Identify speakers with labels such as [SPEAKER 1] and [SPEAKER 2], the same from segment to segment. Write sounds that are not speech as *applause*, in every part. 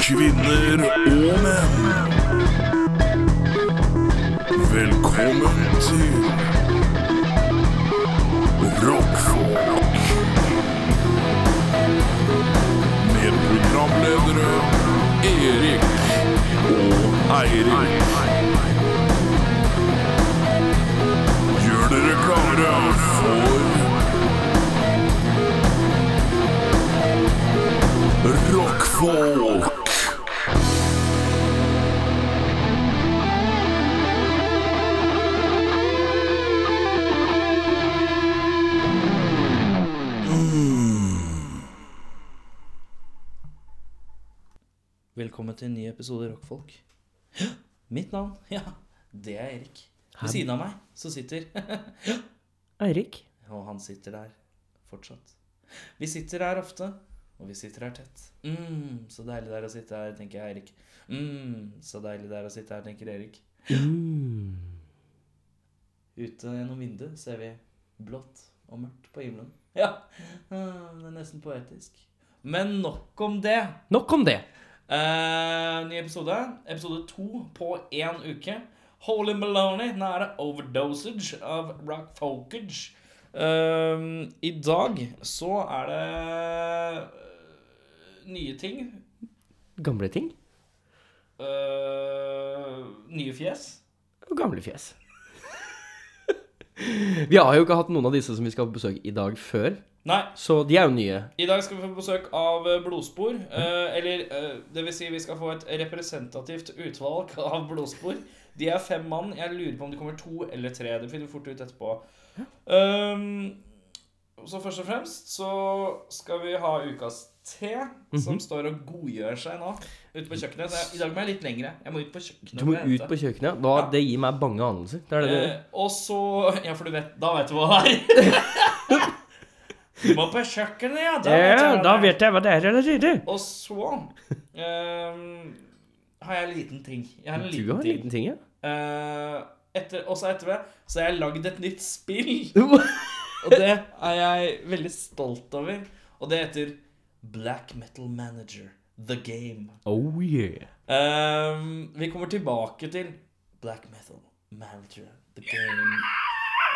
[SPEAKER 1] kvinner og menn. Velkommen til Rockfolk. Med programledere Erik og Eirik. Gjør dere klare for Rockfolk.
[SPEAKER 2] Velkommen til en ny episode Rockfolk. Hå! Mitt navn, *laughs* ja, det er Erik.
[SPEAKER 3] Hæ?
[SPEAKER 2] Ved siden av meg så sitter *laughs*
[SPEAKER 3] Eirik.
[SPEAKER 2] Og han sitter der fortsatt. Vi sitter her ofte, og vi sitter her tett. Mm, så deilig det er å sitte her, tenker jeg, Eirik. Mm, så deilig det er å sitte her, tenker Erik. Mm. Ute gjennom vinduet ser vi blått og mørkt på himmelen. Ja, *laughs* ah, det er nesten poetisk. Men nok om det.
[SPEAKER 3] Nok om det.
[SPEAKER 2] Eh, ny episode. Episode to på én uke. Holy Maloney. Nå er det overdosage av rock folkage. Eh, I dag så er det eh, nye ting.
[SPEAKER 3] Gamle ting
[SPEAKER 2] Eh, nye fjes.
[SPEAKER 3] og gamle fjes. *laughs* vi har jo ikke hatt noen av disse som vi skal besøke i dag før,
[SPEAKER 2] Nei,
[SPEAKER 3] så de er jo nye.
[SPEAKER 2] I dag skal vi få besøk av eh, Blodspor.
[SPEAKER 3] Mm.
[SPEAKER 2] eh, Eller eh, det vil si vi skal få et representativt utvalg *laughs* av Blodspor. De er fem mann. Jeg lurer på om det kommer to eller tre. Det finner vi fort ut etterpå. Um, så først og fremst så skal vi ha ukas te,
[SPEAKER 3] Mhm.
[SPEAKER 2] som står og godgjør seg nå ute på kjøkkenet. Så jeg, I dag må jeg litt lengre. Jeg må ut på kjøkkenet.
[SPEAKER 3] Du må
[SPEAKER 2] for å
[SPEAKER 3] ut
[SPEAKER 2] hente.
[SPEAKER 3] på kjøkkenet. Da,
[SPEAKER 2] Ja.
[SPEAKER 3] Det gir meg bange anelser. Det er det det
[SPEAKER 2] Eh, og så Ja, for du vet Da vet du hva det
[SPEAKER 3] *laughs*
[SPEAKER 2] er. Du må på kjøkkenet, ja. Da vet jeg hva det er.
[SPEAKER 3] jeg hva det er allerede.
[SPEAKER 2] Og så ehm, har jeg en liten ting. Jeg har en
[SPEAKER 3] Du
[SPEAKER 2] liten
[SPEAKER 3] har en
[SPEAKER 2] ting.
[SPEAKER 3] liten ting,
[SPEAKER 2] *laughs*
[SPEAKER 3] ja.
[SPEAKER 2] Eh, etter, også etter det så har jeg lagd et nytt spill. Og det er jeg veldig stolt over. Og det heter Black Metal Manager The Game.
[SPEAKER 3] Oh yeah.
[SPEAKER 2] Ehm, vi kommer tilbake til Black Metal Manager The Game.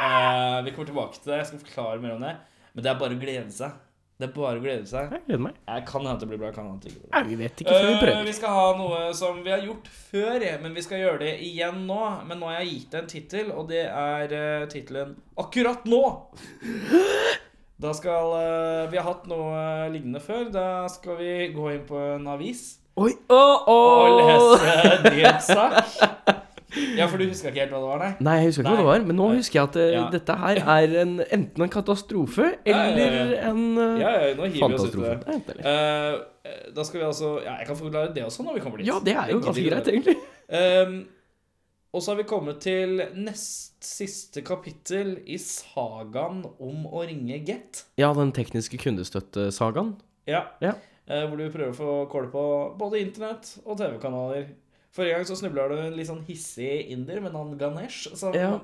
[SPEAKER 2] Eh, vi kommer tilbake til det. Jeg skal forklare mer om det. Men det er bare å glede seg. Det er bare å glede seg.
[SPEAKER 3] Jeg gleder meg.
[SPEAKER 2] Jeg kan hende det blir bra. Jeg kan hende det ikke blir bra.
[SPEAKER 3] Nei, vi vet ikke før vi
[SPEAKER 2] Eh,
[SPEAKER 3] prøver.
[SPEAKER 2] vi skal ha noe som vi har gjort før, men vi skal gjøre det igjen nå. Men nå har jeg gitt det en tittel, og det er uh, tittelen 'Akkurat nå'.
[SPEAKER 3] *gasps*
[SPEAKER 2] Da skal eh, Vi har hatt noe eh, lignende før. Da skal vi gå inn på en avis
[SPEAKER 3] Oi, åh,
[SPEAKER 2] og
[SPEAKER 3] åh.
[SPEAKER 2] lese nyhetssak. Ja, for du huska ikke helt hva det var, nei?
[SPEAKER 3] Nei, jeg husker ikke hva det
[SPEAKER 2] Nei.
[SPEAKER 3] var, men nå husker jeg at eh,
[SPEAKER 2] Ja.
[SPEAKER 3] dette her er en, enten en katastrofe eller en eh,
[SPEAKER 2] Ja, ja, nå hiver vi oss ut i
[SPEAKER 3] fantastrofe.
[SPEAKER 2] det.
[SPEAKER 3] Nei, vent litt.
[SPEAKER 2] Eh, da skal vi altså Ja, jeg kan forklare det også når vi kommer dit.
[SPEAKER 3] Ja, det er jo
[SPEAKER 2] Jeg
[SPEAKER 3] ganske
[SPEAKER 2] gidder
[SPEAKER 3] greit,
[SPEAKER 2] ikke det.
[SPEAKER 3] egentlig.
[SPEAKER 2] Ehm, og så har vi kommet til nest siste kapittel i sagaen om å ringe Get.
[SPEAKER 3] Ja, den tekniske kundestøttesagaen.
[SPEAKER 2] Ja.
[SPEAKER 3] Ja.
[SPEAKER 2] Eh, hvor du prøver å få kål på både internett og TV-kanaler. Forrige gang så snubla du en litt sånn hissig inder med navn Ganesh. Som
[SPEAKER 3] Ja.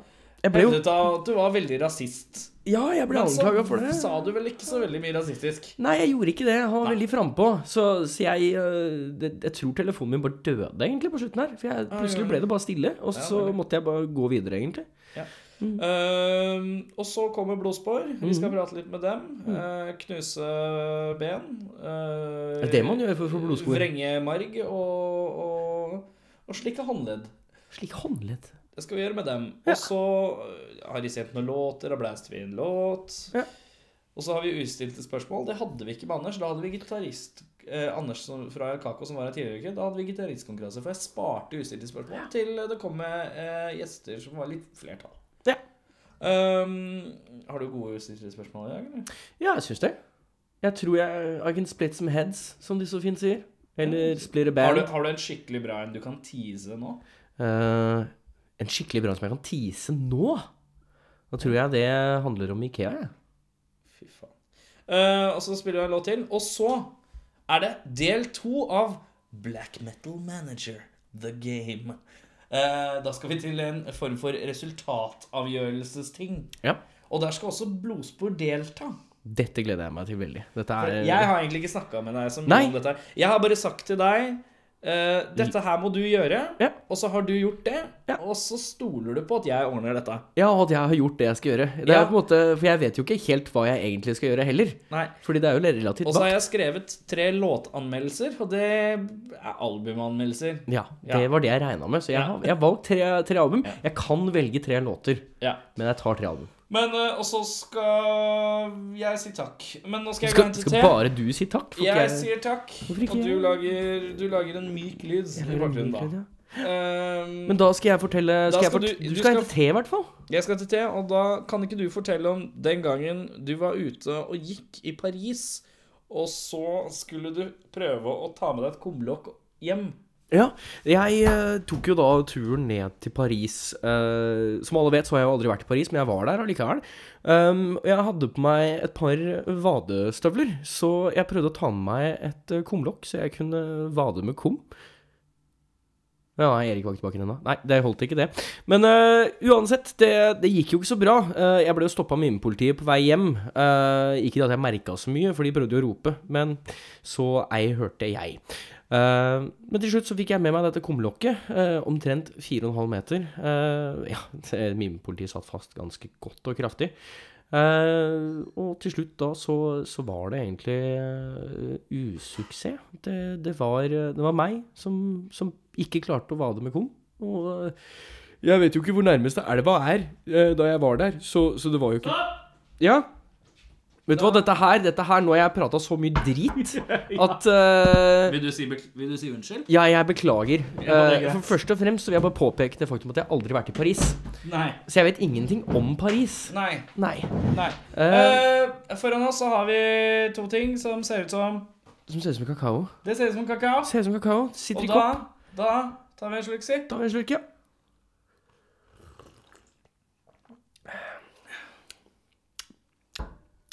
[SPEAKER 3] Jeg ble jo
[SPEAKER 2] hevdet at du var veldig rasist.
[SPEAKER 3] Ja, jeg ble
[SPEAKER 2] Men så
[SPEAKER 3] anklaga for det.
[SPEAKER 2] sa du vel ikke så veldig mye rasistisk.
[SPEAKER 3] sånn Nei, jeg gjorde ikke det. Han var veldig frampå. Så, så jeg øh, det, Jeg tror telefonen min bare døde egentlig på slutten her. For jeg, plutselig
[SPEAKER 2] gjorde
[SPEAKER 3] ble det bare stille, og
[SPEAKER 2] Ja,
[SPEAKER 3] så
[SPEAKER 2] veldig.
[SPEAKER 3] måtte jeg bare gå videre, egentlig.
[SPEAKER 2] Ehm, og så kommer blodspor. Vi
[SPEAKER 3] Mm.
[SPEAKER 2] skal prate litt med dem. Eh, knuse ben. eh,
[SPEAKER 3] Det er det man gjør for å få blodspor.
[SPEAKER 2] Vrenge marg og, og, og slikke håndledd.
[SPEAKER 3] Slik håndledd.
[SPEAKER 2] Det skal vi gjøre med dem.
[SPEAKER 3] Ja.
[SPEAKER 2] Og så eh, har de sendt noen låter, og blæst vi en låt.
[SPEAKER 3] Ja.
[SPEAKER 2] Og så har vi ustilte spørsmål. Det hadde vi ikke med Anders. Da hadde vi gitarist eh, Anders som, fra Kako som var her tidligere i uke. Da hadde vi gitaristkonkurranse, for jeg sparte ustilte spørsmål til det kom med eh, gjester som var litt flertall.
[SPEAKER 3] Ja.
[SPEAKER 2] Um, har du gode ustilte spørsmål i dag, eller?
[SPEAKER 3] Ja, jeg syns det. Jeg tror jeg I can split some heads, som de så fint sier. Eller split a
[SPEAKER 2] Har
[SPEAKER 3] band.
[SPEAKER 2] du, har du en skikkelig bra en du kan tease nå?
[SPEAKER 3] Eh, en skikkelig bra som jeg kan tease nå. Da tror jeg det handler om Ikea, jeg.
[SPEAKER 2] Fy faen. Eh, og så spiller vi en låt til. Og så er det del to av Black Metal Manager The Game. Eh, da skal vi til en form for resultatavgjørelsesting.
[SPEAKER 3] Ja.
[SPEAKER 2] Og der skal også Blodspor delta.
[SPEAKER 3] Dette gleder jeg meg til veldig. Dette er
[SPEAKER 2] Jeg har egentlig ikke snakka med deg så mye
[SPEAKER 3] Nei.
[SPEAKER 2] om dette. her. Jeg har bare sagt til deg eh, dette her må du gjøre,
[SPEAKER 3] Ja.
[SPEAKER 2] og så har du gjort det,
[SPEAKER 3] Ja.
[SPEAKER 2] og så stoler du på at jeg ordner dette.
[SPEAKER 3] Ja, og at jeg har gjort det jeg skal gjøre. Det er
[SPEAKER 2] Ja.
[SPEAKER 3] jo på en måte, For jeg vet jo ikke helt hva jeg egentlig skal gjøre heller.
[SPEAKER 2] Nei.
[SPEAKER 3] Fordi det er jo relativt
[SPEAKER 2] Og så
[SPEAKER 3] vagt.
[SPEAKER 2] har jeg skrevet tre låtanmeldelser, og det er albumanmeldelser.
[SPEAKER 3] Ja,
[SPEAKER 2] Ja.
[SPEAKER 3] det var det jeg regna med. Så jeg
[SPEAKER 2] Ja.
[SPEAKER 3] har, jeg har valgt tre, tre album. Jeg kan velge tre låter,
[SPEAKER 2] Ja.
[SPEAKER 3] men jeg tar tre album.
[SPEAKER 2] Men eh, Og så skal jeg si takk. Men nå skal jeg gå
[SPEAKER 3] Skal,
[SPEAKER 2] hen til
[SPEAKER 3] skal
[SPEAKER 2] te.
[SPEAKER 3] bare du si takk? Får ikke
[SPEAKER 2] Jeg sier takk,
[SPEAKER 3] Hvorfor ikke
[SPEAKER 2] og du
[SPEAKER 3] jeg?
[SPEAKER 2] lager, du lager en myk lyd
[SPEAKER 3] Jeg
[SPEAKER 2] i
[SPEAKER 3] hører
[SPEAKER 2] bakgrunnen
[SPEAKER 3] mye
[SPEAKER 2] da.
[SPEAKER 3] lyd, ja.
[SPEAKER 2] Ehm,
[SPEAKER 3] Men da skal jeg fortelle skal jeg
[SPEAKER 2] skal
[SPEAKER 3] fort,
[SPEAKER 2] du-
[SPEAKER 3] du,
[SPEAKER 2] du
[SPEAKER 3] skal
[SPEAKER 2] skal-
[SPEAKER 3] hente te, i hvert fall.
[SPEAKER 2] Jeg skal til te, og da kan ikke du fortelle om den gangen du var ute og gikk i Paris, og så skulle du prøve å ta med deg et kumlokk hjem.
[SPEAKER 3] Ja, jeg eh, tok jo da turen ned til Paris. Eh, som alle vet, så har jeg jo aldri vært i Paris, men jeg var der allikevel. Um, og jeg hadde på meg et par vadestøvler, så jeg prøvde å ta med meg et eh, kumlokk, så jeg kunne vade med kum. Ja, nei, Erik var ikke tilbake ennå. Nei, det holdt ikke, det. Men eh, uansett, det, det gikk jo ikke så bra. Eh, jeg ble jo stoppa av mimepolitiet på vei hjem. Eh, ikke at jeg merka så mye, for de prøvde jo å rope, men så ei hørte jeg. Eh, men til slutt så fikk jeg med meg dette kumlokket, eh, omtrent 4,5 meter. Eh, ja, *laughs* det- mimepolitiet satt fast ganske godt og kraftig. Eh, og til slutt da så, så var det egentlig eh, usuksess. Det, det, var, eh, det var meg som, som ikke klarte å vade med kum. Og eh, jeg vet jo ikke hvor nærmeste elva er eh, da jeg var der, så, så det var jo ikke Ja? Vet du hva, dette her, dette her nå har jeg prata så mye drit at eh,
[SPEAKER 2] Vil du si, unnskyld?
[SPEAKER 3] ja, jeg beklager.
[SPEAKER 2] Ja, det er
[SPEAKER 3] Eh,
[SPEAKER 2] greit.
[SPEAKER 3] for først og fremst så vil jeg bare påpeke det faktum at jeg aldri har vært i Paris.
[SPEAKER 2] Nei.
[SPEAKER 3] Så jeg vet ingenting om Paris.
[SPEAKER 2] Nei.
[SPEAKER 3] Nei.
[SPEAKER 2] Nei.
[SPEAKER 3] Eh.
[SPEAKER 2] Eh, foran oss så har vi to ting som ser ut som
[SPEAKER 3] Som ser ut som kakao.
[SPEAKER 2] Det ser ut som kakao.
[SPEAKER 3] Ser ut som kakao. Sitter
[SPEAKER 2] Og
[SPEAKER 3] i
[SPEAKER 2] da,
[SPEAKER 3] kopp.
[SPEAKER 2] da tar vi en slurk, si.
[SPEAKER 3] Ta en slurk, ja.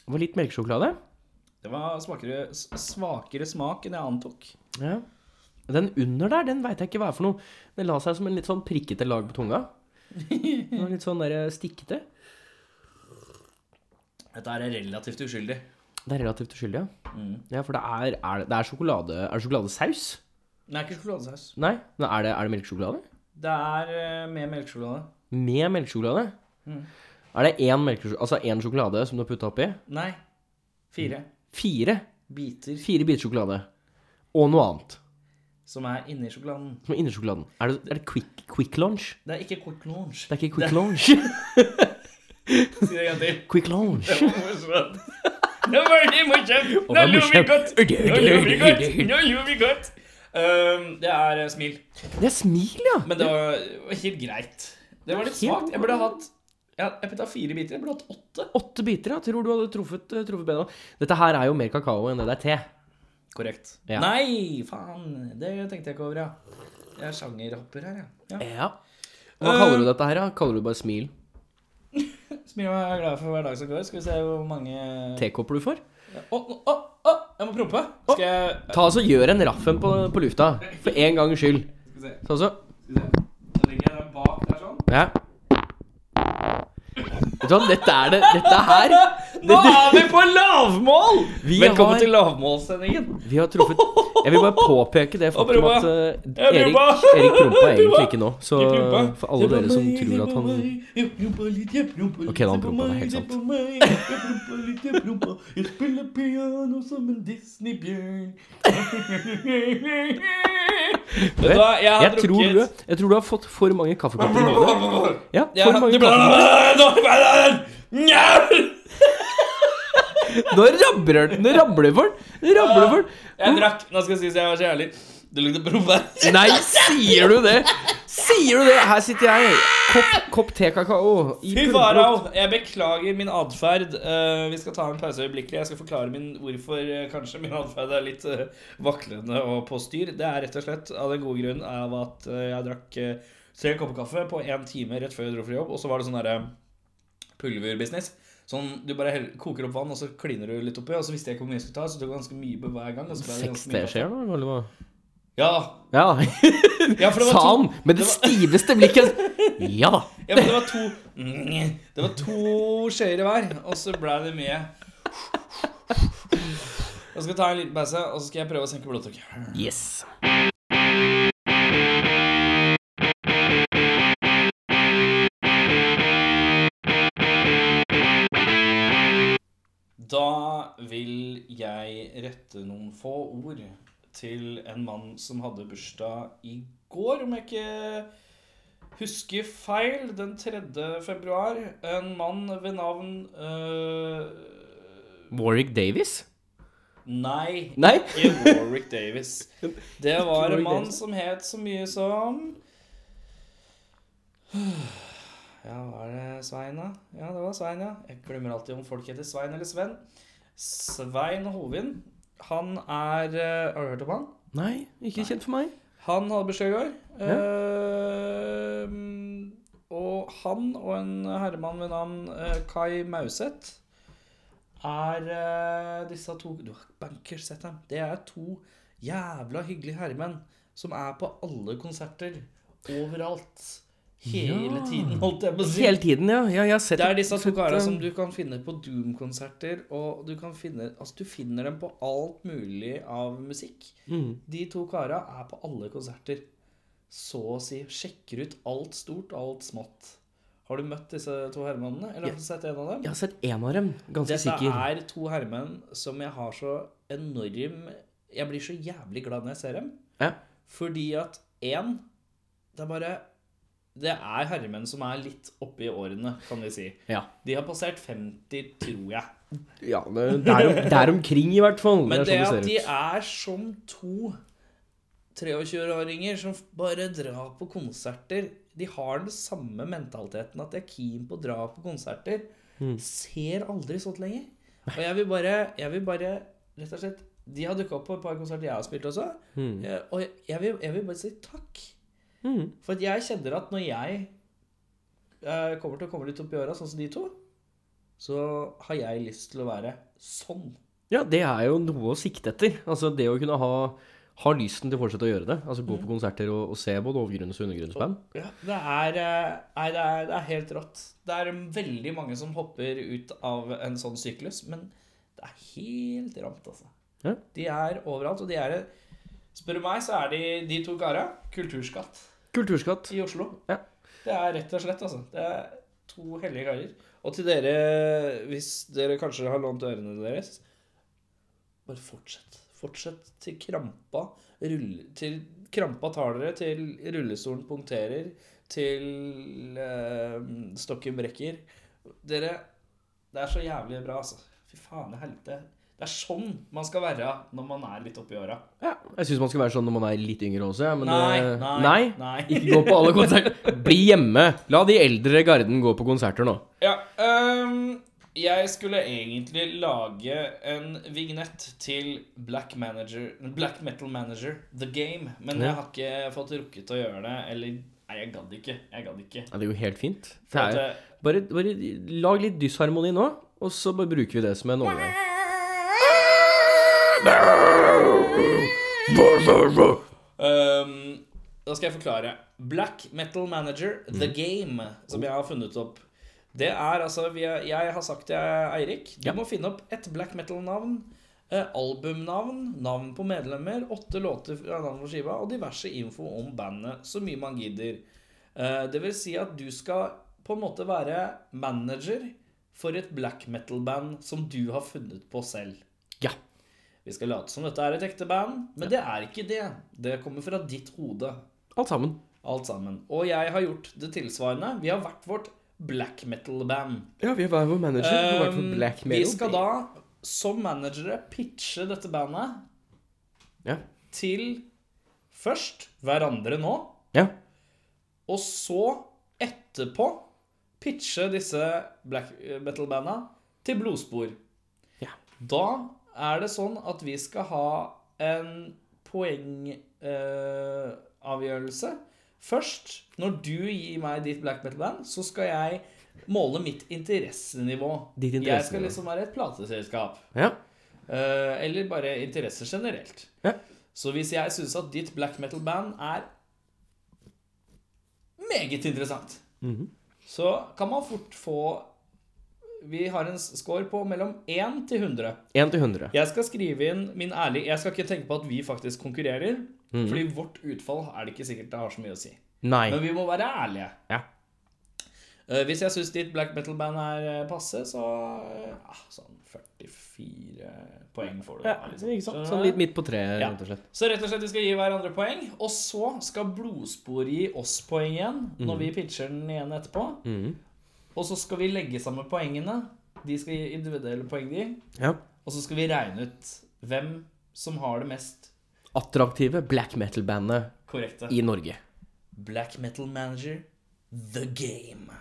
[SPEAKER 3] Det var litt melkesjokolade.
[SPEAKER 2] Det var svakere, s- svakere smak enn jeg antok.
[SPEAKER 3] Ja. Den under der, den veit jeg ikke hva er for noe. Den la seg som en litt sånn prikkete lag på
[SPEAKER 2] *laughs*
[SPEAKER 3] tunga. Den var litt sånn der stikkete.
[SPEAKER 2] Dette er relativt uskyldig.
[SPEAKER 3] Det er relativt uskyldig, ja. Ja, For det er, er, det- det er sjokolade Er det sjokoladesaus?
[SPEAKER 2] Det er ikke sjokoladesaus.
[SPEAKER 3] Nei, men er det, er det melkesjokolade?
[SPEAKER 2] Det er eh, med melkesjokolade.
[SPEAKER 3] Med melkesjokolade? Er det én, melkesjok- altså én sjokolade som du har putta oppi?
[SPEAKER 2] Nei. Fire
[SPEAKER 3] Fire.
[SPEAKER 2] biter
[SPEAKER 3] Fire biter sjokolade. Og noe annet
[SPEAKER 2] som er inni sjokoladen.
[SPEAKER 3] som er inni sjokoladen. Er det, er det quick, quick lunch?
[SPEAKER 2] Det er ikke Quick Launch.
[SPEAKER 3] Det er ikke quick lunch. *laughs*
[SPEAKER 2] Si det en gang til. *laughs*
[SPEAKER 3] quick lunch.
[SPEAKER 2] Det var morsomt. Det var veldig morsomt. Nå lo vi godt. Nå lo vi godt.
[SPEAKER 3] Det
[SPEAKER 2] Nå lo vi godt. Ehm, det er eh, smil.
[SPEAKER 3] er smil, ja.
[SPEAKER 2] Men det var var helt greit. Det var litt
[SPEAKER 3] Helt
[SPEAKER 2] svakt. Jeg burde hatt Jeg, jeg putta fire biter. Jeg burde hatt åtte.
[SPEAKER 3] Åtte biter, ja. Tror du hadde truffet, eh, truffet bedre. Dette her er jo mer kakao enn det det er te.
[SPEAKER 2] Korrekt.
[SPEAKER 3] Ja.
[SPEAKER 2] Nei, faen. Det tenkte jeg ikke over, ja. Jeg er sjangerhopper her, ja. ja.
[SPEAKER 3] Ja. Hva kaller du dette her, da? Kaller du det bare smil?
[SPEAKER 2] Smil og jeg er glad for hver dag som går. Skal vi se hvor mange
[SPEAKER 3] Tekopper du får?
[SPEAKER 2] Å, å, å, å, jeg må prompe. Skal jeg
[SPEAKER 3] Ta altså, Gjør en raffen på, på lufta, for en gangs skyld.
[SPEAKER 2] Skal vi se.
[SPEAKER 3] Sånn så.
[SPEAKER 2] Da legger jeg den bak der sånn.
[SPEAKER 3] Ja. Vet du hva, dette er det Dette her
[SPEAKER 2] Nå er vi på lavmål!
[SPEAKER 3] Vi
[SPEAKER 2] Velkommen
[SPEAKER 3] har-
[SPEAKER 2] til lavmålssendingen.
[SPEAKER 3] Vi har truffet Jeg vil bare påpeke det faktum
[SPEAKER 2] prompa.
[SPEAKER 3] at eh,
[SPEAKER 2] Jeg
[SPEAKER 3] Erik,
[SPEAKER 2] prompa.
[SPEAKER 3] Erik
[SPEAKER 2] *laughs*
[SPEAKER 3] prompa
[SPEAKER 2] Jeg
[SPEAKER 3] egentlig
[SPEAKER 2] prompa.
[SPEAKER 3] ikke nå. Så
[SPEAKER 2] Jeg prompa.
[SPEAKER 3] for
[SPEAKER 2] Se
[SPEAKER 3] alle
[SPEAKER 2] på
[SPEAKER 3] dere som
[SPEAKER 2] meg,
[SPEAKER 3] tror
[SPEAKER 2] se
[SPEAKER 3] at
[SPEAKER 2] på
[SPEAKER 3] han
[SPEAKER 2] meg. Jeg prompa litt, jeg prompa litt,
[SPEAKER 3] Ok, da han
[SPEAKER 2] se på
[SPEAKER 3] prompa, det er
[SPEAKER 2] meg,
[SPEAKER 3] helt
[SPEAKER 2] se
[SPEAKER 3] sant.
[SPEAKER 2] på meg. Jeg prompa litt, jeg prompa. Jeg spiller piano som en Disney-bjørn. Vet du hva, jeg har
[SPEAKER 3] jeg tror, du,
[SPEAKER 2] drukket
[SPEAKER 3] jeg tror du har fått for mange
[SPEAKER 2] *laughs*
[SPEAKER 3] kaffekopper i hodet. Ja,
[SPEAKER 2] Jeg
[SPEAKER 3] for
[SPEAKER 2] har-
[SPEAKER 3] mange
[SPEAKER 2] Nå-
[SPEAKER 3] kaffekopper. Nå rabler den. Det rabler for den. Det rabler for den.
[SPEAKER 2] Jeg drakk. Nå skal jeg si at jeg var så ærlig. Det lukter prombær.
[SPEAKER 3] Nei, sier du det? Sier du det? Her sitter jeg. Kopp, kopp te-kakao. i
[SPEAKER 2] Fy
[SPEAKER 3] pulverlukt.
[SPEAKER 2] farao, jeg beklager min atferd. Eh, vi skal ta en pause øyeblikkelig. Jeg skal forklare min, hvorfor eh, kanskje min atferd er litt eh, vaklende og på styr. Det er rett og slett av den gode grunn av at eh, jeg drakk eh, tre kopper kaffe på én time rett før jeg dro fra jobb, og så var det sånn derre pulverbusiness. Sånn, Du bare hell- koker opp vann, og så kliner du litt oppi. Og så visste jeg ikke hvor mye jeg skulle ta, så det var ganske mye på hver gang. Og så ble det
[SPEAKER 3] Seks
[SPEAKER 2] ganske mye kaffe.
[SPEAKER 3] teskjeer nå, eller hva?
[SPEAKER 2] Ja.
[SPEAKER 3] *laughs* Ja.
[SPEAKER 2] ja, for det var
[SPEAKER 3] Sa
[SPEAKER 2] to
[SPEAKER 3] han med det stiveste blikket. *laughs* Ja da.
[SPEAKER 2] Ja, men det var to Det var to skjeer i hver, og så ble det mye Jeg skal ta en liten pause, og så skal jeg prøve å senke blodtrykket.
[SPEAKER 3] Yes.
[SPEAKER 2] Da vil jeg rette noen få ord til en mann som hadde bursdag i går, om jeg ikke husker feil, den 3. februar. En mann ved navn øh,
[SPEAKER 3] Warwick Davis?
[SPEAKER 2] Nei,
[SPEAKER 3] Nei?
[SPEAKER 2] ikke Warwick Davis.
[SPEAKER 3] *laughs*
[SPEAKER 2] Det var en
[SPEAKER 3] Warwick
[SPEAKER 2] mann
[SPEAKER 3] Davis.
[SPEAKER 2] som het så mye som *sighs* Ja, var det Svein, da? Ja, det var Svein, ja. Jeg glemmer alltid om folk heter Svein eller Sven. Svein Hovin. Han er eh, Har du hørt om han?
[SPEAKER 3] Nei, ikke kjent for meg.
[SPEAKER 2] Han hadde bursdag i går.
[SPEAKER 3] Ja.
[SPEAKER 2] Ehm, og han og en herremann ved navn eh, Kai Mauseth er eh, disse to Du har bankers sett dem. Det er to jævla hyggelige herremenn som er på alle konserter overalt. Hele
[SPEAKER 3] Ja.
[SPEAKER 2] tiden, holdt jeg på å si.
[SPEAKER 3] Hele tiden, ja. ja jeg har sett
[SPEAKER 2] Det er disse to
[SPEAKER 3] sett,
[SPEAKER 2] karene
[SPEAKER 3] eh,
[SPEAKER 2] som du kan finne på Doom-konserter, og du kan finne Altså, du finner dem på alt mulig av musikk.
[SPEAKER 3] mm.
[SPEAKER 2] De to kara er på alle konserter. Så å si. Sjekker ut alt stort, alt smått. Har du møtt disse to herremannene? Eller har du sett en av dem?
[SPEAKER 3] Jeg har sett én av dem, ganske
[SPEAKER 2] Dette
[SPEAKER 3] sikker.
[SPEAKER 2] er to herremenn som jeg har så enorm Jeg blir så jævlig glad når jeg ser dem.
[SPEAKER 3] Ja.
[SPEAKER 2] Fordi at én Det er bare Det er herremenn som er litt oppe i årene, kan vi si.
[SPEAKER 3] Ja.
[SPEAKER 2] De har passert 50, tror jeg.
[SPEAKER 3] ja det, det er, det er omkring, i hvert fall.
[SPEAKER 2] Men det
[SPEAKER 3] er sånn
[SPEAKER 2] at de
[SPEAKER 3] det ser ut.
[SPEAKER 2] er som to 23-åringer som bare drar på konserter De har den samme mentaliteten at de er keen på å dra på konserter.
[SPEAKER 3] Mm.
[SPEAKER 2] Ser aldri sånt lenger. Og jeg vil bare, jeg vil bare rett og slett De har dukka opp på et par konserter jeg har spilt også.
[SPEAKER 3] Mm.
[SPEAKER 2] Eh, Og jeg- jeg vil, jeg vil bare si takk. For at jeg kjenner at når jeg eh, kommer til å komme litt opp i åra, sånn som de to, så har jeg lyst til å være sånn.
[SPEAKER 3] Ja, det er jo noe å sikte etter. Altså det å kunne ha, ha lysten til å fortsette å gjøre det. Altså gå på
[SPEAKER 2] Mm.
[SPEAKER 3] konserter og, og se både overgrunns- og undergrunnsband.
[SPEAKER 2] Ja, det er, eh, nei, det, er, det er helt rått. Det er veldig mange som hopper ut av en sånn syklus, men det er helt ramt, altså.
[SPEAKER 3] Ja.
[SPEAKER 2] De er overalt, og de er Spør du meg, så er de, de to kara kulturskatt
[SPEAKER 3] Kulturskatt.
[SPEAKER 2] i Oslo.
[SPEAKER 3] Ja.
[SPEAKER 2] Det er rett og slett, altså. Det er to hellige karer. Og til dere, hvis dere kanskje har lånt ørene deres, bare fortsett. Fortsett til krampa rulle, til krampa tar dere, til rullestolen punkterer, til eh, stokken brekker. Dere Det er så jævlig bra, altså. Fy faen i helvete. Det er sånn man skal være når man er litt oppi åra.
[SPEAKER 3] Ja, jeg syns man skal være sånn når man er litt yngre også. Ja, men
[SPEAKER 2] Nei,
[SPEAKER 3] det,
[SPEAKER 2] nei, nei.
[SPEAKER 3] Ikke gå på alle konserter. Bli hjemme. La de eldre i garden gå på konserter nå.
[SPEAKER 2] Ja, ehm, jeg skulle egentlig lage en vignett til Black, Manager, Black Metal Manager, The Game, men
[SPEAKER 3] Ja.
[SPEAKER 2] jeg har ikke fått rukket å gjøre det, eller Nei, jeg gadd ikke. Jeg gadd ikke.
[SPEAKER 3] Ja, det er jo helt fint.
[SPEAKER 2] For
[SPEAKER 3] Det
[SPEAKER 2] at,
[SPEAKER 3] er,
[SPEAKER 2] eh,
[SPEAKER 3] bare, bare lag litt dysharmoni nå, og så bare bruker vi det som en overgang.
[SPEAKER 2] Ehm, da skal jeg forklare. Black Metal Manager, The Game, som jeg har funnet opp. Det er altså vi er, Jeg har sagt til Eirik du
[SPEAKER 3] Ja.
[SPEAKER 2] må finne opp et black metal-navn. eh, Albumnavn, navn på medlemmer, åtte låter fra navn på skiva og diverse info om bandet. Så mye man gidder. Eh, Det vil si at du skal på en måte være manager for et black metal-band som du har funnet på selv.
[SPEAKER 3] Ja.
[SPEAKER 2] Vi skal late som dette er et ekte band, men det er ikke det. Det kommer fra ditt hode,
[SPEAKER 3] Alt sammen.
[SPEAKER 2] alt sammen. Og jeg har gjort det tilsvarende. Vi har hvert vårt black metal-band.
[SPEAKER 3] Ja, vi er hver vår manager.
[SPEAKER 2] Um, Vi skal da, som managere, pitche dette bandet
[SPEAKER 3] Ja.
[SPEAKER 2] til først hverandre nå,
[SPEAKER 3] ja.
[SPEAKER 2] og så etterpå pitche disse black metal-banda til blodspor.
[SPEAKER 3] Ja.
[SPEAKER 2] Da er det sånn at vi skal ha en poengavgjørelse. avgjørelse Først, når du gir meg ditt black metal-band, så skal jeg måle mitt interessenivå.
[SPEAKER 3] Ditt
[SPEAKER 2] Jeg skal
[SPEAKER 3] interessenivå.
[SPEAKER 2] liksom være et plateselskap.
[SPEAKER 3] ja.
[SPEAKER 2] Eh, eller bare interesser generelt.
[SPEAKER 3] Ja.
[SPEAKER 2] Så hvis jeg syns at ditt black metal-band er meget interessant,
[SPEAKER 3] Mhm.
[SPEAKER 2] så kan man fort få Vi har en score på mellom 1 til 100.
[SPEAKER 3] 1 til 100.
[SPEAKER 2] Jeg skal skrive inn min ærlige Jeg skal ikke tenke på at vi faktisk konkurrerer, fordi vårt utfall er det ikke sikkert det har så mye å si.
[SPEAKER 3] Mhm. Nei.
[SPEAKER 2] Men vi må være ærlige.
[SPEAKER 3] Ja.
[SPEAKER 2] Eh, hvis jeg syns ditt black metal-band er eh, passe, så ja, Sånn 44 poeng får du.
[SPEAKER 3] Ja,
[SPEAKER 2] da, liksom.
[SPEAKER 3] ikke sant?
[SPEAKER 2] Skjønner du
[SPEAKER 3] Sånn
[SPEAKER 2] det?
[SPEAKER 3] litt midt på treet,
[SPEAKER 2] Ja.
[SPEAKER 3] rett og slett.
[SPEAKER 2] Så rett og slett vi skal gi hverandre poeng, og så skal blodspor gi oss poeng igjen når vi pitcher den igjen etterpå.
[SPEAKER 3] Mhm.
[SPEAKER 2] Og så skal vi legge sammen poengene. De skal gi individuelle poeng, de.
[SPEAKER 3] Ja.
[SPEAKER 2] Og så skal vi regne ut hvem som har det mest
[SPEAKER 3] Attraktive black metal-bandet
[SPEAKER 2] korrekte.
[SPEAKER 3] i Norge.
[SPEAKER 2] Black Metal Manager The Game.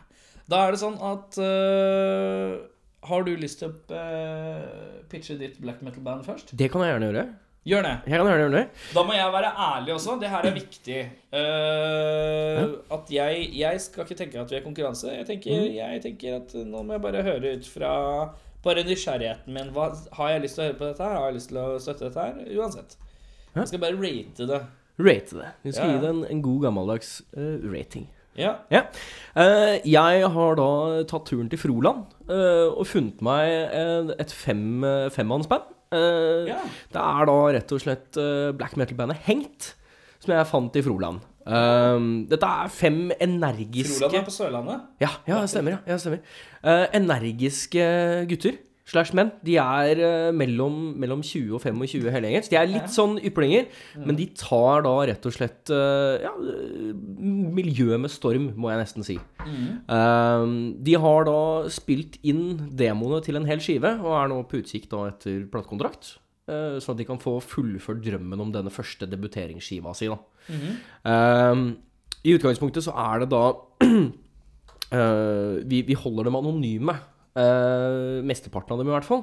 [SPEAKER 2] Da er det sånn at øh, Har du lyst til å øh, pitche ditt black metal-band først?
[SPEAKER 3] Det kan jeg gjerne gjøre.
[SPEAKER 2] Gjør det.
[SPEAKER 3] Jeg kan gjerne gjøre det.
[SPEAKER 2] Da må jeg være ærlig også. Det her er viktig. Eh, at jeg, jeg skal ikke tenke at vi er konkurranse. Jeg tenker, jeg tenker at nå må jeg bare høre ut fra bare nysgjerrigheten min. Hva, har jeg lyst til å høre på dette her? Har jeg lyst til å støtte dette her? Uansett. Jeg skal bare rate det.
[SPEAKER 3] Rate det. Vi skal
[SPEAKER 2] Ja, ja.
[SPEAKER 3] gi det en, en god gammeldags eh, rating.
[SPEAKER 2] Ja.
[SPEAKER 3] Ja. Eh, jeg har da tatt turen til Froland eh, og funnet meg en- et fem, eh, femmannsband. Eh,
[SPEAKER 2] Ja.
[SPEAKER 3] Det er da rett og slett eh, black metal-bandet Hengt, som jeg fant i Froland. Eh, dette er fem energiske
[SPEAKER 2] Froland er på Sørlandet.
[SPEAKER 3] ja, ja, det stemmer. Ja, ja, det stemmer. Eh, energiske gutter slash menn. De er eh, mellom, mellom 20 og 25 hele gjengen. Så de er litt sånn yplinger, men de tar da rett og slett eh, ja, eh, miljøet med storm, må jeg nesten si. Eh, de har da spilt inn demoene til en hel skive, og er nå på utkikk da etter platekontrakt. eh, Sånn at de kan få fullført drømmen om denne første debuteringsskiva si. Da. Eh, I utgangspunktet så er det da *clears throat* Eh, vi, vi holder dem anonyme. eh, mesteparten av dem, i hvert fall.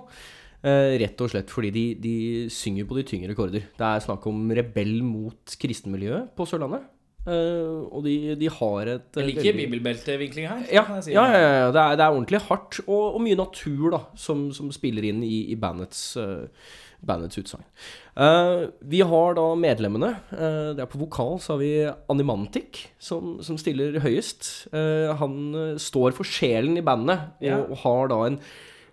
[SPEAKER 3] Eh, rett og slett fordi de, de synger på de tyngre rekorder. Det er snakk om rebell mot kristenmiljøet på Sørlandet. Eh, og de, de har et
[SPEAKER 2] Jeg liker bibelbeltevinkling her.
[SPEAKER 3] ja,
[SPEAKER 2] kan jeg si.
[SPEAKER 3] ja, ja, ja, ja. Det, er, det er ordentlig hardt, og, og mye natur da, som, som spiller inn i, i bandets, eh, bandets utsagn. Eh, vi har da medlemmene. eh, det er På vokal så har vi Animantic, som, som stiller høyest. Eh, han eh, står for sjelen i bandet, og,
[SPEAKER 2] Ja.
[SPEAKER 3] og har da en,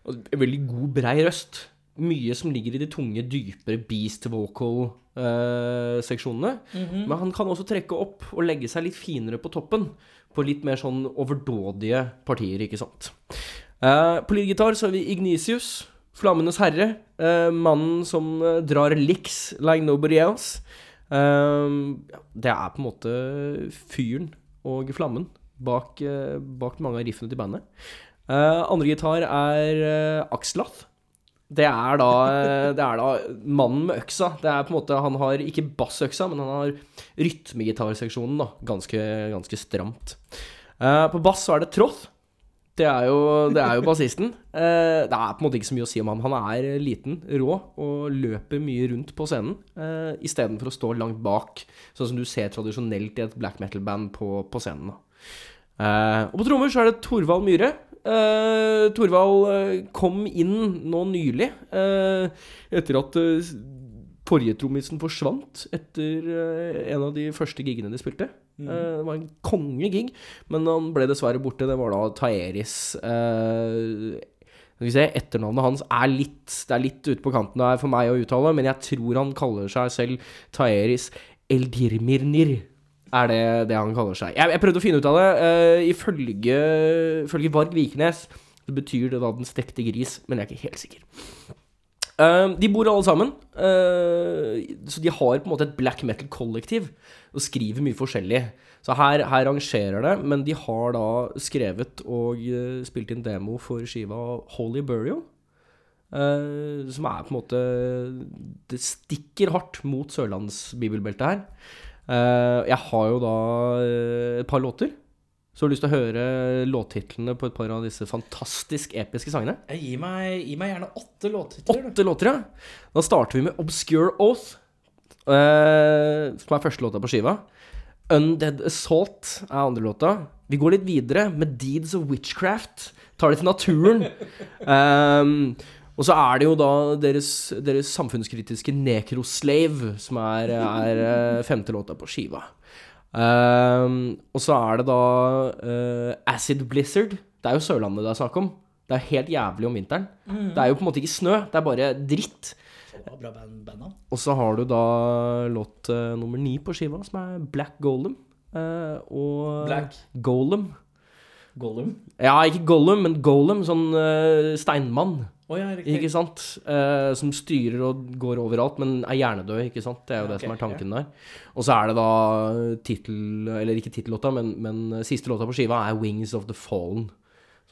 [SPEAKER 3] en veldig god, brei røst. Mye som ligger i de tunge, dypere beast vocal-seksjonene. Men han kan også trekke opp og legge seg litt finere på toppen. På litt mer sånn overdådige partier, ikke sant. Eh, på lydgitar så har vi Ignisius, Flammenes herre. eh, mannen som eh, drar licks like nobody else. Eh, ja, det er på en måte fyren og flammen bak, eh, bak mange av riffene til bandet. Eh, andre gitar er eh, Axlath. Det er, da, eh, det er da mannen med øksa. Det er på en måte, Han har ikke bassøksa, men han har rytmegitarseksjonen da, ganske, ganske stramt. Eh, på bass så er det Troth. Det er jo, det er jo bassisten. Eh, det er på en måte ikke så mye å si om ham. Han er liten, rå og løper mye rundt på scenen uh, istedenfor å stå langt bak, sånn som du ser tradisjonelt i et black metal-band på, på scenen. da. Eh, og på trommer så er det Torvald Myhre. Eh, Torvald eh, kom inn nå nylig, eh, etter at eh, s- forrige trommisen forsvant etter eh, en av de første gigene de spilte. Eh, det var en kongegig, men han ble dessverre borte. Det var da Taeris eh, skal vi se, Etternavnet hans er litt Det er litt ute på kanten der for meg å uttale, men jeg tror han kaller seg selv Taeris Eldirmirnir. Er det det han kaller seg? Jeg, jeg prøvde å finne ut av det. Uh, ifølge, ifølge Varg Vikenes så betyr det da den stekte gris, men jeg er ikke helt sikker. Eh, de bor alle sammen, eh, så de har på en måte et black metal-kollektiv og skriver mye forskjellig. Så her, her rangerer det, men de har da skrevet og eh, spilt inn demo for skiva Holy Burial. eh, som er på en måte Det stikker hardt mot sørlandsbibelbeltet her. Eh, jeg har jo da eh, et par låter. Så har du lyst til å høre låttitlene på et par av disse fantastisk episke sangene?
[SPEAKER 2] Jeg gir meg, gi meg gjerne åtte låttitler. du.
[SPEAKER 3] Åtte låter, ja. Da starter vi med Obscure Oath, eh, som er første låta på skiva. Undead Assault er andre låta. Vi går litt videre med Deeds of Witchcraft. Tar det til *laughs* naturen. Ehm, og så er det jo da deres, deres samfunnskritiske Necroslave, som er, er eh, femte låta på skiva. Ehm, og så er det da eh, Acid Blizzard. Det er jo Sørlandet det er snakk om. Det er helt jævlig om vinteren. Det er jo på en måte ikke snø, det er bare dritt.
[SPEAKER 2] Det var Bra band, band, da.
[SPEAKER 3] Og så har du da låt eh, nummer ni på skiva, som er Black Golem. eh, og
[SPEAKER 2] Black.
[SPEAKER 3] Golem.
[SPEAKER 2] Gollum.
[SPEAKER 3] Ja, ikke Gollum, men Golem, sånn eh, steinmann,
[SPEAKER 2] Å ja, riktig.
[SPEAKER 3] ikke sant? Eh, som styrer og går overalt, men er hjernedød, ikke sant? Det er jo det
[SPEAKER 2] Ok,
[SPEAKER 3] som er tanken der. Og så er det da eh, tittel, eller ikke tittellåta, men, men eh, siste låta på skiva er 'Wings of the Fallen'.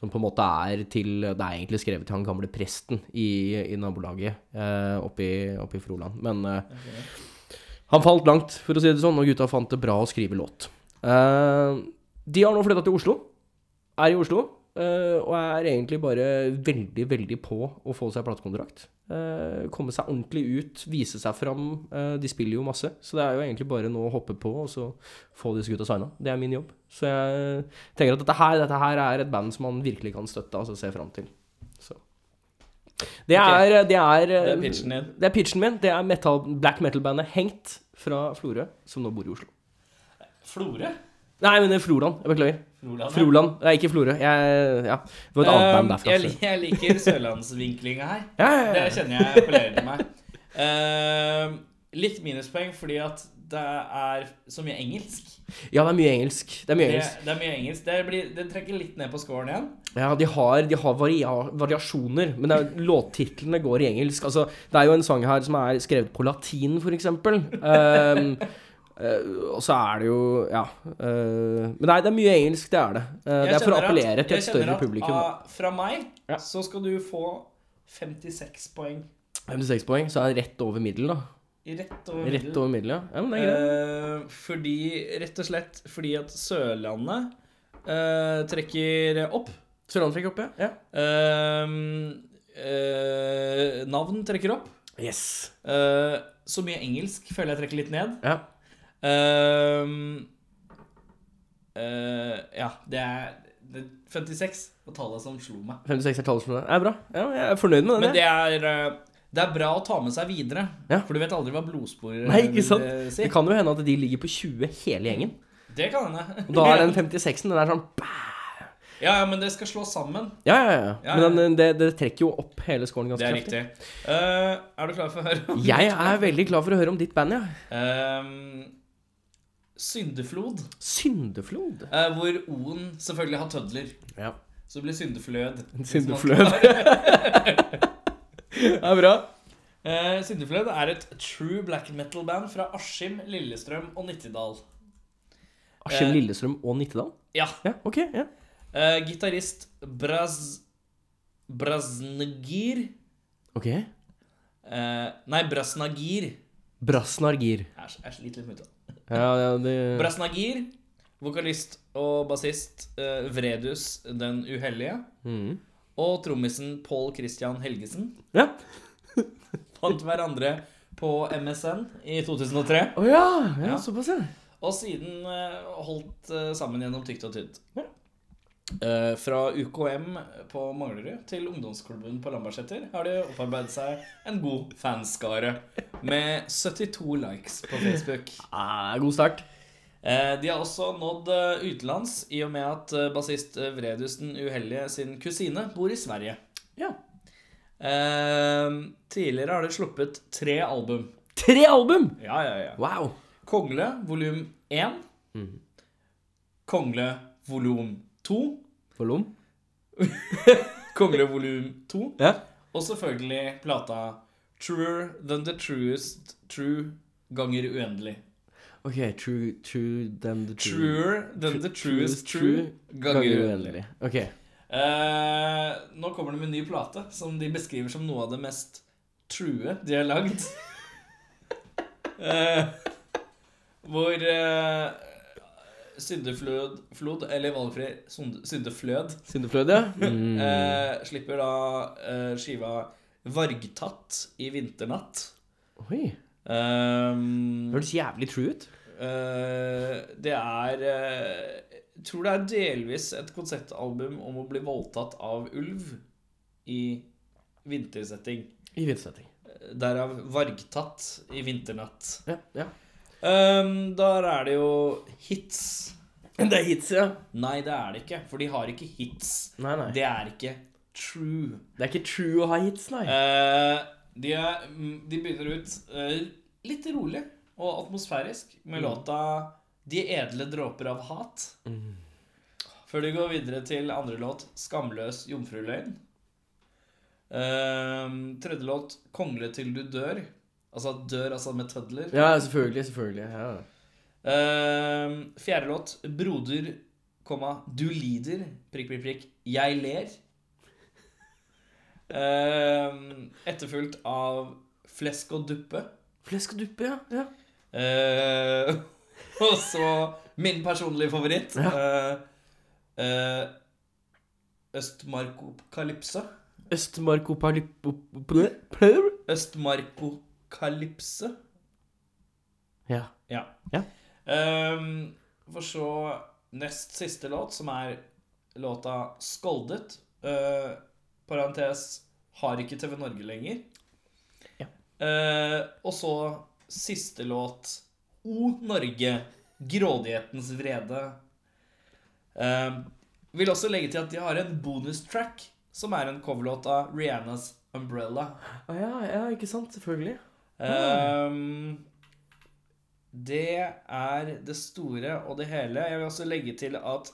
[SPEAKER 3] Som på en måte er til Det er egentlig skrevet til han gamle presten i, i nabolaget eh, oppe i- oppe i Froland. Men eh, han falt langt, for å si det sånn, og gutta fant det bra å skrive låt. Eh, de har nå flytta til Oslo. Er i Oslo. eh, og er egentlig bare veldig, veldig på å få seg platekontrakt. Eh, komme seg ordentlig ut, vise seg fram. Eh, de spiller jo masse, så det er jo egentlig bare nå å hoppe på og så få disse gutta signa. Det er min jobb. Så jeg tenker at dette her, dette her er et band som man virkelig kan støtte altså se fram til. Så. Det
[SPEAKER 2] Ok.
[SPEAKER 3] er, det er
[SPEAKER 2] Det er pitchen din.
[SPEAKER 3] det er pitchen min. Det er metal, black metal-bandet Hengt fra Florø, som nå bor i Oslo.
[SPEAKER 2] Florø?
[SPEAKER 3] Nei, men det er Froland. Jeg beklager.
[SPEAKER 2] Froland. ja.
[SPEAKER 3] Froland. Nei, ikke Florø. Jeg, ja. Det var et annet band
[SPEAKER 2] Eh,
[SPEAKER 3] derfra. altså.
[SPEAKER 2] jeg, li- jeg liker sørlandsvinklinga her.
[SPEAKER 3] Ja, ja,
[SPEAKER 2] Det
[SPEAKER 3] ja.
[SPEAKER 2] kjenner jeg appellerer til meg. Eh, litt minuspoeng fordi at det er så mye engelsk.
[SPEAKER 3] ja, det er mye engelsk. Det er mye
[SPEAKER 2] Det,
[SPEAKER 3] engelsk.
[SPEAKER 2] det er mye engelsk. Det, blir, det trekker litt ned på scoren igjen.
[SPEAKER 3] Ja, de har, de har varia variasjoner, men det er, låttitlene går i engelsk. Altså, det er jo en sang her som er skrevet på latin, for eksempel. Ehm, *laughs* eh, og så er det jo Ja. eh, men nei, det er mye engelsk, det er det. Eh, det
[SPEAKER 2] Jeg
[SPEAKER 3] er for å
[SPEAKER 2] kjenner at-
[SPEAKER 3] appellere til
[SPEAKER 2] jeg kjenner
[SPEAKER 3] et større
[SPEAKER 2] at ah.
[SPEAKER 3] publikum. da.
[SPEAKER 2] av- fra meg
[SPEAKER 3] Ja.
[SPEAKER 2] så skal du få 56 poeng.
[SPEAKER 3] 56 poeng, så er det rett over middel, da.
[SPEAKER 2] Rett over
[SPEAKER 3] Rett
[SPEAKER 2] middel.
[SPEAKER 3] over middel, ja. ja men det er greit.
[SPEAKER 2] Eh, fordi, rett og slett fordi at Sørlandet eh, trekker opp.
[SPEAKER 3] Sørlandet fikk opp, ja.
[SPEAKER 2] Eh, eh, navn trekker opp.
[SPEAKER 3] Yes.
[SPEAKER 2] Eh, så mye engelsk føler jeg trekker litt ned.
[SPEAKER 3] Ja.
[SPEAKER 2] Eh, eh, ja, det er det, 56 var tallet som slo meg.
[SPEAKER 3] 56 er tallet som er bra. Ja, jeg er fornøyd med
[SPEAKER 2] Men
[SPEAKER 3] den.
[SPEAKER 2] det
[SPEAKER 3] jeg.
[SPEAKER 2] er, eh, det er bra å ta med seg videre.
[SPEAKER 3] Ja.
[SPEAKER 2] For du vet aldri hva blodspor eh,
[SPEAKER 3] Nei, ikke
[SPEAKER 2] vil,
[SPEAKER 3] sant?
[SPEAKER 2] eh, si.
[SPEAKER 3] Det kan jo hende at de ligger på 20 hele gjengen.
[SPEAKER 2] Det kan hende.
[SPEAKER 3] Og da er den 56-en, den er sånn bæ!
[SPEAKER 2] *laughs* Ja, ja, men det skal slås sammen.
[SPEAKER 3] Ja, ja, ja.
[SPEAKER 2] Ja, ja.
[SPEAKER 3] Men den, det, det trekker jo opp hele scoren ganske
[SPEAKER 2] Det er
[SPEAKER 3] kraftig.
[SPEAKER 2] riktig. Eh, er du klar for å høre? om-
[SPEAKER 3] Jeg er veldig glad for å høre om ditt band, ja.
[SPEAKER 2] Eh, syndeflod,
[SPEAKER 3] Syndeflod.
[SPEAKER 2] eh, hvor O-en selvfølgelig har tødler. *laughs*
[SPEAKER 3] Ja.
[SPEAKER 2] Så det blir syndeflød.
[SPEAKER 3] Syndeflød. Det er bra.
[SPEAKER 2] *laughs* Eh, Syndefløyd er et true black metal-band fra Askim, Lillestrøm og Nittedal.
[SPEAKER 3] Askim
[SPEAKER 2] Eh.
[SPEAKER 3] Lillestrøm og Nittedal?
[SPEAKER 2] Ja.
[SPEAKER 3] Ja, ok. ja.
[SPEAKER 2] Eh, Gitarist Braz... Braznagir
[SPEAKER 3] Ok.
[SPEAKER 2] eh, Nei, Braznagir.
[SPEAKER 3] Brasnargir.
[SPEAKER 2] Jeg er- jeg sliter litt med uttalen.
[SPEAKER 3] Ja, ja, det
[SPEAKER 2] Braznagir, vokalist og bassist eh, Vredus den uhellige.
[SPEAKER 3] Mhm.
[SPEAKER 2] Og trommisen Pål Christian Helgesen
[SPEAKER 3] Ja.
[SPEAKER 2] fant hverandre på MSN i 2003.
[SPEAKER 3] Å ja,
[SPEAKER 2] Ja.
[SPEAKER 3] ja. Såpass, ja.
[SPEAKER 2] Og siden eh, holdt eh, sammen gjennom tykt og tynt. Eh, fra UKM på Manglerud til ungdomsklubben på Lambertseter har de opparbeidet seg en god fanskare med 72 likes på Facebook.
[SPEAKER 3] Ah, god start.
[SPEAKER 2] Eh, de har også nådd eh, utenlands i og med at eh, bassist eh, Vredus den uheldige sin kusine bor i Sverige.
[SPEAKER 3] Ja.
[SPEAKER 2] Eh, tidligere har de sluppet tre album.
[SPEAKER 3] Tre album!
[SPEAKER 2] Ja, ja, ja. Mhm.
[SPEAKER 3] Wow.
[SPEAKER 2] Kongle volum 1. Kongle volum 2.
[SPEAKER 3] Volum.
[SPEAKER 2] Kongle volum 2.
[SPEAKER 3] Ja.
[SPEAKER 2] Og selvfølgelig plata Truer than the truest true ganger uendelig.
[SPEAKER 3] Ok, true, true, then the true.
[SPEAKER 2] Truer than the truest
[SPEAKER 3] truest
[SPEAKER 2] true ganger uendelig.
[SPEAKER 3] Ok.
[SPEAKER 2] Eh, nå kommer det med en ny plate som de beskriver som noe av det mest true de har lagd. Eh, hvor eh, syndeflod, flod, eller valgfri sond- syndeflød,
[SPEAKER 3] Syndefløyd, ja.
[SPEAKER 2] eh, slipper da eh, skiva Vargtatt i vinternatt. Eh,
[SPEAKER 3] Oi.
[SPEAKER 2] Ehm,
[SPEAKER 3] Høres jævlig true ut.
[SPEAKER 2] Eh, det er eh, Jeg tror det er delvis et konseptalbum om å bli voldtatt av ulv i vintersetting.
[SPEAKER 3] I vintersetting.
[SPEAKER 2] Derav vargtatt i vinternatt.
[SPEAKER 3] Ja, ja.
[SPEAKER 2] Um, der er det jo hits.
[SPEAKER 3] Det er hits, ja.
[SPEAKER 2] Nei, det er det ikke, for de har ikke hits.
[SPEAKER 3] Nei, nei. Det,
[SPEAKER 2] Det er ikke true.
[SPEAKER 3] er ikke true å ha hits, nei.
[SPEAKER 2] Eh, de, er, mm, de begynner ut eh, litt rolig og atmosfærisk med låta 'De edle dråper av hat'. Før du går videre til andre låt, 'Skamløs jomfruløgn'. Ehm, tredje låt, 'Kongle til du dør'. Altså dør altså med tødler.
[SPEAKER 3] Ja, selvfølgelig. selvfølgelig ja.
[SPEAKER 2] Ehm, fjerde låt, 'Broder, komma, du lider', prikk, prikk, prikk, 'Jeg ler'. Ehm, etterfulgt av 'Flesk og duppe'.
[SPEAKER 3] Flesk og duppe, ja. ja.
[SPEAKER 2] Eh, *laughs* og så min personlige favoritt. eh, eh, Østmarkokalypse.
[SPEAKER 3] Østmarkopalypoplø...
[SPEAKER 2] Østmarkokalypse.
[SPEAKER 3] Ja.
[SPEAKER 2] Ja.
[SPEAKER 3] Ja.
[SPEAKER 2] Ehm, for så nest siste låt, som er låta 'Skoldet'. eh, parentes 'Har ikke TV Norge lenger'.
[SPEAKER 3] Ja.
[SPEAKER 2] Eh, og så siste låt 'O Norge'. Grådighetens vrede. Eh, vil også legge til at de har en bonustrack, som er en coverlåt av Rihannas 'Umbrella'.
[SPEAKER 3] Ah, ja, ja, ikke sant? Selvfølgelig.
[SPEAKER 2] Ehm, det er det store og det hele. Jeg vil også legge til at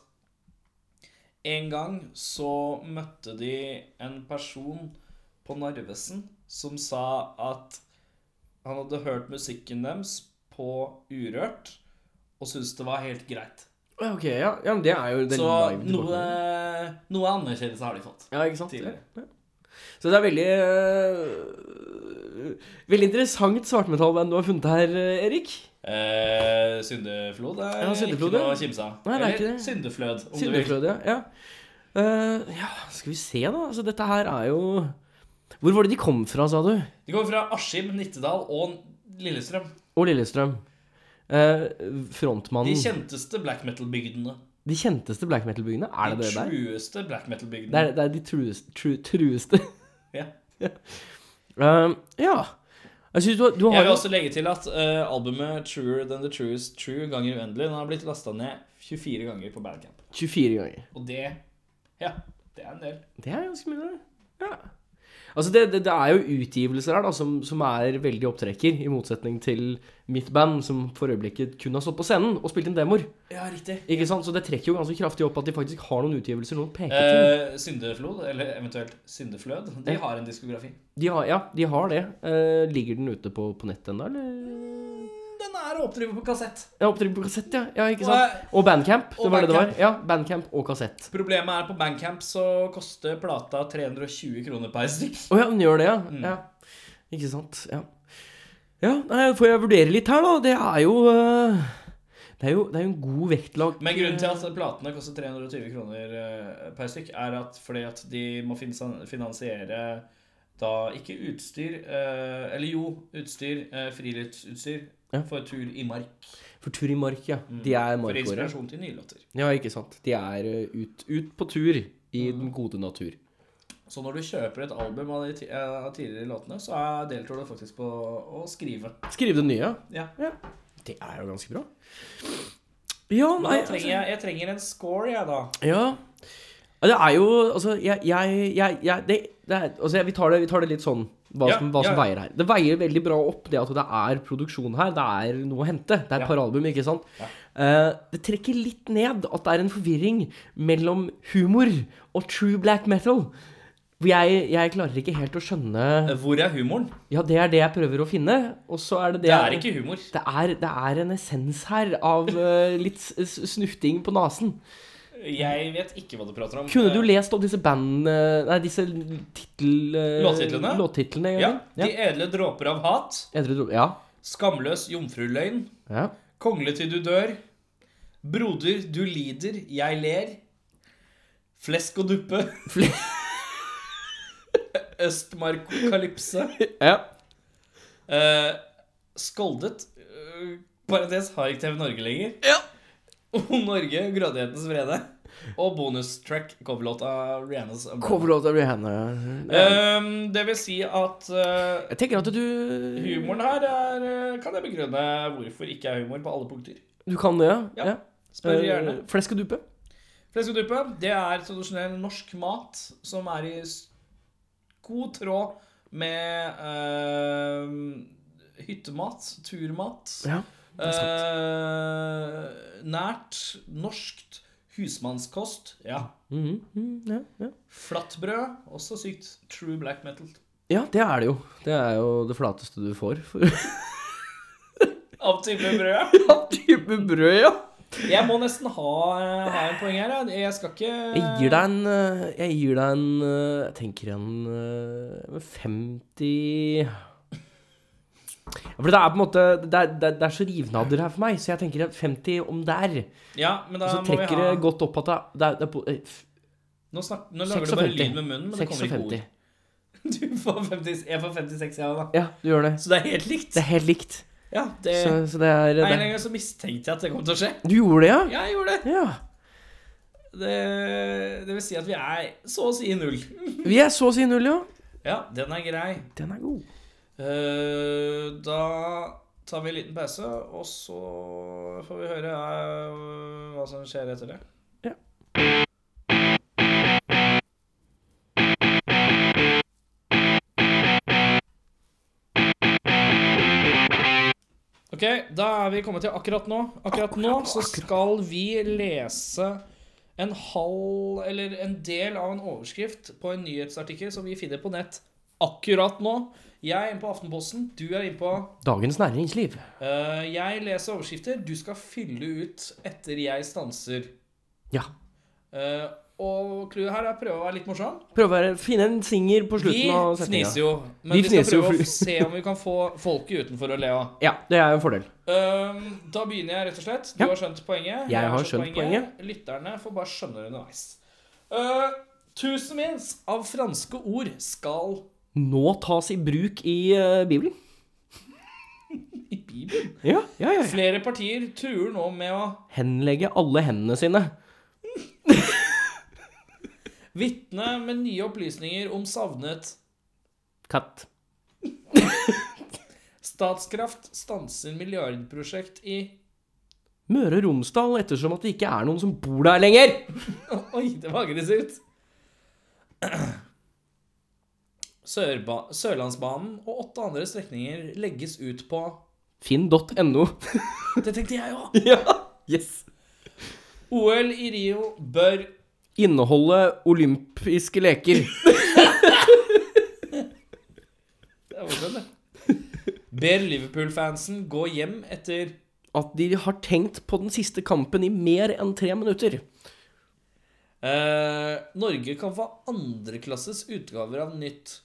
[SPEAKER 2] en gang så møtte de en person på Narvesen som sa at han hadde hørt musikken deres på Urørt og syntes det var helt greit.
[SPEAKER 3] Ja, Ok, ja. ja, men det er jo den
[SPEAKER 2] Så
[SPEAKER 3] live
[SPEAKER 2] noe,
[SPEAKER 3] tilbakemeldingen.
[SPEAKER 2] noe anerkjennelse har de fått.
[SPEAKER 3] Ja, ikke sant?
[SPEAKER 2] Tidligere.
[SPEAKER 3] Ja. Så det er veldig øh, Veldig interessant svartmetallband du har funnet her, øh, Erik.
[SPEAKER 2] Eh, syndeflod er
[SPEAKER 3] Ja, syndeflod,
[SPEAKER 2] ikke noe
[SPEAKER 3] ja.
[SPEAKER 2] å kimse av.
[SPEAKER 3] Nei, det er
[SPEAKER 2] Eller
[SPEAKER 3] ikke det.
[SPEAKER 2] syndeflød, om du vil.
[SPEAKER 3] Syndeflød, ja. Ja. Eh, ja, skal vi se, da. Altså, dette her er jo Hvor var det de kom fra, sa du?
[SPEAKER 2] De kommer fra Askim, Nittedal og Lillestrøm.
[SPEAKER 3] Og Lillestrøm. Eh, frontmannen
[SPEAKER 2] De
[SPEAKER 3] de,
[SPEAKER 2] kjenteste black metal-bygdene.
[SPEAKER 3] kjenteste black metal-byene? Er det
[SPEAKER 2] De
[SPEAKER 3] det der?
[SPEAKER 2] trueste black
[SPEAKER 3] Det
[SPEAKER 2] metal-bygdene.
[SPEAKER 3] er, det er de trueste, tru, trueste. *laughs*
[SPEAKER 2] Ja.
[SPEAKER 3] Eh, ja. Jeg synes du, har- du
[SPEAKER 2] Jeg
[SPEAKER 3] har
[SPEAKER 2] vil
[SPEAKER 3] jo
[SPEAKER 2] også legge til at eh, albumet 'Truer Than The Truest True' ganger uendelig Den har blitt lasta ned 24 ganger på Bandcamp.
[SPEAKER 3] 24 ganger.
[SPEAKER 2] Og det Ja, det er en del.
[SPEAKER 3] Det er ganske mye. det. Ja. Altså, det, det, det er jo utgivelser her da, som, som er veldig opptrekker, i motsetning til mitt band, som for øyeblikket kun har stått på scenen og spilt inn demoer.
[SPEAKER 2] Ja, riktig.
[SPEAKER 3] Ikke sant? Så det trekker jo ganske kraftig opp at de faktisk har noen utgivelser, noen peketing.
[SPEAKER 2] Eh, syndeflod, eller eventuelt Syndeflød, de
[SPEAKER 3] Ja.
[SPEAKER 2] har en diskografi.
[SPEAKER 3] De har, ja, de har det. Eh, ligger den ute på, på nettet ennå, eller?
[SPEAKER 2] Den er å oppdrive på kassett.
[SPEAKER 3] Ja, opptrykk på kassett, ja. ja ikke
[SPEAKER 2] Og,
[SPEAKER 3] sant?
[SPEAKER 2] eh,
[SPEAKER 3] Og Bandcamp. Det
[SPEAKER 2] og
[SPEAKER 3] var det det var. Ja, Bandcamp og kassett.
[SPEAKER 2] Problemet er på Bandcamp så koster plata 320 kroner per stykk.
[SPEAKER 3] Å ja, den gjør det, ja.
[SPEAKER 2] Mm.
[SPEAKER 3] ja. Ikke sant. Ja. ja, nei, får jeg vurdere litt her, da. Det er jo eh, Det er jo, det er jo en god vektlag.
[SPEAKER 2] Men grunnen til at platene koster 320 kroner eh, per stykk, er at fordi at de må finsa- finansiere da ikke utstyr eh, Eller jo, utstyr. eh, Friluftsutstyr
[SPEAKER 3] Ja.
[SPEAKER 2] for tur i mark.
[SPEAKER 3] For tur i mark, ja. De er
[SPEAKER 2] Mm. For
[SPEAKER 3] markåre.
[SPEAKER 2] inspirasjon til nye låter.
[SPEAKER 3] Ja, ikke sant. De er eh, ut, ut på tur i
[SPEAKER 2] Mm.
[SPEAKER 3] den gode natur.
[SPEAKER 2] Så når du kjøper et album av de ti- eh, av tidligere låtene, så er- deltar du faktisk på å skrive.
[SPEAKER 3] Skrive det nye.
[SPEAKER 2] Ja.
[SPEAKER 3] ja. Det er jo ganske bra. Ja,
[SPEAKER 2] Men
[SPEAKER 3] nei
[SPEAKER 2] da trenger jeg, jeg trenger en score, jeg, da.
[SPEAKER 3] Ja. Ja, Det er jo Altså, jeg, jeg, jeg, jeg det, det er, altså jeg- vi, tar det, vi tar det litt sånn hva,
[SPEAKER 2] Ja,
[SPEAKER 3] som, hva som
[SPEAKER 2] ja.
[SPEAKER 3] veier her. Det veier veldig bra opp det at det er produksjon her. Det er noe å hente. Det er et
[SPEAKER 2] Ja.
[SPEAKER 3] par album, ikke sant? Eh, det trekker litt ned at det er en forvirring mellom humor og true black metal. Hvor Jeg, jeg klarer ikke helt å skjønne
[SPEAKER 2] Eh, Hvor er humoren?
[SPEAKER 3] Ja, det er det jeg prøver å finne, og så er det det
[SPEAKER 2] Det er ikke humor.
[SPEAKER 3] det er, det er en essens her av eh, litt s- s- snufting på nasen.
[SPEAKER 2] Jeg vet ikke hva du prater om.
[SPEAKER 3] Kunne du
[SPEAKER 2] Eh,
[SPEAKER 3] lest om disse band... eh, Nei, disse titel...
[SPEAKER 2] Låttitlene?
[SPEAKER 3] Låttitlene,
[SPEAKER 2] ja,
[SPEAKER 3] ja.
[SPEAKER 2] De edle dråper av hat.
[SPEAKER 3] Edre Dro- Ja.
[SPEAKER 2] Skamløs jomfruløgn.
[SPEAKER 3] ja.
[SPEAKER 2] Kongle til du dør. Broder, du lider, jeg ler. Flesk og
[SPEAKER 3] *laughs*
[SPEAKER 2] duppe.
[SPEAKER 3] Fle-
[SPEAKER 2] Østmarkokalypse.
[SPEAKER 3] ja.
[SPEAKER 2] Eh, skoldet. Eh, parentes har ikke TV Norge lenger.
[SPEAKER 3] Ja.
[SPEAKER 2] O Norge, grådighetens vrede. Og bonustrack, coverlåt av Rihannas Umbrella.
[SPEAKER 3] Coverlåta blir henne. Ja.
[SPEAKER 2] Eh, det vil si at eh,
[SPEAKER 3] Jeg tenker at du
[SPEAKER 2] Humoren her er, eh, kan jeg begrunne hvorfor ikke er humor på alle punkter.
[SPEAKER 3] Du kan det, ja?
[SPEAKER 2] Ja.
[SPEAKER 3] ja.
[SPEAKER 2] Spør gjerne.
[SPEAKER 3] Eh, Flesk og dupe?
[SPEAKER 2] Fleskeduppe det er tradisjonell norsk mat som er i s- god tråd med eh, hyttemat, turmat.
[SPEAKER 3] Ja.
[SPEAKER 2] eh, nært, norskt, Husmannskost. Ja.
[SPEAKER 3] Mhm, mhm, ja, ja.
[SPEAKER 2] Flatbrød. Også sykt true black metal.
[SPEAKER 3] ja, det er det jo. Det er jo det flateste du får. For *laughs*
[SPEAKER 2] Av type brød.
[SPEAKER 3] ja, type brød, ja.
[SPEAKER 2] Jeg må nesten ha, ha en poeng her. Jeg, jeg skal ikke
[SPEAKER 3] Jeg gir deg en eh, Jeg gir deg en eh, Jeg tenker en eh, 50 ja, For det er på en måte Det er, det er, det er så rivnader her for meg, så jeg tenker at 50 om der.
[SPEAKER 2] Ja, men da
[SPEAKER 3] Så
[SPEAKER 2] må vi
[SPEAKER 3] trekker
[SPEAKER 2] ha
[SPEAKER 3] det godt opp at det er, det er, det er på, eh, f-
[SPEAKER 2] Nå, snak, nå lager du bare
[SPEAKER 3] 56.
[SPEAKER 2] lyd med munnen, men det kommer ikke ord. *laughs*
[SPEAKER 3] 56.
[SPEAKER 2] Du får 50, jeg får 56, jeg òg, da.
[SPEAKER 3] Ja, du gjør det.
[SPEAKER 2] Så det er helt likt.
[SPEAKER 3] Det er helt likt.
[SPEAKER 2] Ja, det,
[SPEAKER 3] Så, så det
[SPEAKER 2] Eh. Nei,
[SPEAKER 3] er
[SPEAKER 2] en
[SPEAKER 3] det.
[SPEAKER 2] eller annen gang så mistenkte jeg at det kom til å skje.
[SPEAKER 3] Du gjorde det, ja?
[SPEAKER 2] Ja, jeg gjorde det.
[SPEAKER 3] Ja.
[SPEAKER 2] det. Det vil si at vi er så å si i null.
[SPEAKER 3] Vi er så å si null, ja.
[SPEAKER 2] Ja, den er grei.
[SPEAKER 3] Den er god.
[SPEAKER 2] Eh, da tar vi en liten pause, og så får vi høre eh, hva som skjer etter det.
[SPEAKER 3] Ja.
[SPEAKER 2] Ok, da er vi kommet til akkurat nå. Akkurat nå så skal vi lese en halv, eller en del av en overskrift på en nyhetsartikkel som vi finner på nett akkurat nå. Jeg er inne på Aftenposten, du er inne på
[SPEAKER 3] Dagens næringsliv.
[SPEAKER 2] Eh, jeg leser overskrifter. Du skal fylle ut etter jeg stanser.
[SPEAKER 3] Ja.
[SPEAKER 2] Eh, og clouet her er å prøve å være litt morsom.
[SPEAKER 3] Prøv å være- finne en singer på
[SPEAKER 2] Vi
[SPEAKER 3] slutten av setninga.
[SPEAKER 2] fniser jo, men
[SPEAKER 3] Vi
[SPEAKER 2] vi, skal
[SPEAKER 3] fniser jo
[SPEAKER 2] prøve
[SPEAKER 3] fordi-
[SPEAKER 2] å se om vi kan få folket utenfor å le av.
[SPEAKER 3] Ja, det er en fordel.
[SPEAKER 2] Ehm, da begynner jeg, rett og slett. Du
[SPEAKER 3] Ja.
[SPEAKER 2] har skjønt poenget.
[SPEAKER 3] Jeg har skjønt
[SPEAKER 2] Lytterne får bare skjønne det underveis. Eh, tusenvis av franske ord skal
[SPEAKER 3] Nå tas i bruk i eh, Bibelen.
[SPEAKER 2] i
[SPEAKER 3] *laughs*
[SPEAKER 2] Bibelen.
[SPEAKER 3] Ja, ja, ja.
[SPEAKER 2] Flere partier truer nå med å
[SPEAKER 3] Henlegge alle hendene sine.
[SPEAKER 2] vitne med nye opplysninger om savnet
[SPEAKER 3] Katt.
[SPEAKER 2] Statskraft stanser milliardprosjekt i *laughs*
[SPEAKER 3] Møre og Romsdal ettersom at det ikke er noen som bor der lenger.
[SPEAKER 2] Oi, det var aggressivt. *clears throat* Sørba Sørlandsbanen og åtte andre strekninger legges ut på
[SPEAKER 3] Finn.no.
[SPEAKER 2] Det tenkte jeg òg!
[SPEAKER 3] *laughs* ja, yes.
[SPEAKER 2] OL i Rio bør
[SPEAKER 3] Inneholde olympiske leker.
[SPEAKER 2] Det er morsomt, det. Ber Liverpool-fansen gå hjem etter
[SPEAKER 3] At de har tenkt på den siste kampen i mer enn tre minutter.
[SPEAKER 2] eh, Norge kan få andreklasses utgaver av nytt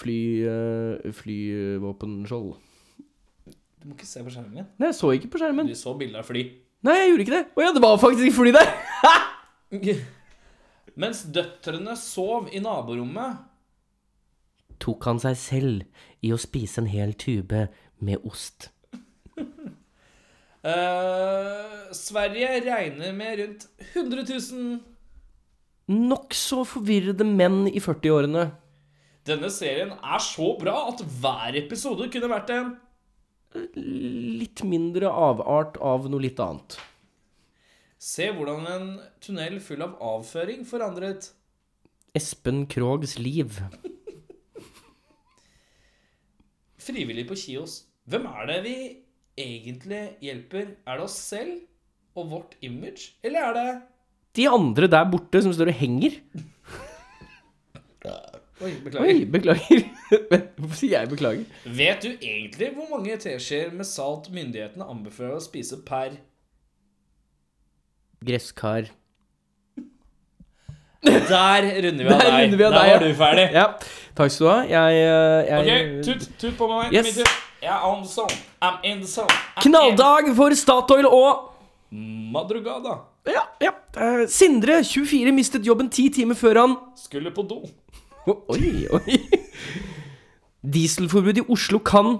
[SPEAKER 3] Fly... eh, flyvåpenskjold.
[SPEAKER 2] Du må ikke se på skjermen min.
[SPEAKER 3] Nei, jeg så ikke på skjermen.
[SPEAKER 2] Du så bildet av fly.
[SPEAKER 3] Nei, jeg gjorde ikke det. Å ja, det var faktisk ikke fly der.
[SPEAKER 2] *laughs* Mens døtrene sov i naborommet
[SPEAKER 3] Tok han seg selv i å spise en hel tube med ost.
[SPEAKER 2] Eh, Sverige regner med rundt 100 000.
[SPEAKER 3] Nokså forvirrede menn i 40-årene.
[SPEAKER 2] Denne serien er så bra at hver episode kunne vært en.
[SPEAKER 3] Litt mindre avart av noe litt annet.
[SPEAKER 2] Se hvordan en tunnel full av avføring forandret.
[SPEAKER 3] Espen Krogs liv.
[SPEAKER 2] Frivillig på Kios. Hvem er det vi egentlig hjelper? Er det oss selv og vårt image, eller er det
[SPEAKER 3] De andre der borte som står og henger.
[SPEAKER 2] Oi, beklager.
[SPEAKER 3] Oi, beklager. *laughs* Vent, Hvorfor sier jeg beklager?
[SPEAKER 2] Vet du egentlig hvor mange teskjeer med salt myndighetene anbefaler å spise
[SPEAKER 3] *laughs*
[SPEAKER 2] per
[SPEAKER 3] Gresskar.
[SPEAKER 2] Der runder vi av
[SPEAKER 3] Der
[SPEAKER 2] deg.
[SPEAKER 3] runder vi av
[SPEAKER 2] Der var
[SPEAKER 3] deg, ja.
[SPEAKER 2] du ferdig.
[SPEAKER 3] Ja, takk skal du ha. Jeg, eh,
[SPEAKER 2] Ok,
[SPEAKER 3] jeg
[SPEAKER 2] tut, tut på meg.
[SPEAKER 3] Yes.
[SPEAKER 2] Min tur. Jeg er on the zone. I'm in the zone. I'm
[SPEAKER 3] Knalldag for Statoil og
[SPEAKER 2] in- Madrugada.
[SPEAKER 3] ja, ja. eh, Sindre, 24, mistet jobben ti timer før han
[SPEAKER 2] Skulle på do.
[SPEAKER 3] Å, Oi, oi. Dieselforbud i Oslo kan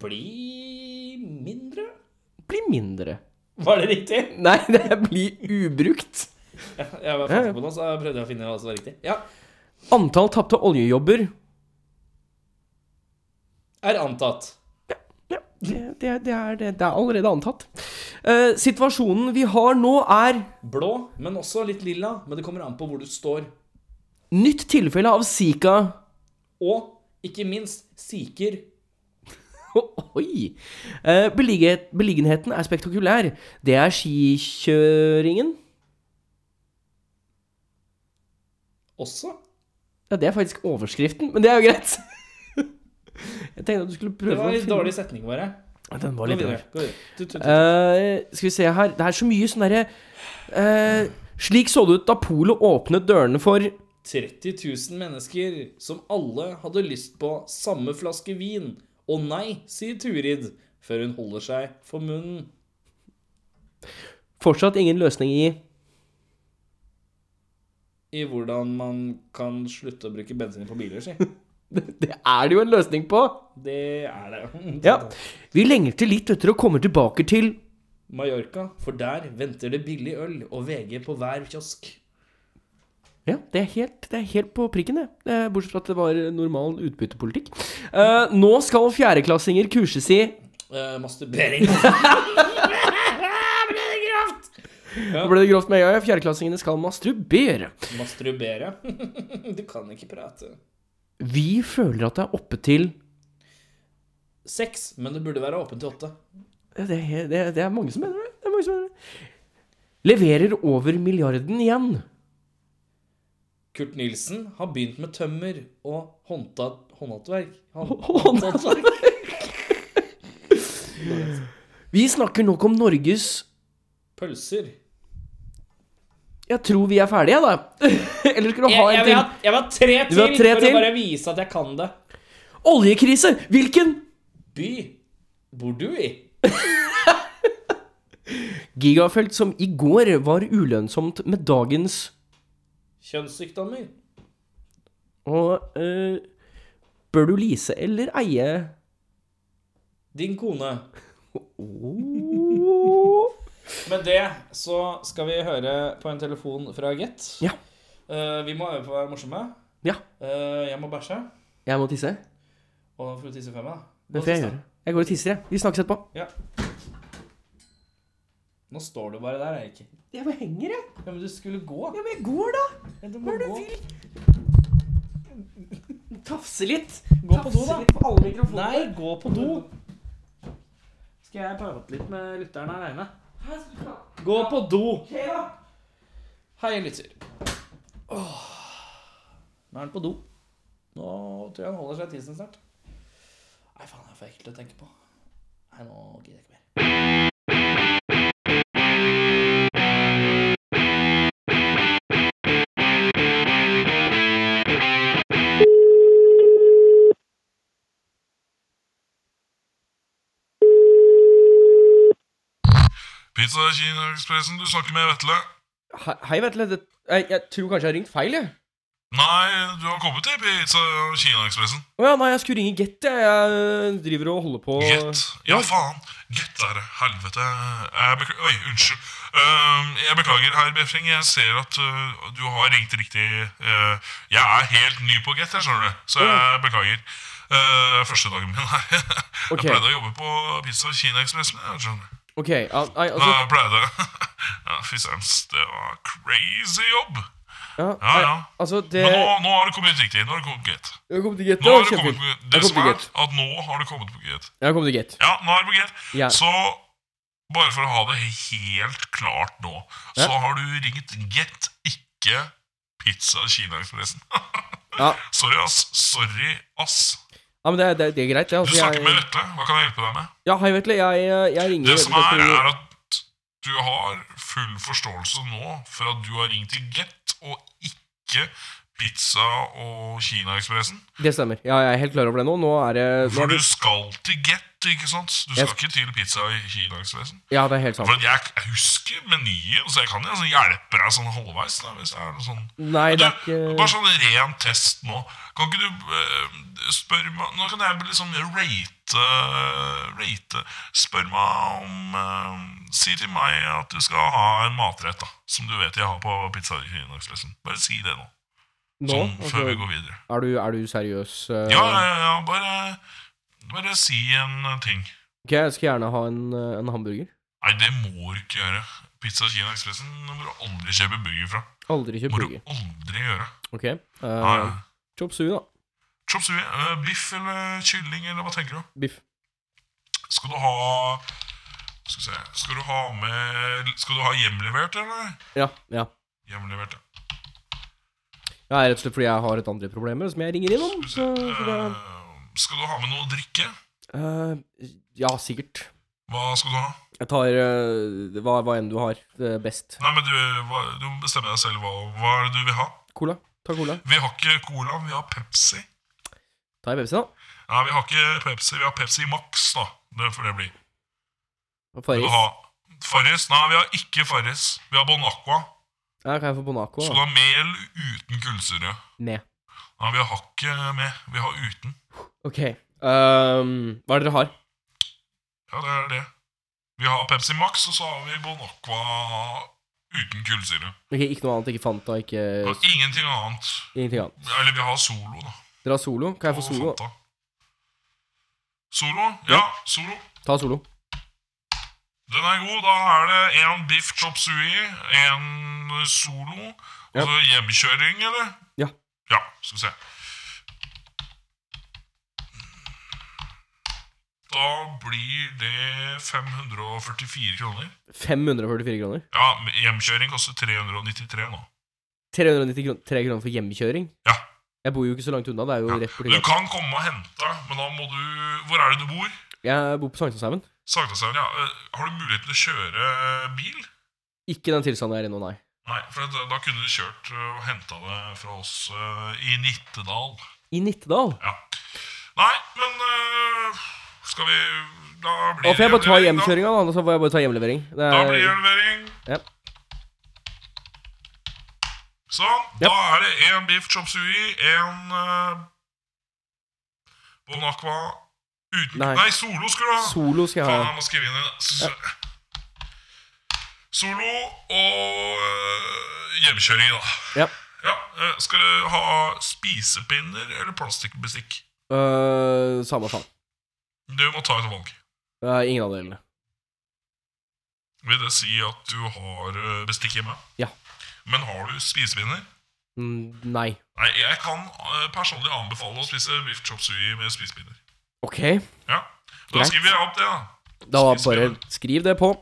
[SPEAKER 2] Bli mindre?
[SPEAKER 3] bli mindre.
[SPEAKER 2] Var det riktig?
[SPEAKER 3] *laughs* Nei, det blir ubrukt.
[SPEAKER 2] Jeg var fattig på noe, så jeg prøvde å finne hva som var riktig. Ja.
[SPEAKER 3] Antall tapte oljejobber
[SPEAKER 2] Er antatt.
[SPEAKER 3] Ja, det, det, det, er, det, det er allerede antatt. Eh, situasjonen vi har nå, er
[SPEAKER 2] Blå, men også litt lilla. Men det kommer an på hvor du står.
[SPEAKER 3] nytt tilfelle av Zika.
[SPEAKER 2] Og ikke minst siker.
[SPEAKER 3] Å, *laughs* Oi! Eh, beligge- beliggenheten er spektakulær. Det er skikjøringen.
[SPEAKER 2] Også?
[SPEAKER 3] Ja, det er faktisk overskriften, men det er jo greit. *laughs* Jeg tenkte at du skulle prøve
[SPEAKER 2] Det var
[SPEAKER 3] å
[SPEAKER 2] litt
[SPEAKER 3] finne-
[SPEAKER 2] dårlig setning, bare.
[SPEAKER 3] Den var
[SPEAKER 2] Gå
[SPEAKER 3] litt
[SPEAKER 2] videre.
[SPEAKER 3] dårlig.
[SPEAKER 2] Gå videre. Du, du, du.
[SPEAKER 3] Eh, skal vi se her Det er så mye sånn derre eh, Slik så det ut da Polo åpnet dørene for
[SPEAKER 2] 30 000 mennesker som alle hadde lyst på samme flaske vin. Å nei, sier Turid, før hun holder seg for munnen.
[SPEAKER 3] Fortsatt ingen løsning i *laughs*
[SPEAKER 2] I hvordan man kan slutte å bruke bensin på biler,
[SPEAKER 3] *laughs*
[SPEAKER 2] si.
[SPEAKER 3] Det er det jo en løsning på!
[SPEAKER 2] Det er det.
[SPEAKER 3] Ja. Vi lengter litt etter å komme tilbake til
[SPEAKER 2] Mallorca, for der venter det billig øl og VG på hver kiosk.
[SPEAKER 3] Ja, det er helt, det er helt på prikken, det. Eh, Bortsett fra at det var normal utbyttepolitikk. Eh, nå skal fjerdeklassinger kurses i
[SPEAKER 2] Eh, masturbering.
[SPEAKER 3] Nå ble det grovt med en gang. Fjerdeklassingene skal masturbere.
[SPEAKER 2] Masturbere. *laughs* Du kan ikke prate.
[SPEAKER 3] Vi føler at det er oppe til
[SPEAKER 2] Seks, men det burde være åpent til åtte.
[SPEAKER 3] Ja, Det er, det, er- det er mange som mener det. det, er mange som mener det. Leverer over milliarden igjen.
[SPEAKER 2] Kurt Nilsen har begynt med tømmer og håndta, håndhattverk.
[SPEAKER 3] *laughs* Håndhattverk. Vi snakker nok om Norges
[SPEAKER 2] Pølser.
[SPEAKER 3] Jeg tror vi er ferdige, da. *laughs* Eller skal du
[SPEAKER 2] Jeg,
[SPEAKER 3] ha en
[SPEAKER 2] jeg, vil ha,
[SPEAKER 3] til?
[SPEAKER 2] jeg vil ha tre
[SPEAKER 3] Du
[SPEAKER 2] til
[SPEAKER 3] vil ha tre
[SPEAKER 2] for å
[SPEAKER 3] til?
[SPEAKER 2] bare vise at jeg kan det.
[SPEAKER 3] Oljekrise! Hvilken?
[SPEAKER 2] By bor du i?
[SPEAKER 3] Gigafelt som i går var ulønnsomt med dagens
[SPEAKER 2] Kjønnssykdommer.
[SPEAKER 3] Og eh, bør du lease eller eie?
[SPEAKER 2] Din kone.
[SPEAKER 3] Åh.
[SPEAKER 2] Med det så skal vi høre på en telefon fra Get.
[SPEAKER 3] Ja.
[SPEAKER 2] Eh, vi må øve på å være morsomme.
[SPEAKER 3] Ja.
[SPEAKER 2] Eh, jeg må bæsje.
[SPEAKER 3] Jeg må tisse.
[SPEAKER 2] Og da får du tisse fem, da.
[SPEAKER 3] Det får jeg gjøre. Jeg går og tisser, jeg. Vi snakkes etterpå.
[SPEAKER 2] Ja. Nå står du bare der, Eik.
[SPEAKER 3] Jeg bare henger, jeg.
[SPEAKER 2] Ja, men du skulle gå.
[SPEAKER 3] Ja, men jeg går, da.
[SPEAKER 2] Ja, du må gå.
[SPEAKER 3] Tafse litt.
[SPEAKER 2] Gå på do, da.
[SPEAKER 3] litt på alle mikrofonene.
[SPEAKER 2] Nei, gå på do. Skal jeg prate litt med lytteren aleine? Gå på do. Hei, lytter. Åh. Nå er han på do. Nå tror jeg han holder seg i tissen snart. Nei, faen, det er for ekkelt å tenke på. Nei, nå gidder jeg ikke mer.
[SPEAKER 1] Pizza Kina-ekspressen, du snakker med Vetle.
[SPEAKER 3] Hei, hei, Vetle. Det- Jeg, jeg tror kanskje jeg har ringt feil, jeg.
[SPEAKER 1] Nei, du har kommet til Pizza Kina-ekspressen.
[SPEAKER 3] Å ja, nei, jeg skulle ringe Get, jeg. Jeg driver og holder på
[SPEAKER 1] Get. Ja, faen. Get der. Helvete. Jeg beklager. Oi, unnskyld. Ehm, jeg beklager, herr Befring. Jeg ser at øh, du har ringt riktig. Eh, jeg er helt ny på Get, jeg skjønner du. Så jeg beklager. Eh, første dagen min her. *laughs*
[SPEAKER 3] Ok.
[SPEAKER 1] Jeg pleide å jobbe på Pizza Kina-ekspressen. jeg skjønner du.
[SPEAKER 3] Ok, ja, nei,
[SPEAKER 1] Nei,
[SPEAKER 3] altså
[SPEAKER 1] jeg pleide *laughs* ja, Fy søren, det var crazy jobb.
[SPEAKER 3] Ja,
[SPEAKER 1] Ja,
[SPEAKER 3] nei,
[SPEAKER 1] ja.
[SPEAKER 3] Altså, det
[SPEAKER 1] Men nå, nå har du kommet riktig. Nå har du kommet på Get.
[SPEAKER 3] Jeg har kommet til Get.
[SPEAKER 1] Nå
[SPEAKER 3] det var
[SPEAKER 1] har du kommet
[SPEAKER 3] kjempefint.
[SPEAKER 1] på, E
[SPEAKER 3] Jeg
[SPEAKER 1] Eh, det
[SPEAKER 3] kom
[SPEAKER 1] som
[SPEAKER 3] til
[SPEAKER 1] er
[SPEAKER 3] Get.
[SPEAKER 1] at nå har du kommet på Get.
[SPEAKER 3] Jeg har kommet til Get.
[SPEAKER 1] Ja, nå er det på Get.
[SPEAKER 3] Ja.
[SPEAKER 1] Så bare for å ha det helt klart nå, så har du ringt Get, ikke Pizza *laughs* Kina-ekspressen.
[SPEAKER 3] Ja.
[SPEAKER 1] Sorry, ass. Sorry, ass.
[SPEAKER 3] Ja, men det, er- det, er- det er greit. det,
[SPEAKER 1] Du
[SPEAKER 3] Altså,
[SPEAKER 1] snakker med
[SPEAKER 3] jeg,
[SPEAKER 1] Vetle. Hva kan jeg hjelpe deg med?
[SPEAKER 3] ja, hei, Vetle. Jeg, jeg ringer
[SPEAKER 1] Det som
[SPEAKER 3] rett
[SPEAKER 1] er,
[SPEAKER 3] og slett for-
[SPEAKER 1] er at du har full forståelse nå for at du har ringt til Get, og ikke Pizza og Kina-ekspressen.
[SPEAKER 3] Det stemmer. Ja, jeg er helt klar over det nå. Nå er det nå
[SPEAKER 1] For
[SPEAKER 3] er
[SPEAKER 1] du
[SPEAKER 3] det-
[SPEAKER 1] skal til Get, ikke sant? Du
[SPEAKER 3] Jeg
[SPEAKER 1] skal ikke til Pizza og Kina-ekspressen.
[SPEAKER 3] Ja, det er helt sant.
[SPEAKER 1] For at jeg, jeg husker menyen, så jeg kan jo sånn hjelpe deg sånn halvveis. Da, hvis det er noe sånn.
[SPEAKER 3] Nei,
[SPEAKER 1] Du,
[SPEAKER 3] det er ikke
[SPEAKER 1] bare sånn ren test nå. Kan ikke du eh, spørre meg Nå kan jeg liksom rate, rate Spørre meg om eh, Si til meg at du skal ha en matrett da som du vet jeg har på Pizza Kinakspressen. Bare si det nå,
[SPEAKER 3] Nå?
[SPEAKER 1] sånn, før vi
[SPEAKER 3] Altså,
[SPEAKER 1] går videre.
[SPEAKER 3] er, du, er du seriøs? eh?
[SPEAKER 1] Ja, ja, ja, bare, bare si en ting.
[SPEAKER 3] Ok, jeg skal gjerne ha en, eh, en hamburger.
[SPEAKER 1] Nei, det må du ikke gjøre. Pizza Kinakspressen må du aldri kjøpe burger fra.
[SPEAKER 3] Aldri kjøpt
[SPEAKER 1] Må du
[SPEAKER 3] burger.
[SPEAKER 1] aldri gjøre.
[SPEAKER 3] Ok. eh,
[SPEAKER 1] Ja, ja.
[SPEAKER 3] Chop sui, da.
[SPEAKER 1] Chop suey, eh, biff eller kylling, eller hva tenker du?
[SPEAKER 3] Biff.
[SPEAKER 1] Skal du ha Skal, vi se, skal du ha med Skal du ha hjemlevert, eller?
[SPEAKER 3] Ja, ja.
[SPEAKER 1] Hjemlevert, ja.
[SPEAKER 3] Ja, rett og slett fordi jeg har et andre problemer som jeg ringer innom. Så for Mm, det,
[SPEAKER 1] Eh, skal du ha med noe å drikke?
[SPEAKER 3] Eh, ja, sikkert.
[SPEAKER 1] Hva skal du ha?
[SPEAKER 3] Jeg tar eh, hva, hva enn du har eh, best.
[SPEAKER 1] Nei, men du, hva, du må bestemme deg selv hva, hva er det du vil ha.
[SPEAKER 3] Cola. Ta cola.
[SPEAKER 1] Vi har ikke Cola, vi har Pepsi.
[SPEAKER 3] Ta en Pepsi, da.
[SPEAKER 1] Nei, vi har ikke Pepsi, vi har Pepsi Max, da. Det får det bli.
[SPEAKER 3] Og
[SPEAKER 1] Vil du
[SPEAKER 3] Farris.
[SPEAKER 1] ha Farris? Nei, vi har ikke Farris. Vi har Bon Aqua.
[SPEAKER 3] Ja, kan jeg få Bonaco?
[SPEAKER 1] Skal du
[SPEAKER 3] Da?
[SPEAKER 1] ha mel uten kullsyre?
[SPEAKER 3] Ned.
[SPEAKER 1] Nei, vi har ikke med. Vi har uten.
[SPEAKER 3] OK. ehm, hva er det dere har?
[SPEAKER 1] Ja, det er det. Vi har Pepsi Max, og så har vi Bon Aqua uten kullsyre.
[SPEAKER 3] Ok, Ikke noe annet? Ikke Fanta? Ikke
[SPEAKER 1] Og ingenting annet.
[SPEAKER 3] ingenting annet?
[SPEAKER 1] Eller vi har Solo, da.
[SPEAKER 3] Dere har Solo? Kan jeg
[SPEAKER 1] Og
[SPEAKER 3] få Solo? da?
[SPEAKER 1] Fanta. Solo? Ja, Solo.
[SPEAKER 3] Ta Solo.
[SPEAKER 1] Den er god. Da er det én biff chop sui, én Solo, og
[SPEAKER 3] Ja.
[SPEAKER 1] så hjemkjøring, eller?
[SPEAKER 3] Ja.
[SPEAKER 1] Ja, skal vi se. Da blir det 544 kroner.
[SPEAKER 3] 544 kroner.
[SPEAKER 1] Ja, men hjemkjøring koster 393 nå.
[SPEAKER 3] 390 kroner, 3 kroner for hjemkjøring?
[SPEAKER 1] Ja.
[SPEAKER 3] Jeg bor jo ikke så langt unna. Det er jo rett borti
[SPEAKER 1] Du
[SPEAKER 3] gata.
[SPEAKER 1] kan komme og hente, men da må du Hvor er det du bor?
[SPEAKER 3] Jeg bor på Sankthanshaugen.
[SPEAKER 1] Sagnashaugen, ja. Eh, Har du mulighet til å kjøre bil?
[SPEAKER 3] Ikke den tilstanden jeg er i nå, nei.
[SPEAKER 1] Nei, for da, da kunne du kjørt eh, og henta det fra oss eh, i Nittedal.
[SPEAKER 3] I Nittedal?
[SPEAKER 1] Ja. Nei, men eh, skal vi Da blir
[SPEAKER 3] Da får jeg bare ta
[SPEAKER 1] hjemlevering,
[SPEAKER 3] hjemkjøringa, da. og Så får jeg bare ta hjemlevering. Det
[SPEAKER 1] Da, da blir det
[SPEAKER 3] er,
[SPEAKER 1] hjemlevering.
[SPEAKER 3] Ja.
[SPEAKER 1] Sånn.
[SPEAKER 3] Ja.
[SPEAKER 1] Da er det én biff chop sui, én uh, Bon Aqua uten
[SPEAKER 3] Nei.
[SPEAKER 1] Nei, Solo skulle du ha!
[SPEAKER 3] solo skal jeg
[SPEAKER 1] Faen, jeg
[SPEAKER 3] ha.
[SPEAKER 1] må skrive inn en s- Solo og øh, hjemkjøring, da.
[SPEAKER 3] Ja.
[SPEAKER 1] Ja, eh, Skal du ha spisepinner eller plastikkbestikk?
[SPEAKER 3] Øh, samme faen.
[SPEAKER 1] Du må ta et valg.
[SPEAKER 3] Øh, ingen av delene.
[SPEAKER 1] Vil det si at du har eh, bestikk hjemme?
[SPEAKER 3] Ja.
[SPEAKER 1] Men har du spisepinner?
[SPEAKER 3] Mm, nei.
[SPEAKER 1] Nei, jeg kan eh, personlig anbefale å spise biff chop sui med spisepinner.
[SPEAKER 3] OK.
[SPEAKER 1] Ja, Da
[SPEAKER 3] Greit.
[SPEAKER 1] skriver jeg opp det, da.
[SPEAKER 3] Da
[SPEAKER 1] Spis
[SPEAKER 3] bare skriv det på.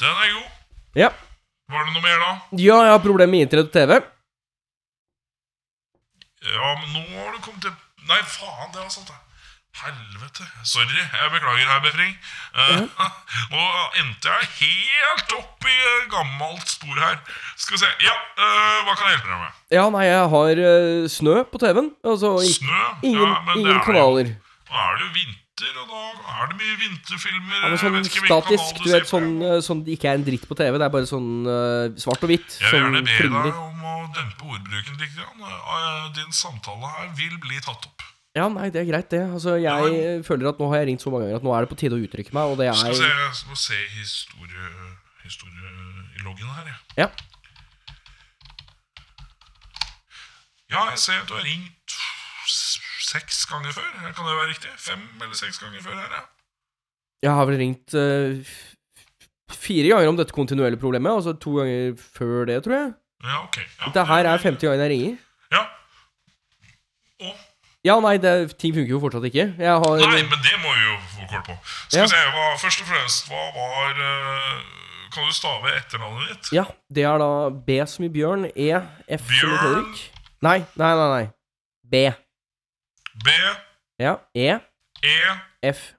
[SPEAKER 1] Den er god.
[SPEAKER 3] Ja.
[SPEAKER 1] Var det noe mer, da?
[SPEAKER 3] ja, jeg har problemer med internett og TV.
[SPEAKER 1] Ja, men nå har du kommet til Nei, faen, det var sant, det. Helvete. Sorry. Jeg beklager, herr Befring. Eh, *laughs* Nå endte jeg helt opp i eh, gammelt spor her. Skal vi se Ja, eh, hva kan jeg hjelpe deg med?
[SPEAKER 3] Ja, nei, jeg har øh, snø på TV-en. Altså ik-
[SPEAKER 1] Snø?
[SPEAKER 3] ingen,
[SPEAKER 1] ja, men det
[SPEAKER 3] ingen
[SPEAKER 1] er
[SPEAKER 3] kanaler.
[SPEAKER 1] jo Eh, Nå er det jo vinter, og da er det mye vinterfilmer.
[SPEAKER 3] Ja, men
[SPEAKER 1] jeg
[SPEAKER 3] sånn
[SPEAKER 1] vet ikke hvilken kanal
[SPEAKER 3] statisk, du
[SPEAKER 1] ser
[SPEAKER 3] vet,
[SPEAKER 1] på.
[SPEAKER 3] sånn, øh, sånn det ikke er en dritt på TV. Det er bare sånn øh, svart og hvitt.
[SPEAKER 1] Jeg vil
[SPEAKER 3] Sånn
[SPEAKER 1] gjerne be
[SPEAKER 3] flimrer.
[SPEAKER 1] deg om å dempe ordbruken litt. Grann. Eh, Din samtale her vil bli tatt opp.
[SPEAKER 3] Ja, nei, det er greit, det. Altså, jeg
[SPEAKER 1] men-
[SPEAKER 3] føler at nå har jeg ringt så mange ganger at nå er det på tide å uttrykke meg, og det
[SPEAKER 1] Skal vi se,
[SPEAKER 3] er
[SPEAKER 1] jeg må se historie, historieloggen her, jeg.
[SPEAKER 3] Ja.
[SPEAKER 1] Ja, jeg ser at du har ringt s- seks ganger før. Kan det være riktig? Fem eller seks ganger før her, ja.
[SPEAKER 3] Jeg har vel ringt øh, f- fire ganger om dette kontinuelle problemet, altså to ganger før det, tror jeg.
[SPEAKER 1] Ja, ok. Ja.
[SPEAKER 3] Dette her er femte gangen jeg ringer.
[SPEAKER 1] Ja. Og
[SPEAKER 3] Ja, nei, det, ting funker jo fortsatt ikke. Jeg har
[SPEAKER 1] Nei, men det må vi jo få kål på. Skal
[SPEAKER 3] Ja.
[SPEAKER 1] vi se, hva, Først og fremst, hva var eh, Kan du stave etternavnet ditt?
[SPEAKER 3] Ja, det er da B som i bjørn, E, F som i
[SPEAKER 1] Bjørn?
[SPEAKER 3] Fredrik. Nei, nei, nei, nei. B. Ja, E, F,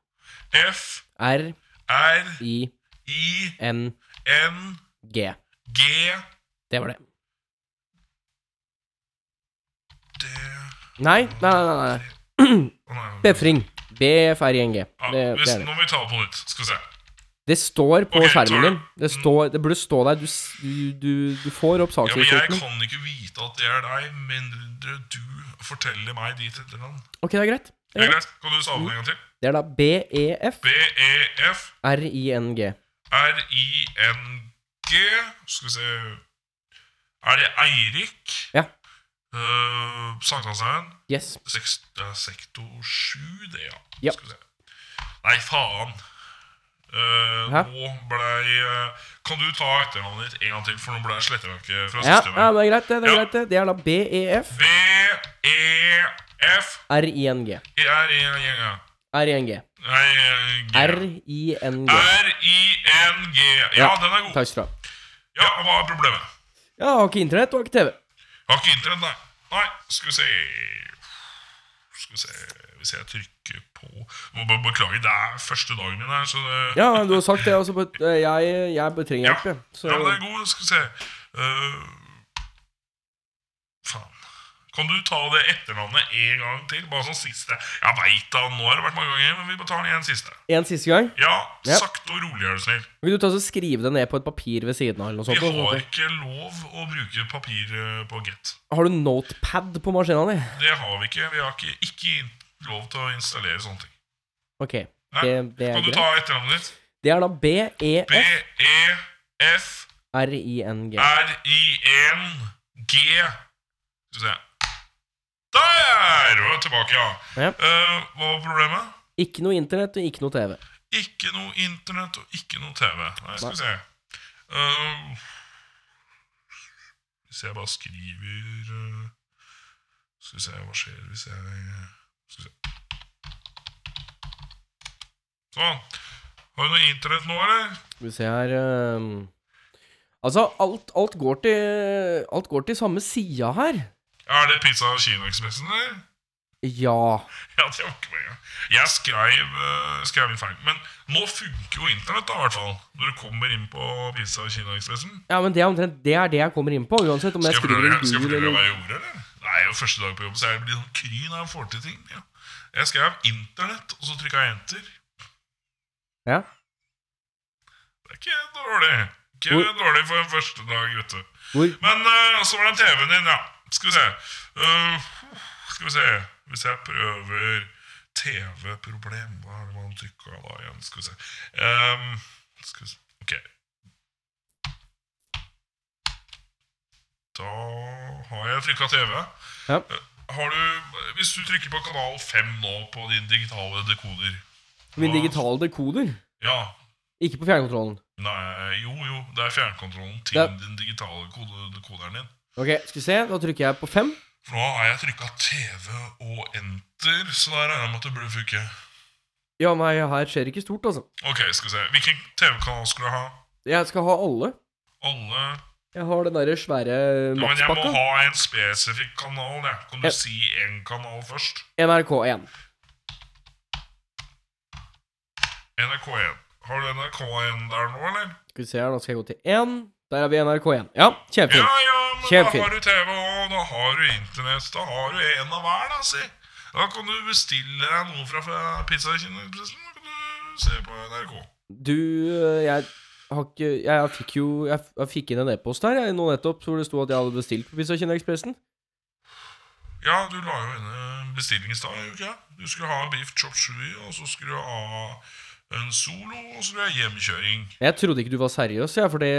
[SPEAKER 1] B-E-F-R-I-N-G
[SPEAKER 3] R, I, N, G. Det var det.
[SPEAKER 1] D
[SPEAKER 3] Nei, nei, nei, nei. nei.
[SPEAKER 1] Å, nei.
[SPEAKER 3] Befring. BFRING.
[SPEAKER 1] Ja,
[SPEAKER 3] Det, det
[SPEAKER 1] Ah, hvis,
[SPEAKER 3] er det.
[SPEAKER 1] Nå må vi ta det på nytt. Skal vi se.
[SPEAKER 3] Det står på
[SPEAKER 1] Ok,
[SPEAKER 3] skjermen
[SPEAKER 1] sorry.
[SPEAKER 3] din. Det, står, det burde stå der. Du, s- du, du, du får opp
[SPEAKER 1] Ja, men jeg
[SPEAKER 3] saksuttrykket.
[SPEAKER 1] kan ikke vite at det er deg, mindre du forteller meg ditt etternavn.
[SPEAKER 3] Ok, det er greit.
[SPEAKER 1] Er det greit? Kan du stave det en gang til? E,
[SPEAKER 3] Det er da E,
[SPEAKER 1] B-E-F-R-I-N-G
[SPEAKER 3] BEFRING.
[SPEAKER 1] Skal vi se Er det Eirik?
[SPEAKER 3] Ja.
[SPEAKER 1] Uh, Sankthanshaugen?
[SPEAKER 3] Yes.
[SPEAKER 1] Seks- det er Sektor 7, det, ja.
[SPEAKER 3] Ja.
[SPEAKER 1] Skal vi se. Nei, faen. Eh,
[SPEAKER 3] Hæ?
[SPEAKER 1] nå blei eh, Kan du ta etternavnet ditt en gang til, for nå ble jeg sletteverket fra
[SPEAKER 3] Ja, ja,
[SPEAKER 1] systemet.
[SPEAKER 3] det er greit, det. Det er,
[SPEAKER 1] Ja.
[SPEAKER 3] greit, det. Det er da E
[SPEAKER 1] B-E-F E,
[SPEAKER 3] BEFRING.
[SPEAKER 1] Er en gjeng, ja.
[SPEAKER 3] RING.
[SPEAKER 1] R-I-N-G.
[SPEAKER 3] R-I-N-G.
[SPEAKER 1] R-I-N-G. Ja, den er god.
[SPEAKER 3] Takk skal du ha.
[SPEAKER 1] Ja, Hva er problemet?
[SPEAKER 3] Ja, har ikke internett og har ikke TV.
[SPEAKER 1] Har ikke internett, nei. Nei, skal vi se Skal vi se Hvis jeg trykker på Må bare Beklager, det er første dagen min her, så det
[SPEAKER 3] Ja, du har sagt det. Altså, but, eh, jeg, jeg bare trenger
[SPEAKER 1] Ja.
[SPEAKER 3] hjelp, jeg. Så
[SPEAKER 1] Ja, men det er god. Skal vi se Eh, Faen. Kan du ta det etternavnet en gang til? Bare sånn siste. Jeg veit da, nå har det vært mange ganger, men vi bare tar den igjen siste.
[SPEAKER 3] en siste gang.
[SPEAKER 1] Ja,
[SPEAKER 3] Ja.
[SPEAKER 1] sakte og rolig, er du snill.
[SPEAKER 3] Vil du ta og skrive det ned på et papir ved siden av? eller noe
[SPEAKER 1] Vi
[SPEAKER 3] sånt?
[SPEAKER 1] har
[SPEAKER 3] og sånne ting?
[SPEAKER 1] ikke lov å bruke papir eh, på Get.
[SPEAKER 3] Har du notepad på maskina di?
[SPEAKER 1] Det har vi ikke. Vi har ikke, ikke lov til å installere sånne ting.
[SPEAKER 3] Ok,
[SPEAKER 1] Nei.
[SPEAKER 3] det, det er
[SPEAKER 1] Kan du
[SPEAKER 3] greit.
[SPEAKER 1] ta etternavnet ditt?
[SPEAKER 3] Det er da E
[SPEAKER 1] B-E-F-R-I-N-G
[SPEAKER 3] B-E-F-R-I-N-G.
[SPEAKER 1] Skal vi se Der var jeg tilbake, ja.
[SPEAKER 3] Ja.
[SPEAKER 1] Eh, hva var problemet?
[SPEAKER 3] Ikke noe internett og ikke noe TV.
[SPEAKER 1] Ikke noe internett og ikke noe TV. Nei, skal vi se. Eh, hvis jeg bare skriver eh, Skal vi se, hva skjer hvis jeg Skal vi se. Sånn. Har du noe internett nå, eller?
[SPEAKER 3] Skal vi se her ehm, Altså, alt, alt, går til, alt går til samme sida her.
[SPEAKER 1] Er det pizza og kinoekspressen, eller? *laughs*
[SPEAKER 3] Ja.
[SPEAKER 1] Ja, det var ikke meningen. Jeg skrev, eh, skrev en feil. Men nå funker jo internett, da, i hvert fall. Når du kommer inn på Pizza og Kinaekspressen.
[SPEAKER 3] ja, men det er omtrent det er det jeg kommer inn på. Uansett om
[SPEAKER 1] Skal jeg
[SPEAKER 3] jeg skriver
[SPEAKER 1] fortelle
[SPEAKER 3] en
[SPEAKER 1] skal jeg fortelle deg
[SPEAKER 3] gul
[SPEAKER 1] hva
[SPEAKER 3] eller
[SPEAKER 1] jeg gjorde, eller? Nei, jo første dag på jobb, så jeg blir sånn kry når jeg får til ting. Ja. Jeg skrev internett, og så trykka jeg enter.
[SPEAKER 3] ja.
[SPEAKER 1] Det er ikke dårlig. Ikke
[SPEAKER 3] Hvor-
[SPEAKER 1] dårlig for en første dag, vet du.
[SPEAKER 3] Hvor
[SPEAKER 1] Men eh, så var det TV-en din, ja. Skal vi se. Eh, skal vi se. Hvis jeg prøver TV-problem Hva er det man trykker da igjen? Skal vi se. Ehm, skal vi se. Ok. Da har jeg trykka TV.
[SPEAKER 3] Ja.
[SPEAKER 1] Eh, Har du, hvis du trykker på kanal 5 nå på din digitale dekoder
[SPEAKER 3] Min
[SPEAKER 1] hva-
[SPEAKER 3] digitale dekoder.
[SPEAKER 1] Ja.
[SPEAKER 3] Ikke på fjernkontrollen.
[SPEAKER 1] Nei, jo, jo. Det er fjernkontrollen til
[SPEAKER 3] Ja.
[SPEAKER 1] den digitale kode, dekoderen din.
[SPEAKER 3] Ok, skal vi se. Da trykker jeg på fem.
[SPEAKER 1] For nå har jeg trykka TV og enter, så da regner jeg med at det burde funke.
[SPEAKER 3] Ja, nei, her skjer ikke stort, altså.
[SPEAKER 1] Ok, skal vi se. Hvilken TV-kanal skulle jeg ha?
[SPEAKER 3] Jeg skal ha alle.
[SPEAKER 1] Alle
[SPEAKER 3] Jeg har den derre svære
[SPEAKER 1] ja, Men jeg må
[SPEAKER 3] makspakka.
[SPEAKER 1] ha en spesifikk kanal, jeg. Kan du
[SPEAKER 3] Ja.
[SPEAKER 1] si én kanal først?
[SPEAKER 3] NRK1.
[SPEAKER 1] NRK1. Har du NRK1 der nå, eller?
[SPEAKER 3] Skal vi se her, nå skal jeg gå til én. Der er vi NRK1. Ja, kjempefint.
[SPEAKER 1] Ja, ja, men
[SPEAKER 3] Kjempefint.
[SPEAKER 1] da har du TV, og da har du Internett. Da har du en av hver, da, si. Da kan du bestille deg noe fra fra Pizzakinepressen, og kan du se på NRK.
[SPEAKER 3] Du, eh, jeg har ikke Jeg, jeg fikk jo jeg, f- jeg fikk inn en e-post her jeg, nå nettopp hvor det sto at jeg hadde bestilt på Pizza Kina-ekspressen.
[SPEAKER 1] Ja, du la jo inn en bestilling i stad. gjorde ikke jeg? Du skulle ha beef chop shui, og så skulle du ha en solo, og så skulle du ha hjemkjøring.
[SPEAKER 3] Jeg trodde ikke du var seriøs, jeg, for det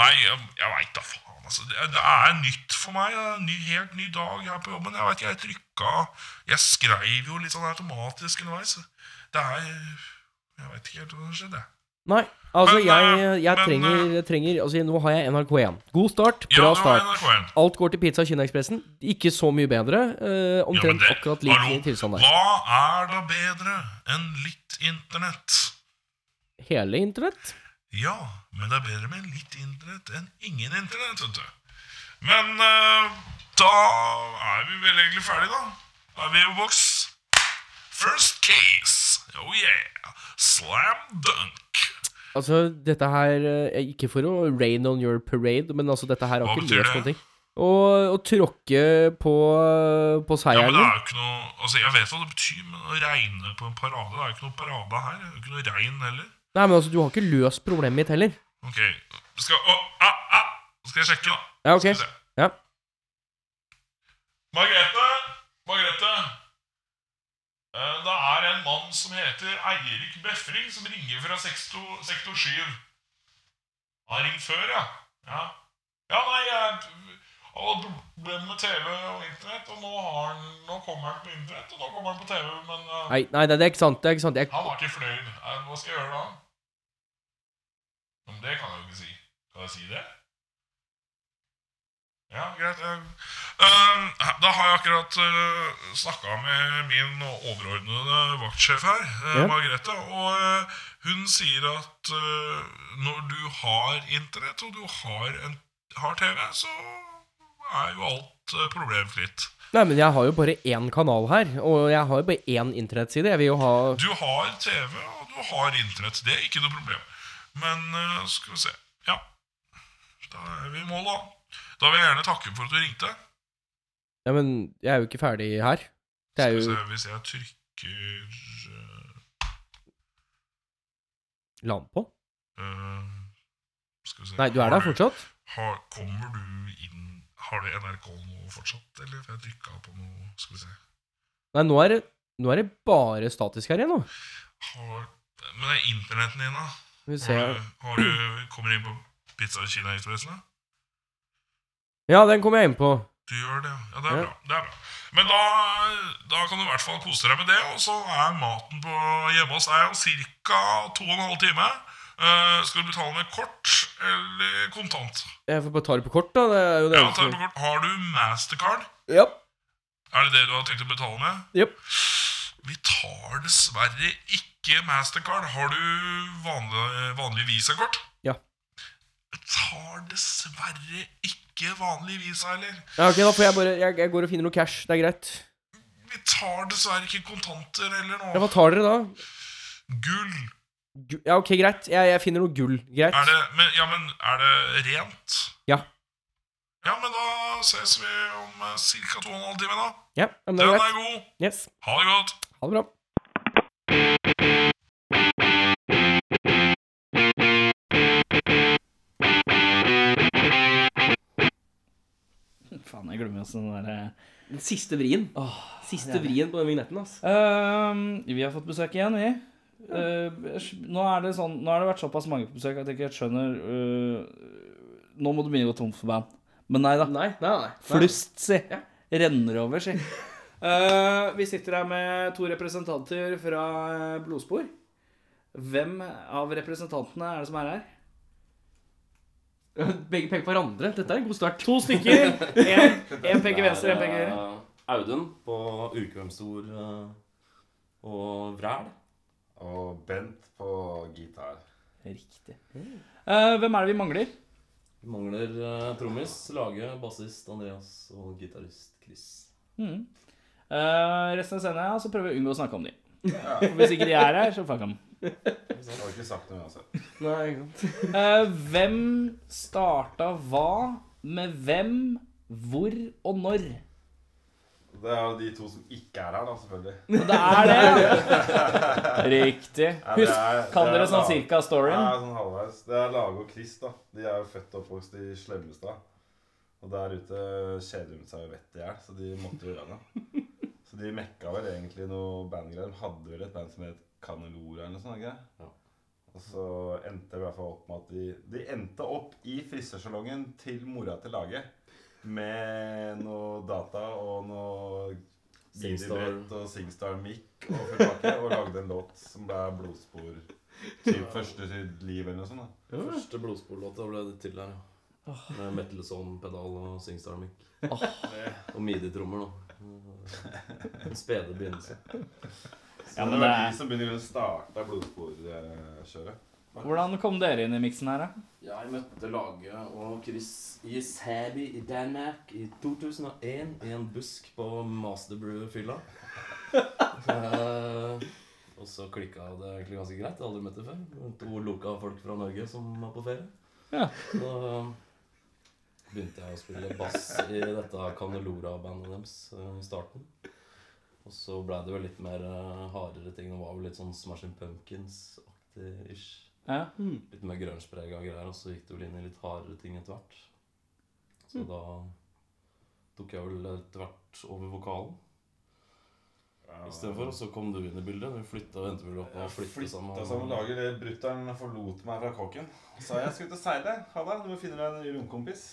[SPEAKER 1] Nei, jeg, jeg veit da faen. altså. Det, det er nytt for meg. Det er en ny, helt ny dag her på jobben. Jeg vet ikke, jeg trykka Jeg skreiv jo litt sånn automatisk underveis. Det er Jeg veit ikke helt hva som skjedde. jeg.
[SPEAKER 3] Nei. Altså,
[SPEAKER 1] Men,
[SPEAKER 3] jeg,
[SPEAKER 1] eh,
[SPEAKER 3] jeg
[SPEAKER 1] men,
[SPEAKER 3] trenger, jeg trenger Altså, nå har jeg NRK1. God start,
[SPEAKER 1] Ja,
[SPEAKER 3] bra
[SPEAKER 1] det var
[SPEAKER 3] start.
[SPEAKER 1] NRK1.
[SPEAKER 3] Alt går til Pizza Kina-ekspressen. Ikke så mye bedre. eh,
[SPEAKER 1] Ja, men
[SPEAKER 3] omtrent
[SPEAKER 1] det-
[SPEAKER 3] akkurat lik
[SPEAKER 1] hallo,
[SPEAKER 3] i tilstand der.
[SPEAKER 1] Hva er da bedre enn litt internett?
[SPEAKER 3] Hele internett?
[SPEAKER 1] Ja, men det er bedre med litt internett enn ingen internett, vet du. Men eh, da er vi vel egentlig ferdige, da. Da er vi i boks. First case. Oh yeah. Slam dunk.
[SPEAKER 3] Altså, dette her eh, Ikke for å rain on your parade, men altså, dette her har
[SPEAKER 1] Hva
[SPEAKER 3] ikke
[SPEAKER 1] betyr
[SPEAKER 3] løst
[SPEAKER 1] det?
[SPEAKER 3] noen ting. Å å tråkke på, på
[SPEAKER 1] Ja,
[SPEAKER 3] seieren.
[SPEAKER 1] men det er jo ikke noe Altså, Jeg vet hva det betyr, men å regne på en parade Det er jo ikke noe parade her. Det er jo ikke noe regn heller.
[SPEAKER 3] Nei, men altså, du har ikke løst problemet mitt heller.
[SPEAKER 1] Ok. Skal, å, ah, ah. Skal jeg sjekke, da?
[SPEAKER 3] Ja, ok.
[SPEAKER 1] Skal vi se.
[SPEAKER 3] Ja.
[SPEAKER 1] Margrethe! Margrethe! Eh, Det er en mann som heter Eirik Befring, som ringer fra sektor, sektor 7. Han har ringt før, ja. Ja, ja nei, jeg han hadde problemer med TV og internett, og nå, har han, nå kommer han på internett, og nå kommer han på TV, men eh,
[SPEAKER 3] Nei, nei, nei, det er ikke sant. Det er ikke sant. Jeg,
[SPEAKER 1] han var ikke fløyd. Eh, Hva skal jeg gjøre da? Men det kan jeg jo ikke si. Kan jeg si det? Ja, greit. eh. Ehm, da har jeg akkurat uh, snakka med min overordnede vaktsjef her, eh,
[SPEAKER 3] Ja.
[SPEAKER 1] Margrethe. Og eh, hun sier at eh, når du har internett og du har, en, har TV, så er jo alt eh, problemfritt.
[SPEAKER 3] Nei, men jeg har jo bare én kanal her, og jeg har jo bare én internettside. Jeg vil jo ha
[SPEAKER 1] Du har TV, og du har internett. Det er ikke noe problem. Men eh, skal vi se Ja. Da er vi i mål, da. Da vil jeg gjerne takke for at du ringte.
[SPEAKER 3] Ja, men jeg er jo ikke ferdig her. Det er jo
[SPEAKER 1] Skal vi se, hvis jeg trykker
[SPEAKER 3] land på.
[SPEAKER 1] eh, Skal vi se
[SPEAKER 3] Nei, du er
[SPEAKER 1] har
[SPEAKER 3] der fortsatt?
[SPEAKER 1] Har, kommer du inn Har du NRK nå fortsatt, eller? For jeg trykka på noe Skal vi se
[SPEAKER 3] Nei, nå er det, nå er det bare statisk her igjen, nå.
[SPEAKER 1] har, Men det er internetten din, da.
[SPEAKER 3] Skal vi se
[SPEAKER 1] Har du, har du Kommer du inn på Pizza Kina-ekspressen, da?
[SPEAKER 3] Ja, den kom jeg inn på.
[SPEAKER 1] Du gjør det, ja. ja. Det er
[SPEAKER 3] Ja.
[SPEAKER 1] bra. det er bra Men da, da kan du i hvert fall kose deg med det. Og så er maten på hjemme hos deg om ca. 2 12 timer. Eh, skal du betale med kort eller kontant?
[SPEAKER 3] Jeg får bare ta det på kort, da. Det er jo det
[SPEAKER 1] Ja,
[SPEAKER 3] eneste-
[SPEAKER 1] ta det med kort. Har du Mastercard?
[SPEAKER 3] Ja.
[SPEAKER 1] Er det det du har tenkt å betale med?
[SPEAKER 3] Jep.
[SPEAKER 1] Vi tar dessverre ikke Mastercard. Har du vanlig, vanlig visakort?
[SPEAKER 3] Ja.
[SPEAKER 1] Vi tar dessverre ikke vanlig visa heller.
[SPEAKER 3] ja. Ok, da får jeg bare jeg, jeg går og finner noe cash. Det er greit.
[SPEAKER 1] Vi tar dessverre ikke kontanter heller
[SPEAKER 3] Ja,
[SPEAKER 1] nå.
[SPEAKER 3] hva tar dere da?
[SPEAKER 1] Gull.
[SPEAKER 3] Gu- Ja, ok, greit. Jeg, jeg finner noe gull. Greit.
[SPEAKER 1] Er det, men, ja, men er det rent?
[SPEAKER 3] Ja.
[SPEAKER 1] Ja, men da ses vi om eh, ca. 2 12 timer, da.
[SPEAKER 3] Ja, men det
[SPEAKER 1] Den
[SPEAKER 3] er
[SPEAKER 1] er
[SPEAKER 3] greit.
[SPEAKER 1] god.
[SPEAKER 3] Yes.
[SPEAKER 1] Ha det godt.
[SPEAKER 3] Ha det bra.
[SPEAKER 4] Faen, jeg glemmer oss den eh, derre
[SPEAKER 3] Den siste vrien. Siste vrien på den vignetten, ass.
[SPEAKER 4] Ehm, vi har fått besøk igjen, vi. Eh, nå, er det sånn, nå har det vært såpass mange på besøk at jeg ikke helt skjønner eh, Nå må du begynne å gå tom for band. Men nei da.
[SPEAKER 3] Nei, nei, nei.
[SPEAKER 4] Flust, si. Renner over, si. *laughs* Eh, vi sitter her med to representanter fra eh, Blodspor. Hvem av representantene er det som er her?
[SPEAKER 3] Begge peker på hverandre. Dette er en god start.
[SPEAKER 4] To
[SPEAKER 3] *laughs*
[SPEAKER 4] stykker. Én peker venstre, én
[SPEAKER 5] Det
[SPEAKER 4] peker
[SPEAKER 5] er,
[SPEAKER 4] høyre.
[SPEAKER 5] eh, Audun på ukvemsord eh, og vræl.
[SPEAKER 6] Og Bent på gitar.
[SPEAKER 4] Riktig. Eh, hvem er det vi mangler?
[SPEAKER 5] Vi Mangler eh, trommis, lage, bassist Andreas og gitarist Chris.
[SPEAKER 4] Eh, resten av scenen, ja, så prøver vi å unngå å snakke om de. For hvis ikke de er her, så fuck dem.
[SPEAKER 6] Jeg har ikke sagt noe uansett.
[SPEAKER 3] Nei, ikke sant.
[SPEAKER 4] Eh, hvem starta hva, med hvem, hvor og når?
[SPEAKER 6] Det er jo de to som ikke er her, da, selvfølgelig.
[SPEAKER 4] Og det er det! Riktig.
[SPEAKER 6] Ja, det er-
[SPEAKER 4] Husk, kan
[SPEAKER 6] det er
[SPEAKER 4] dere sånn
[SPEAKER 6] lav.
[SPEAKER 4] cirka
[SPEAKER 6] Det
[SPEAKER 4] storyen?
[SPEAKER 6] er sånn halvveis. Det er Lage og Chris, da. De er jo født og oppvokst i Slemmestad. Og der ute kjeder de seg jo vettet i hjel, så de måtte gjøre noe. Så de mekka vel egentlig noe bandgreier. De hadde vel et band som het Canelora eller noe sånt. ikke
[SPEAKER 5] Ja.
[SPEAKER 6] det? Og så endte det i hvert fall opp med at de De endte opp i frisørsalongen til mora til Lage. Med noe data og noe
[SPEAKER 5] Singstar.
[SPEAKER 6] Singstar og Singstar Mic og full pakke, og lagde en låt som ble blodspor. Typ første sitt liv eller noe sånt. da.
[SPEAKER 5] Første blodsporlåta ble det til her, ja. Med metal-son-pedal og singstar-mic. Og midi-trommer, da. En spede begynnelse.
[SPEAKER 6] Så
[SPEAKER 4] Ja, men
[SPEAKER 6] det var
[SPEAKER 4] det er-
[SPEAKER 6] de som begynner å starte blodsporkjøret.
[SPEAKER 4] Hvordan kom dere inn i miksen her, da?
[SPEAKER 5] Jeg møtte Lage og Chris i Sæby i Danmark i 2001 i en busk på Masterbrew-fylla. Eh, og så klikka det egentlig ganske greit. Jeg har aldri møtt det før. To lukka folk fra Norge som var på ferie.
[SPEAKER 4] Ja.
[SPEAKER 5] Så eh, begynte jeg å spille bass i dette Canelora-bandet deres eh, i starten. Og så blei det vel litt mer eh, hardere ting. Det var jo litt sånn Smashing Pumpkins-aktig ish
[SPEAKER 4] Ja.
[SPEAKER 5] litt mer grønsjprega greier, og så gikk det vel inn i litt hardere ting etter hvert. Så da tok jeg vel etter hvert over vokalen А, istedenfor, og så kom du inn i bildet. Vi flytta og endte vel opp og flytta sammen.
[SPEAKER 6] Flytta sammen lager det brutter'n forlot meg fra kåken. Sa jeg skulle ut og seile. Ha det. Du må finne deg en ny romkompis.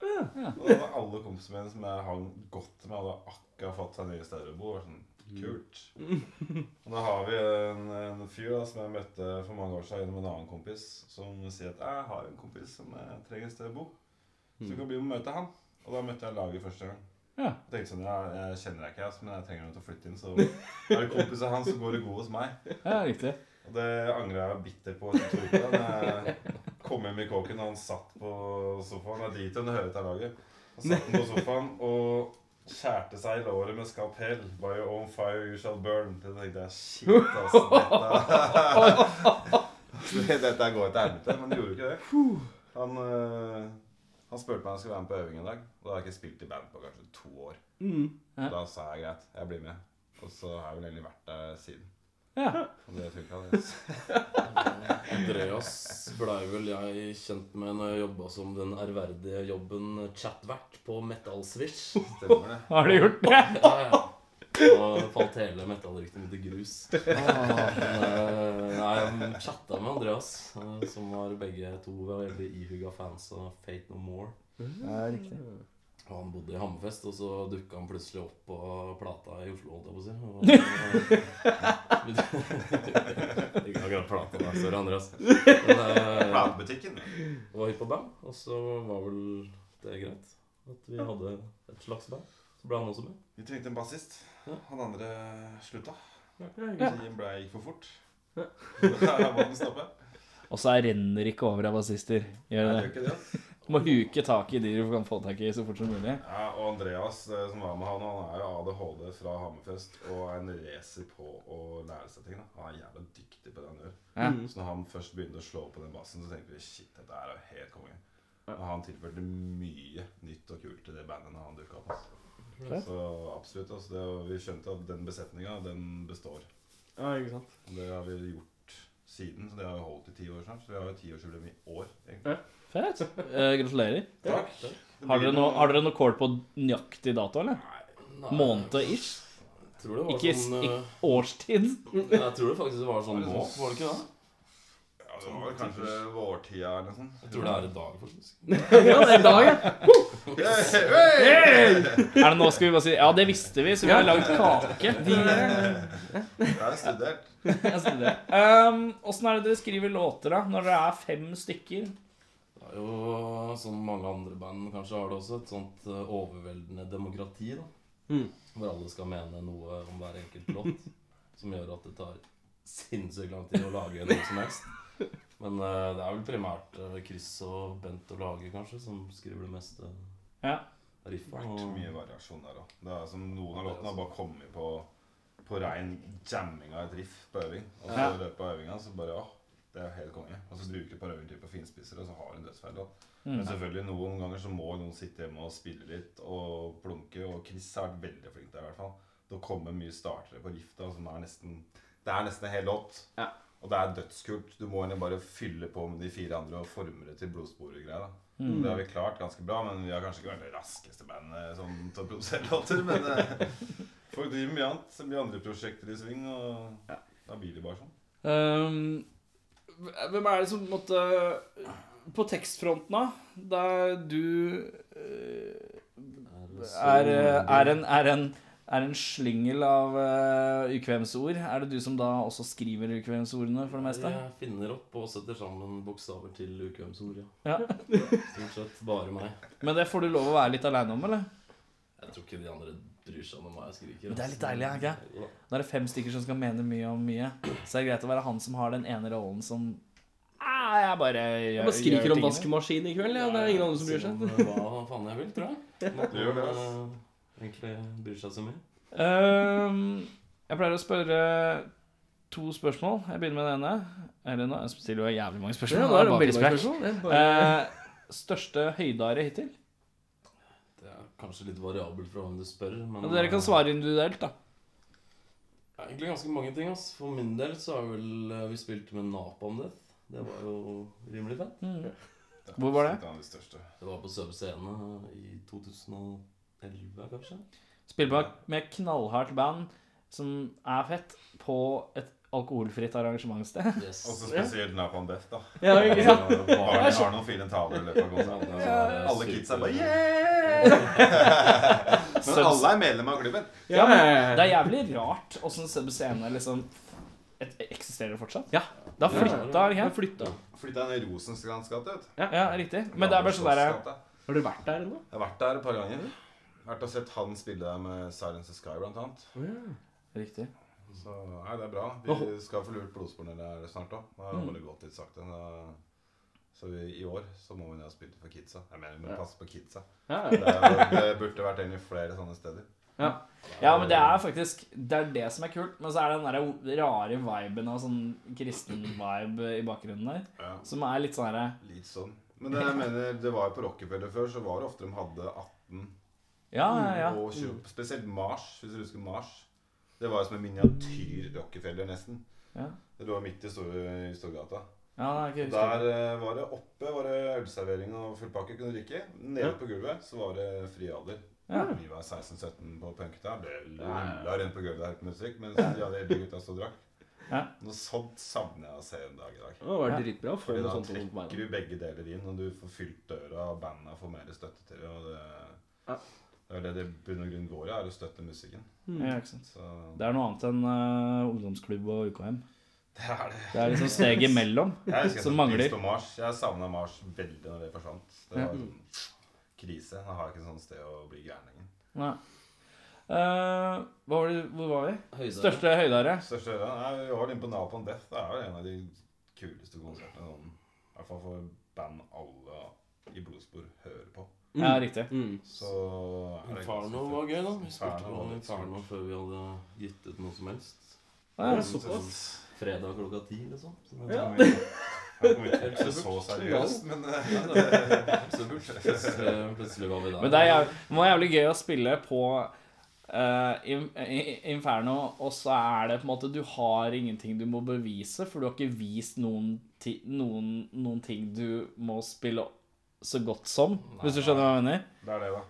[SPEAKER 4] ja.
[SPEAKER 6] Og det var alle kompisene mine som jeg hang godt med, hadde akkurat fått seg nye steder å bo. Det var Sånn,
[SPEAKER 5] Mm.
[SPEAKER 6] kult. Og da har vi en, en fyr da, som jeg møtte for mange år siden gjennom en annen kompis, som sier at jeg har en kompis som eh, trenger et sted å bo. Så du kan bli med og møte han. Og da møtte jeg laget første gang.
[SPEAKER 2] Ja.
[SPEAKER 6] Jeg tenkte sånn, ja, jeg kjenner deg ikke, ass, men jeg trenger noen til å flytte inn. Så er det kompiser hans, så går det god hos meg.
[SPEAKER 2] Ja, riktig.
[SPEAKER 6] Og det angrer jeg bitter på. etter to uker, da jeg kom hjem i kåken, og han satt på sofaen. Jeg driter i om du hører dette laget. Han satt på sofaen og skjærte seg i låret med skalpell. By your own fire you shall burn. Det tenkte jeg, shit, ass. Dette, *laughs* dette går til helvete, men det gjorde jo ikke det. Han... øh, han spurte meg om jeg skulle være med på øving en dag. Og da har jeg ikke spilt i band på kanskje to år.
[SPEAKER 2] ja.
[SPEAKER 6] Da sa jeg greit, jeg blir med. Og så har jeg vel egentlig vært der siden.
[SPEAKER 2] Ja.
[SPEAKER 6] Og det funka, det.
[SPEAKER 5] Andreas blei vel jeg kjent med når jeg jobba som den ærverdige jobben chatvert på Metallswitch.
[SPEAKER 6] Stemmer det.
[SPEAKER 2] Har du gjort det?
[SPEAKER 5] Ja, ja. Da falt hele metallryktet mitt i grus.
[SPEAKER 2] *laughs* Ah.
[SPEAKER 5] Men, eh, Nei, jeg chatta med Andreas, eh, som var begge to veldig ihuga fans av Fate No More.
[SPEAKER 2] Ja, riktig.
[SPEAKER 5] Og han bodde i Hammerfest, og så dukka han plutselig opp på plata i Oslo, holdt
[SPEAKER 2] *laughs*
[SPEAKER 5] jeg på å si. Og- Ikke akkurat plata, da. Sorry, Andreas. Men, eh,
[SPEAKER 6] Platebutikken.
[SPEAKER 5] var hypp på band, og så var vel det greit. At vi hadde et slags band. Så ble han også med.
[SPEAKER 6] Vi trengte en bassist. Han andre slutta.
[SPEAKER 3] Ja.
[SPEAKER 6] De ble, gikk for fort. Da må den stoppe.
[SPEAKER 2] Og så jeg renner ikke over av bassister. Gjør
[SPEAKER 6] Jeg
[SPEAKER 2] det.
[SPEAKER 6] gjør ikke det. ass.
[SPEAKER 2] Du må huke tak i de du kan få tak i så fort som mulig.
[SPEAKER 6] Ja, og Andreas eh, som var med han, han er jo ADHD fra Hammerfest og er en racer på å lære seg ting. da. Han er jævla dyktig på det han gjør.
[SPEAKER 2] Ja.
[SPEAKER 6] Så når han først begynte å slå på den bassen, så tenkte vi shit, dette her er jo helt konge. Og han tilførte mye nytt og kult til det bandet når han dukka opp. Altså. Så absolutt. Altså, det, og vi skjønte at den besetninga, den består.
[SPEAKER 3] ja, ikke sant.
[SPEAKER 6] Og Det har vi gjort siden, så det har vi holdt i ti år snart. Så vi har jo tiårsjubileum i år, egentlig.
[SPEAKER 2] Fett. Eh, gratulerer.
[SPEAKER 6] Takk. Det
[SPEAKER 2] Har
[SPEAKER 6] blir
[SPEAKER 2] dere noe, har dere noe kål på nøyaktig dato, eller?
[SPEAKER 5] Nei,
[SPEAKER 2] Måned-ish?
[SPEAKER 5] Jeg tror det var
[SPEAKER 2] Ikke, s-
[SPEAKER 5] sånn eh,
[SPEAKER 2] ikke årstid?
[SPEAKER 5] Jeg tror det faktisk var sånn nå.
[SPEAKER 6] sånn-
[SPEAKER 5] Var det ikke det?
[SPEAKER 6] Ja, det var kanskje vårtida eller noe sånt.
[SPEAKER 5] Jeg tror det er i dag, faktisk.
[SPEAKER 3] Ja, det er dag, ja.
[SPEAKER 2] Er det nå skal vi bare si Ja, det visste vi, så vi har lagd kake.
[SPEAKER 3] *laughs*
[SPEAKER 6] Jeg har studert.
[SPEAKER 2] Jeg sier det. Ehm, Åssen er det dere skriver låter, da? Når dere er fem stykker?
[SPEAKER 5] Det er jo, som mange andre band kanskje har det også, et sånt eh, overveldende demokrati, da.
[SPEAKER 3] Mm.
[SPEAKER 5] Hvor alle skal mene noe om hver enkelt
[SPEAKER 2] *laughs*
[SPEAKER 5] låt. Som gjør at det tar sinnssykt lang tid å lage noe som helst. Men eh, det er vel primært eh, Chris og Bent og Lage, kanskje, som skriver det meste
[SPEAKER 2] Ja.
[SPEAKER 5] riffet.
[SPEAKER 6] vært
[SPEAKER 5] og-
[SPEAKER 6] mye variasjon der òg. Det er som noen av låtene har bare kommet på På rein jamming av et riff på øving. Og så
[SPEAKER 2] Ja.
[SPEAKER 6] i løpet av øvinga så bare ja, det er helt konge. Og så bruker du et par øvinger til på finspisser, og så har du en dødsfeil. Da. Men selvfølgelig, noen ganger så må noen sitte hjemme og spille litt og plunke, og Chris har vært veldig flink der, i hvert fall. Det kommer mye startere på rifta som er nesten Det er nesten en hel låt.
[SPEAKER 3] Ja.
[SPEAKER 6] Og det er dødskult. Du må egentlig bare fylle på med de fire andre og forme det til blodsporegreier. da. Det har vi klart ganske bra, men vi har kanskje ikke vært det raskeste bandet sånn, til å produsere låter. Men eh, folk driver mye annet. Så blir andre prosjekter i sving, og da blir det bare sånn.
[SPEAKER 4] Ehm, hvem er det som måtte På tekstfronten, da? Der du eh, er, er, en, er, en, er en slyngel av eh, ukvemsord. Er det du som da også skriver ukvemsordene for det meste?
[SPEAKER 5] Jeg finner opp og setter sammen bokstaver til ukvemsord,
[SPEAKER 2] Ja.
[SPEAKER 5] Stort sett bare meg.
[SPEAKER 2] Men det får du lov å være litt aleine om, eller?
[SPEAKER 5] Jeg tror ikke de andre bryr seg om hva jeg skriker.
[SPEAKER 2] Men det er litt
[SPEAKER 5] altså.
[SPEAKER 2] deilig, er det ikke?
[SPEAKER 5] Jo da.
[SPEAKER 2] Da er det fem stykker som skal mene mye om mye. Så er det greit å være han som har den ene rollen som ah, Jeg bare gjør,
[SPEAKER 3] Jeg bare skriker om
[SPEAKER 2] tingene.
[SPEAKER 3] vaskemaskin i kveld, ja. Det er ingen andre som bryr
[SPEAKER 5] Si
[SPEAKER 3] seg.
[SPEAKER 5] om, eh, Hva faen jeg vil, tror jeg.
[SPEAKER 6] Du gjør det, ass.
[SPEAKER 5] eh, egentlig bryr seg så mye.
[SPEAKER 2] Ehm, jeg pleier å spørre to spørsmål. Jeg begynner med det ene. Eller nå jeg stiller jo jævlig mange spørsmål.
[SPEAKER 3] Ja, nå
[SPEAKER 2] det
[SPEAKER 3] er
[SPEAKER 2] er
[SPEAKER 3] det
[SPEAKER 2] bare
[SPEAKER 3] veldig mange
[SPEAKER 2] tidsbrekk.
[SPEAKER 3] spørsmål. Det er bare...
[SPEAKER 2] Eh, største høydare hittil?
[SPEAKER 5] Det er kanskje litt variabelt fra hvem du spør. Men, eh,
[SPEAKER 2] Men dere kan svare individuelt, da.
[SPEAKER 5] Det er Egentlig ganske mange ting. ass. For min del så har vel eh, vi spilt med Napalm Death. Det var jo rimelig fett.
[SPEAKER 3] Mm.
[SPEAKER 2] Hvor var det?
[SPEAKER 6] Det er det største.
[SPEAKER 5] Det var på Sør Scene i 2011,
[SPEAKER 4] *laughs*
[SPEAKER 5] kanskje.
[SPEAKER 2] Spille på med knallhardt band som er fett, på et alkoholfritt arrangementssted.
[SPEAKER 5] Yes.
[SPEAKER 6] Og så spesielt Napalm Death, da.
[SPEAKER 3] *laughs* Ja,
[SPEAKER 2] *laughs*
[SPEAKER 3] ikke sant?
[SPEAKER 6] Barney har
[SPEAKER 5] *laughs*
[SPEAKER 6] noen fine taler i *laughs* løpet av konserten. altså. Alle kidsa bare yeah! Men alle er medlem av klubben.
[SPEAKER 3] Ja, ja,
[SPEAKER 2] Det er jævlig rart åssen Sub Scene liksom et, eksisterer fortsatt.
[SPEAKER 3] Ja.
[SPEAKER 2] Da flytta
[SPEAKER 3] Jeg
[SPEAKER 2] ikke?
[SPEAKER 3] flytta.
[SPEAKER 6] Flytta han i Rosenskrans gate, vet du.
[SPEAKER 2] Ja, riktig. Men det er bare sånn derre
[SPEAKER 6] Slottsgata.
[SPEAKER 3] Har dere vært der ennå?
[SPEAKER 6] Jeg har vært der et par ganger. Vært og sett han spille der med Silence of Sky, blant annet.
[SPEAKER 4] Riktig.
[SPEAKER 6] Så nei, det er bra. Vi skal få lurt blodspor når det er snart òg. Det
[SPEAKER 2] Mm.
[SPEAKER 6] har bare gått litt sakte. Så, så vi, i år så må vi ned og spille for kidsa. Jeg mener, vi må passe på kidsa.
[SPEAKER 3] Ja,
[SPEAKER 6] Det, er- det burde vært egentlig flere sånne steder.
[SPEAKER 4] Ja, men det er faktisk Det er det som er kult. Men så er det den der rare viben av sånn kristen vibe i bakgrunnen der.
[SPEAKER 6] Ja.
[SPEAKER 4] Som er litt sånn herre
[SPEAKER 6] Litt sånn. Men det, jeg mener, det var jo på Rockefeller før, så var det ofte de hadde 18
[SPEAKER 4] Ja, ja, ja. Mm.
[SPEAKER 6] og 20. Spesielt Mars, hvis du husker Mars. Det var jo som en miniatyr Rockefeller, nesten.
[SPEAKER 4] Ja.
[SPEAKER 6] Det lå midt i Store, i Storgata.
[SPEAKER 4] ja det er ikke
[SPEAKER 6] Der eh, var det oppe var det ølservering og fullpakke kunne drikke. Nede på gulvet så var det fri alder. Vi var 16-17 på punkta. Ble rulla rundt på gulvet der på musikk mens de hadde eldre gutta stod og drakk.
[SPEAKER 4] Ja.
[SPEAKER 6] Noe sånt savner jeg å se en dag i dag.
[SPEAKER 3] Det har vært dritbra. å Få
[SPEAKER 6] Fordi
[SPEAKER 3] noe
[SPEAKER 6] da
[SPEAKER 3] sånt rundt meg.
[SPEAKER 6] trekker vi begge deler inn, og du får fylt døra, og banda får mer støtte til det. Og det,
[SPEAKER 3] Ja.
[SPEAKER 6] det er det det i bunn og grunn går i, er å støtte musikken.
[SPEAKER 3] Mm.
[SPEAKER 4] Ja, ikke sant.
[SPEAKER 6] Så
[SPEAKER 4] Det er noe annet enn eh, ungdomsklubb og UKM.
[SPEAKER 6] det er det.
[SPEAKER 4] Det er liksom steget imellom
[SPEAKER 6] Jeg husker jeg
[SPEAKER 4] som
[SPEAKER 6] satte pris
[SPEAKER 4] mangler.
[SPEAKER 6] på Mars. Jeg savna Mars veldig når det forsvant. Det var sånn krise. Da har jeg ikke et sånt sted å bli gæren lenger.
[SPEAKER 4] Nei. Eh, hva var det, hvor var vi?
[SPEAKER 5] Høydere.
[SPEAKER 4] Største høydare?
[SPEAKER 6] Største øra er vi var inne på Napalm Death. Det er jo en av de kuleste konsertene noen, i hvert fall for band alle i blodspor hører på.
[SPEAKER 4] Ja, riktig.
[SPEAKER 3] Mm.
[SPEAKER 6] Så er det
[SPEAKER 5] Inferno var gøy, da. Vi spilte
[SPEAKER 6] Inferno var
[SPEAKER 5] om
[SPEAKER 6] litt
[SPEAKER 5] Inferno før vi hadde gitt ut noe som helst.
[SPEAKER 4] Ja,
[SPEAKER 3] Ja,
[SPEAKER 5] Så
[SPEAKER 3] såpass.
[SPEAKER 5] Fredag klokka ti, *laughs* liksom. Så det
[SPEAKER 6] Ja. Jeg kommer ikke til å se så seriøst, men eh,
[SPEAKER 5] Nei, det var absurd. Plutselig, plutselig var vi der.
[SPEAKER 4] Men det er jæv- det var jævlig gøy å spille på eh, Im- I- Inferno, og så er det på en måte Du har ingenting du må bevise, for du har ikke vist noen, ti, noen, noen ting du må spille så godt som, hvis du skjønner hva jeg mener?
[SPEAKER 6] det er det, da.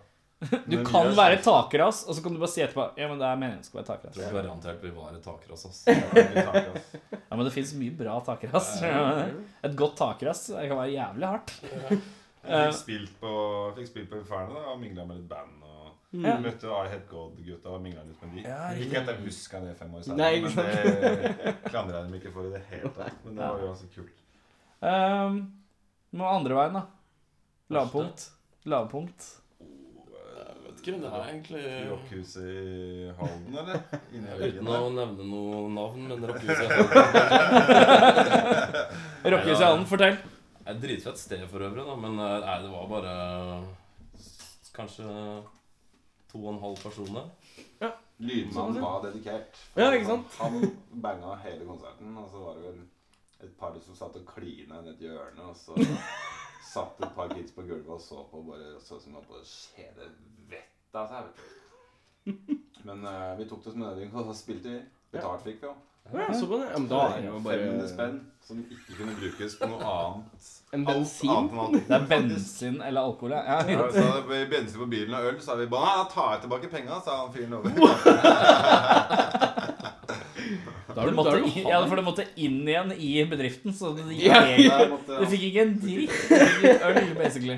[SPEAKER 4] Du kan være takeras, og så kan du bare si etterpå Ja, men det er meningen skal være
[SPEAKER 5] Jeg sånn. tror
[SPEAKER 4] takeras.
[SPEAKER 5] garantert vi var et takeras, ass.
[SPEAKER 6] Nei,
[SPEAKER 4] Ja, men det fins mye bra takeras. Et godt takeras det kan være jævlig hardt.
[SPEAKER 6] Jeg fikk spilt på, fikk spilt på Inferno da, og mingla med litt band. Og
[SPEAKER 4] Ja.
[SPEAKER 6] møtte I Had God-gutta og mingla litt med de. ikke at jeg huska det fem år
[SPEAKER 3] Nei,
[SPEAKER 6] senere,
[SPEAKER 3] ikke
[SPEAKER 6] men det klandrer jeg dem ikke for i det hele tatt. Men det var jo ganske kult.
[SPEAKER 4] Um, men andre veien, da. Lavpunkt. Lavpunkt.
[SPEAKER 5] Jeg vet ikke, men det er egentlig
[SPEAKER 6] Rockhuset i Halden, eller? Inni veggen
[SPEAKER 5] Uten å
[SPEAKER 6] der.
[SPEAKER 5] nevne noe navn, men rockehuset i Halden
[SPEAKER 4] Rockehuset i Hallen, fortell.
[SPEAKER 5] er et dritfett sted for øvrig, da, men eh, nei, det var bare s- kanskje to og en halv personer.
[SPEAKER 6] Lydmannen var dedikert.
[SPEAKER 3] Ja, ikke sant?
[SPEAKER 6] *laughs* Han banga hele konserten, og så var det vel et par som satt og klina nedi hjørnet, og så satt et par kids på gulvet og så på, bare så som om på skjede vettet av seg. vet du. Men eh, vi tok det som en øving, og så spilte vi. Betalt fikk vi jo.
[SPEAKER 3] Ja, såpass. Ja, men da er det jo
[SPEAKER 6] 500
[SPEAKER 3] bare
[SPEAKER 6] spenn som ikke kunne brukes på noe annet.
[SPEAKER 3] en
[SPEAKER 6] Alt
[SPEAKER 3] bensin.
[SPEAKER 6] annet
[SPEAKER 4] Det
[SPEAKER 6] enn alkohol,
[SPEAKER 4] er
[SPEAKER 6] *laughs* faktisk.
[SPEAKER 4] bensin eller alkohol, ja. ja.
[SPEAKER 6] Ja, så det ble bensin på bilen og øl, så er vi bare «Nei, Da tar jeg tilbake penga, sa han fyren over.
[SPEAKER 3] Da
[SPEAKER 4] Det
[SPEAKER 3] er du, da
[SPEAKER 4] måtte,
[SPEAKER 3] er du
[SPEAKER 4] i- ja,
[SPEAKER 3] hard.
[SPEAKER 4] for det måtte inn igjen i bedriften, så det gikk
[SPEAKER 3] Ja.
[SPEAKER 4] egentlig
[SPEAKER 6] Der måtte
[SPEAKER 4] Du fikk ikke en dritt. Du fikk litt øl, basically.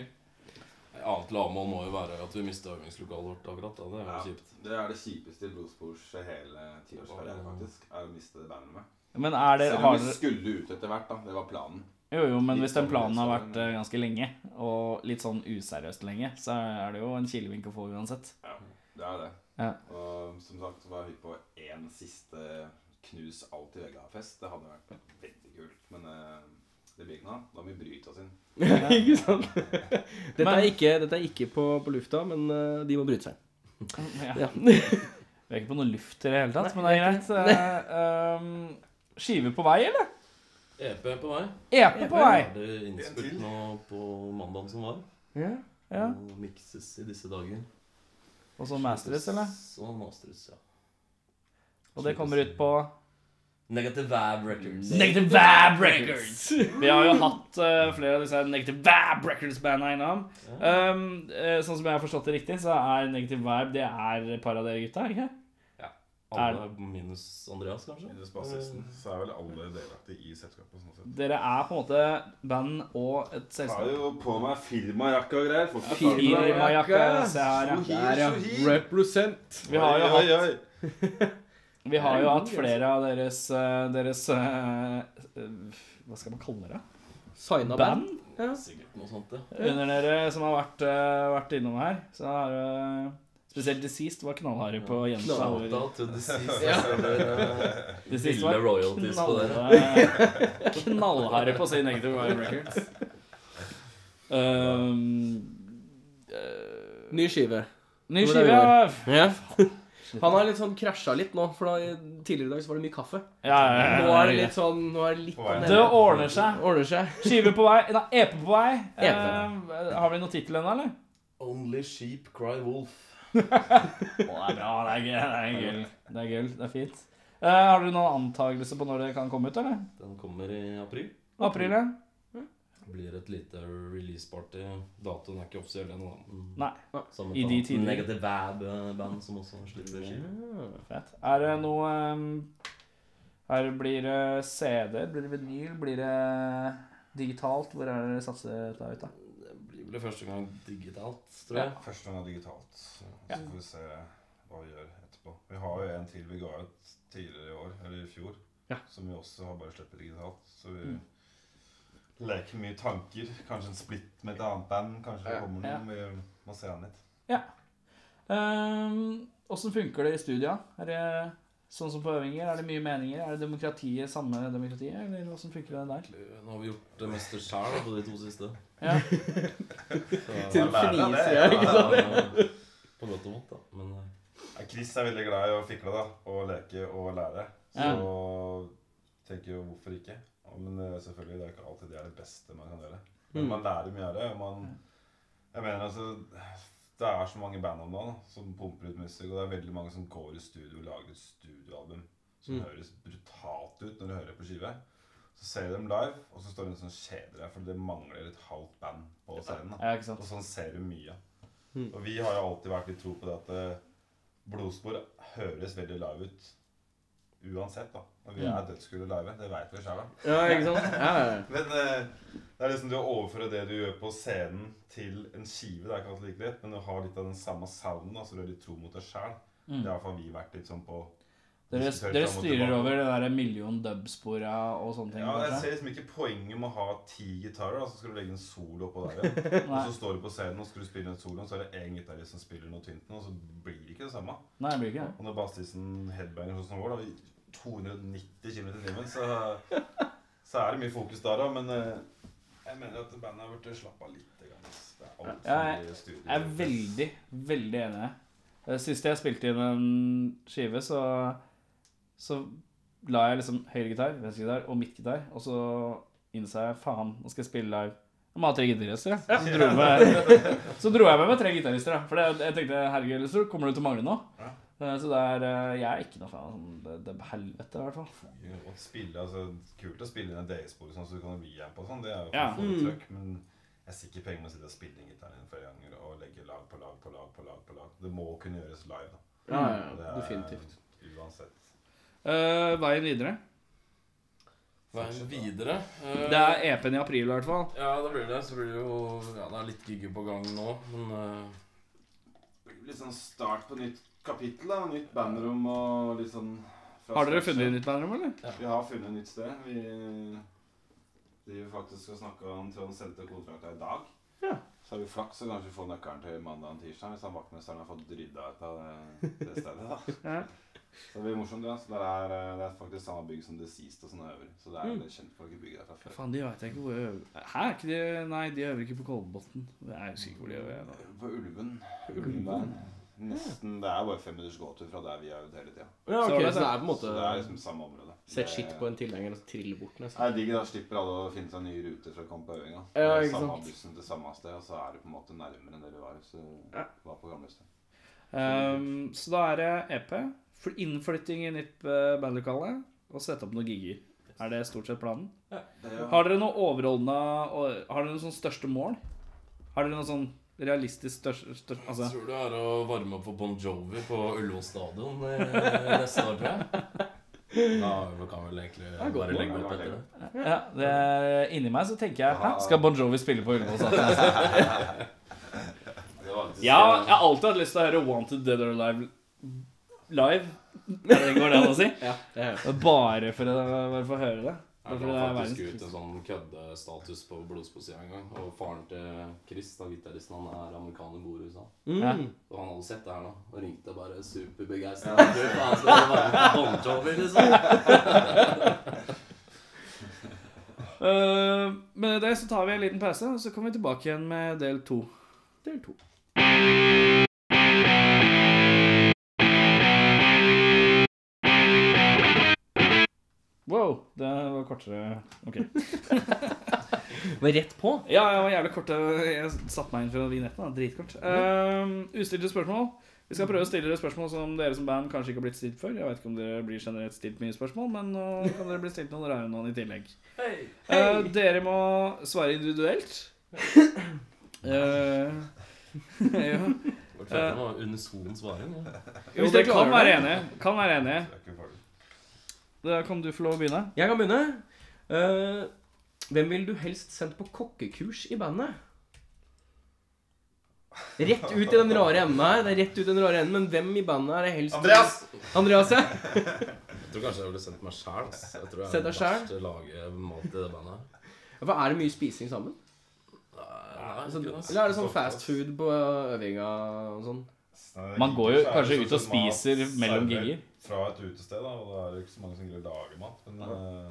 [SPEAKER 5] Et annet lavmål må jo være at vi mista øvingslokalet vårt akkurat da. Det er jo
[SPEAKER 6] Ja,
[SPEAKER 5] kjipt.
[SPEAKER 6] Det er det kjipeste i Blodspors hele tiårskarriere, faktisk. Er å miste det bandet med.
[SPEAKER 4] Men er det
[SPEAKER 6] Selv om
[SPEAKER 4] har
[SPEAKER 6] vi
[SPEAKER 4] dere-
[SPEAKER 6] skulle ut etter hvert, da. Det var planen.
[SPEAKER 4] Jo, jo, men hvis den planen har vært eh, ganske lenge, og litt sånn useriøst lenge, så er det jo en kilevink å få uansett.
[SPEAKER 6] Ja, det er det.
[SPEAKER 4] Ja.
[SPEAKER 6] Og som sagt så var vi på én siste knus alt i vegga-fest. Det hadde vært veldig kult, men eh, det blir ikke noe. av. Da må vi bryte oss inn.
[SPEAKER 3] ikke sant? Dette er
[SPEAKER 4] Men-
[SPEAKER 3] ikke, dette er ikke på, på lufta, men eh, de må bryte seg.
[SPEAKER 4] Ja.
[SPEAKER 3] Ja.
[SPEAKER 4] Vi er ikke på noe luft i det hele tatt, men det er greit. Eh, ehm, skive på vei, eller?
[SPEAKER 5] EP E er på vei.
[SPEAKER 4] EP på vei.
[SPEAKER 5] Er det innspilt nå på mandagen som var?
[SPEAKER 3] Ja.
[SPEAKER 4] Ja.
[SPEAKER 5] Og mikses i disse dager.
[SPEAKER 4] Og så Masteries, eller?
[SPEAKER 5] Så Masters, ja.
[SPEAKER 4] Og det kommer ut på
[SPEAKER 5] Negative Vab Records.
[SPEAKER 4] Negative Vab Records.
[SPEAKER 6] *laughs*
[SPEAKER 4] Vi har jo hatt eh, flere av disse Negative Vab Records-banda innom. Ehm, eh, sånn som jeg har forstått det riktig, så er Negative Vab det er et par av dere gutta, er det ikke?
[SPEAKER 5] Alle minus Andreas, kanskje?
[SPEAKER 6] Minus bassisten,
[SPEAKER 4] Mm.
[SPEAKER 6] så er vel alle delaktige i selskapet. sånn sett.
[SPEAKER 4] Dere er på en måte band og et
[SPEAKER 6] Har
[SPEAKER 4] selskap.
[SPEAKER 6] jo på meg firmajakke og greier. Får ikke tak i det.
[SPEAKER 4] Firmajakke. eh, Se her, ja.
[SPEAKER 6] Shohir, Shohir.
[SPEAKER 3] Represent.
[SPEAKER 4] Vi har jo
[SPEAKER 6] Oi,
[SPEAKER 4] hatt
[SPEAKER 6] oi, oi.
[SPEAKER 4] Vi har jo hatt flere av deres, eh, deres eh, eh, Hva skal man kalle det?
[SPEAKER 3] Signa band.
[SPEAKER 4] Band?
[SPEAKER 3] Ja.
[SPEAKER 5] Sikkert noe sånt, ja.
[SPEAKER 2] Under dere som har vært, eh, vært innom her, så har eh, Spesielt Deceased var knallharde på å gjenta ord.
[SPEAKER 5] Knallhåta to *laughs* the seas. Ja.
[SPEAKER 2] Deceased
[SPEAKER 5] Ville royalties på dere.
[SPEAKER 2] knallharde- knallharde på sin Negative Vibe Records. Um, eh,
[SPEAKER 3] Ny skive.
[SPEAKER 2] ny
[SPEAKER 3] Hvor er
[SPEAKER 2] skive,
[SPEAKER 3] vi
[SPEAKER 2] ja.
[SPEAKER 3] Ja. *laughs* Han har litt sånn krasja litt nå, for da, tidligere i dag så var det mye kaffe.
[SPEAKER 2] Ja, ja, ja,
[SPEAKER 3] Nå
[SPEAKER 2] ja.
[SPEAKER 3] er det litt sånn Nå er det litt
[SPEAKER 6] På vei.
[SPEAKER 2] Det ordner seg.
[SPEAKER 3] Ordner seg.
[SPEAKER 2] Skive på vei. Nei, EP på vei.
[SPEAKER 3] EP.
[SPEAKER 2] Eh, har vi noen tittel ennå, eller?
[SPEAKER 5] Only sheep cry wolf.
[SPEAKER 2] Å, det er bra. Det er gøy. Det er gull. Det er, gull. Det er fint. Eh, har dere noen antakelse på når det kan komme ut, eller?
[SPEAKER 5] Den kommer i april.
[SPEAKER 2] April, ja?
[SPEAKER 5] Blir et lite release-party. Datoen er ikke offisiell ennå. da, men
[SPEAKER 2] Nei.
[SPEAKER 5] Samme
[SPEAKER 2] I de
[SPEAKER 5] ta-
[SPEAKER 2] tider.
[SPEAKER 5] Negative Vab-band som også slipper skive.
[SPEAKER 2] Fett. Er det noe ehm, Her blir det CD, blir det vinyl, blir det digitalt? Hvor er det dere satser dette ut, da?
[SPEAKER 5] Det blir vel det første gang digitalt, tror jeg.
[SPEAKER 6] Første gang digitalt. Så får vi se hva vi gjør etterpå. Vi har jo en til vi ga ut tidligere i år, eller i fjor,
[SPEAKER 2] Ja.
[SPEAKER 6] som vi også har bare sluppet digitalt. Så vi leker mye tanker. Kanskje en splitt med et annet band. Kanskje det kommer noe. Vi må se an litt.
[SPEAKER 2] Ehm, Åssen funker det i studia? Er det sånn som på øvinger? Er det mye meninger? Er det demokratiet samme demokratiet, eller åssen funker det der?
[SPEAKER 5] Nå har vi gjort det meste sjæl på de to siste.
[SPEAKER 2] Ja.
[SPEAKER 5] *laughs* Så,
[SPEAKER 6] Man lærer av det.
[SPEAKER 3] fniser jeg,
[SPEAKER 6] Ja, ja, ja.
[SPEAKER 5] på godt og vondt, da. Men eh,
[SPEAKER 6] Ja, Chris er veldig glad i å fikle da, og leke og lære. Så tenker jo hvorfor ikke. Ja, Men eh, selvfølgelig, det er ikke alltid det er det beste man kan gjøre. Men
[SPEAKER 2] Mm.
[SPEAKER 6] man lærer mye av det. og Man, jeg mener altså, Det er så mange band om dagen da, som pumper ut musikk, og det er veldig mange som går i studio og lager et studioalbum som
[SPEAKER 2] Mm.
[SPEAKER 6] høres brutalt ut når du hører på skive. Så ser du dem live, og så står det en sånn kjeder der, for det mangler et halvt band på scenen. da.
[SPEAKER 2] ja, ikke sant? Mm.
[SPEAKER 6] Og sånn ser du mye. Og vi har jo alltid vært litt tro på det at eh, blodspor høres veldig live ut. Uansett, da. Og
[SPEAKER 2] Mm.
[SPEAKER 6] vi er dødskule live. Det veit vi sjøl.
[SPEAKER 3] Ja, ikke sant? Ja, ja, ja.
[SPEAKER 6] Men eh, det er liksom det å overføre det du gjør på scenen, til en skive. Det er ikke alltid like lett, men du har litt av den samme sounden, da, så du er litt tro mot deg sjæl. Det har iallfall vi vært litt sånn på.
[SPEAKER 2] Mm. Dere,
[SPEAKER 6] diskutert
[SPEAKER 2] dere
[SPEAKER 6] fram og
[SPEAKER 2] styrer
[SPEAKER 6] tilbake.
[SPEAKER 2] over det der million dub-spora og sånne ting?
[SPEAKER 6] Ja, jeg
[SPEAKER 2] kanskje?
[SPEAKER 6] ser liksom ikke poenget med å ha ti gitarer, da, så skal du legge en solo oppå
[SPEAKER 2] *laughs*
[SPEAKER 6] der igjen. og så står du på scenen og skal du spille en solo, og så er det én gitarist som spiller noe tynt, og så blir det ikke det samme.
[SPEAKER 2] Nei, det blir ikke det.
[SPEAKER 6] Og når bassisten headbanger sånn som vår, da, i 290 km i timen, så, så er det mye fokus der, da. Men eh, jeg mener at bandet har blitt slappe av litt. grann, ass. Det er alt
[SPEAKER 2] Ja, jeg-
[SPEAKER 6] som blir studio.
[SPEAKER 2] Jeg er veldig, veldig enig i det. Eh, Sist jeg spilte inn en skive, så, så la jeg liksom høyregitar, venstregitar og midtgitar, og så innså jeg faen, nå skal jeg spille live. Jeg må ha tre gitarister, ja. Så dro jeg med, *laughs* så dro jeg med meg tre gitarister, da. For jeg, jeg tenkte herregud, ellers så kommer du til å mangle noe. Eh, Så det er eh, Jeg er ikke noe fan av sånn det, det er helvete, i hvert fall.
[SPEAKER 6] Å Spille, altså, kult å spille inn en dayspor sånn, så du kan rejampe og sånn. Det er jo
[SPEAKER 2] Ja.
[SPEAKER 6] for mm. trøkk. Men jeg er sikker penger med å sitte og spille inn gitaren din flere ganger og legge lag på lag på lag på lag. på lag. Det må kunne gjøres live. da.
[SPEAKER 3] ja, ja,
[SPEAKER 6] Det
[SPEAKER 3] ja.
[SPEAKER 6] er-
[SPEAKER 3] Definitivt.
[SPEAKER 6] Uansett.
[SPEAKER 2] Mm. Eh, veien videre.
[SPEAKER 5] veien videre eh,
[SPEAKER 2] Det er EP-en i april, i hvert fall.
[SPEAKER 5] Ja, det blir det. Så blir det jo Ja, det er litt gigger på gang nå, men eh,
[SPEAKER 6] Litt sånn start på nytt kapittel, da. Nytt bandrom og litt sånn
[SPEAKER 2] Har dere funnet nytt bandrom, eller?
[SPEAKER 6] Vi har funnet et nytt sted. Vi driver faktisk og snakker om Trond sendte kontrakta i dag.
[SPEAKER 3] Ja.
[SPEAKER 6] Så har vi flaks, så kanskje vi får nøkkelen til mandag og tirsdag hvis han vaktmesteren har fått rydda ut av det, det stedet.
[SPEAKER 3] *laughs*
[SPEAKER 6] da.
[SPEAKER 2] Ja.
[SPEAKER 6] Så det blir morsomt. Ja. Så det, er, eh, det er faktisk samme bygg som det siste og sånn øvrig. Så det er mm. kjentfolk i bygget der fra før.
[SPEAKER 2] Faen, de veit jeg ikke hvor jeg øver. Hæ? er Ikke de, nei, de øver ikke på Kolbotn. Jeg husker ikke hvor de øver. jeg da.
[SPEAKER 6] På Ulven. Ulvenveien. Nesten, Det er bare fem minutters gåtur fra der vi har øvd hele tida.
[SPEAKER 3] ja ok, så det er på en
[SPEAKER 6] Så det er
[SPEAKER 3] måte
[SPEAKER 6] liksom samme område.
[SPEAKER 3] Sett
[SPEAKER 6] Det-
[SPEAKER 3] skitt på en tilhenger og trille bort, nesten.
[SPEAKER 6] Det er digg, da slipper alle å finne seg nye ruter for å komme på øvinga.
[SPEAKER 3] Ja,
[SPEAKER 6] Det er
[SPEAKER 3] ikke
[SPEAKER 6] samme
[SPEAKER 3] sant.
[SPEAKER 6] bussen til samme sted, og så er det på en måte nærmere enn det du var hvis du var på gamle sted.
[SPEAKER 2] Ehm, så da er det EP. For innflytting i nytt eh, bandlokale og sette opp noen gigger. Er det stort sett planen? Har dere noe overordna og- Har dere noen sånn største mål? Har dere noe sånn realistisk største, største
[SPEAKER 5] jeg
[SPEAKER 2] Altså
[SPEAKER 5] tror det er å varme opp for Bon Jovi på Ullevål stadion eh, neste år, tror jeg. Da kan vi vel egentlig bare legge opp etter det.
[SPEAKER 2] ja, det, er- Inni meg så tenker jeg Hæ, skal Bon Jovi spille på *laughs* Ullevål? Stadion?
[SPEAKER 6] Det var
[SPEAKER 2] Ja, jeg har alltid hatt lyst til å høre Wanted Dead or Alive live. Ja, det går det an å si?
[SPEAKER 3] Ja, det er
[SPEAKER 2] Bare for å, bare for å høre det.
[SPEAKER 5] Ja, Ja,
[SPEAKER 4] Hvorfor
[SPEAKER 5] han
[SPEAKER 4] det er
[SPEAKER 5] fant faktisk
[SPEAKER 4] verdens
[SPEAKER 5] ut en sånn køddestatus på blodspåsida en gang. Og faren til Chris, da gitaristen, han er amerikaner, bor i USA.
[SPEAKER 4] Ja.
[SPEAKER 5] Og han hadde sett det her nå, og ringte bare superbegeistra. Du faen skal det være Bon Jovi, liksom?
[SPEAKER 4] Eh, med det så tar vi en liten pause, og så kommer vi tilbake igjen med del to.
[SPEAKER 3] Del to.
[SPEAKER 4] Wow, det var kortere. Ok.
[SPEAKER 3] Men rett på.
[SPEAKER 4] Ja, jeg var jævlig kort. Jeg satte meg inn fra vignetten. da. Dritkort. Uh, ustilte spørsmål. Vi skal prøve å stille dere spørsmål som dere som band kanskje ikke har blitt stilt før. Jeg vet ikke om dere blir generelt stilt mye spørsmål, men nå kan dere bli stilt noen rare noen i tillegg. Eh, dere må svare individuelt. Eh, *laughs* ja.
[SPEAKER 5] Vårt fjerde var unison svaring. Ja.
[SPEAKER 4] Jo,
[SPEAKER 3] Hvis
[SPEAKER 4] dere
[SPEAKER 3] dere
[SPEAKER 4] kan
[SPEAKER 3] klarer det.
[SPEAKER 4] være enige. Kan være enige.
[SPEAKER 6] Det er ikke farlig.
[SPEAKER 4] Da kan du få lov å begynne.
[SPEAKER 3] Jeg kan begynne. Eh, hvem ville du helst sendt på kokkekurs i bandet? Rett ut i den rare enden her. Det er rett ut i den rare enden, Men hvem i bandet er det helst
[SPEAKER 6] Andreas!
[SPEAKER 3] Andreas, ja.
[SPEAKER 5] Jeg tror kanskje jeg ville sendt meg sjæl. Jeg tror jeg
[SPEAKER 3] Send
[SPEAKER 5] er
[SPEAKER 3] deg
[SPEAKER 5] den
[SPEAKER 3] selv?
[SPEAKER 5] verste lage mat i det bandet. her.
[SPEAKER 3] For er det mye spising sammen?
[SPEAKER 5] Nei,
[SPEAKER 3] Altså,
[SPEAKER 5] ikke, ass.
[SPEAKER 3] eller er det sånn fast food på øvinga og sånn?
[SPEAKER 6] Nei,
[SPEAKER 4] Man går jo
[SPEAKER 6] så er
[SPEAKER 4] kanskje ut
[SPEAKER 6] det
[SPEAKER 4] og
[SPEAKER 6] sånn mat
[SPEAKER 4] spiser mellom
[SPEAKER 6] servert
[SPEAKER 4] gigger.
[SPEAKER 6] Fra et utested, da, og da er det ikke så mange som greier å lage mat. Men eh,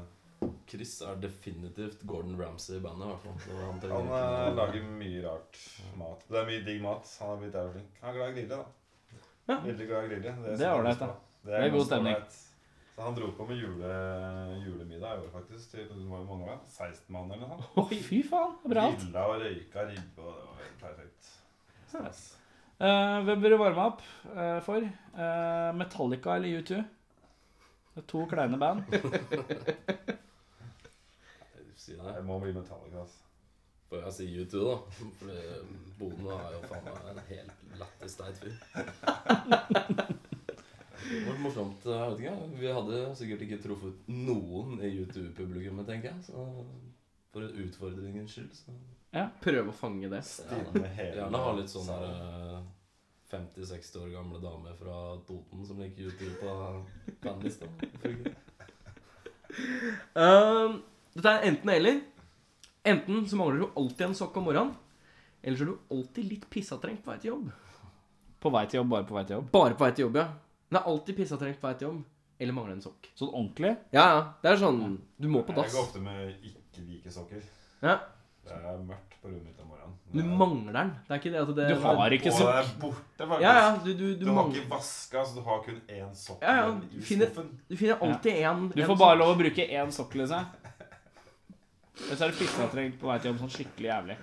[SPEAKER 5] Chris er definitivt Gordon Ramsay i bandet, i hvert fall. Det var han til-
[SPEAKER 6] han eh, lager mye rart mat. Det er mye digg mat. Han er blitt jævlig flink. Han er glad i å grille, da.
[SPEAKER 3] Ja.
[SPEAKER 6] Veldig glad i å grille.
[SPEAKER 4] Det er ålreit, da. Det
[SPEAKER 6] Det
[SPEAKER 4] er god
[SPEAKER 6] ganske
[SPEAKER 4] stemning.
[SPEAKER 6] ålreit. Så han dro på med jule, julemiddag i år, faktisk. Til, det var jo mange år, 16 mann eller noe.
[SPEAKER 4] Oi, fy faen, bra.
[SPEAKER 6] Grilla og røyka ribbe, og det var helt perfekt. Stas.
[SPEAKER 4] Eh, hvem bør du varme opp eh, for? Eh, Metallica eller U2? Det er to kleine band.
[SPEAKER 5] Si det.
[SPEAKER 6] Det må bli Metallica, altså.
[SPEAKER 5] Får jeg si U2, da? For eh, Boden er jo faen meg en helt lættis teit fyr. Det var morsomt. eh, jeg vet ikke, jeg. Vi hadde sikkert ikke truffet noen i U2-publikummet, tenker jeg. Så for utfordringens skyld. Så.
[SPEAKER 3] Prøve å fange det.
[SPEAKER 5] Ja, da.
[SPEAKER 6] Med hele
[SPEAKER 5] Gjerne ha litt sånn
[SPEAKER 6] salen.
[SPEAKER 5] der eh, 50-60 år gamle dame fra Toten som liker U2 på bandlista.
[SPEAKER 3] Ehm, dette er enten eller. Enten så mangler du alltid en sokk om morgenen. Eller så er du alltid litt pissatrengt på vei til jobb.
[SPEAKER 4] På vei til jobb, bare på vei til jobb.
[SPEAKER 3] Bare på vei til jobb, ja. Men det er alltid pissatrengt på vei til jobb. Eller mangler en sokk.
[SPEAKER 4] Sånn ordentlig.
[SPEAKER 3] Ja, ja. Det er sånn Du må på
[SPEAKER 6] Jeg
[SPEAKER 3] dass.
[SPEAKER 6] går ofte med ikke like sokker.
[SPEAKER 3] Ja.
[SPEAKER 6] Det er mørkt på rommet mitt om morgenen.
[SPEAKER 3] Du mangler den. Det er ikke det at det
[SPEAKER 4] Du har ikke
[SPEAKER 6] Og
[SPEAKER 4] så
[SPEAKER 6] det er borte, faktisk.
[SPEAKER 3] Ja, ja. Du, du,
[SPEAKER 6] Du,
[SPEAKER 3] du,
[SPEAKER 6] har
[SPEAKER 3] mangler
[SPEAKER 6] ikke vaska, så du har kun én sokk
[SPEAKER 3] Ja, ja,
[SPEAKER 6] igjen i
[SPEAKER 3] finn et-
[SPEAKER 6] skuffen.
[SPEAKER 3] Du finner alltid én
[SPEAKER 4] Du får bare lov å bruke én sokkel i seg. Ellers er du pissatrengt på vei til jobb sånn skikkelig jævlig.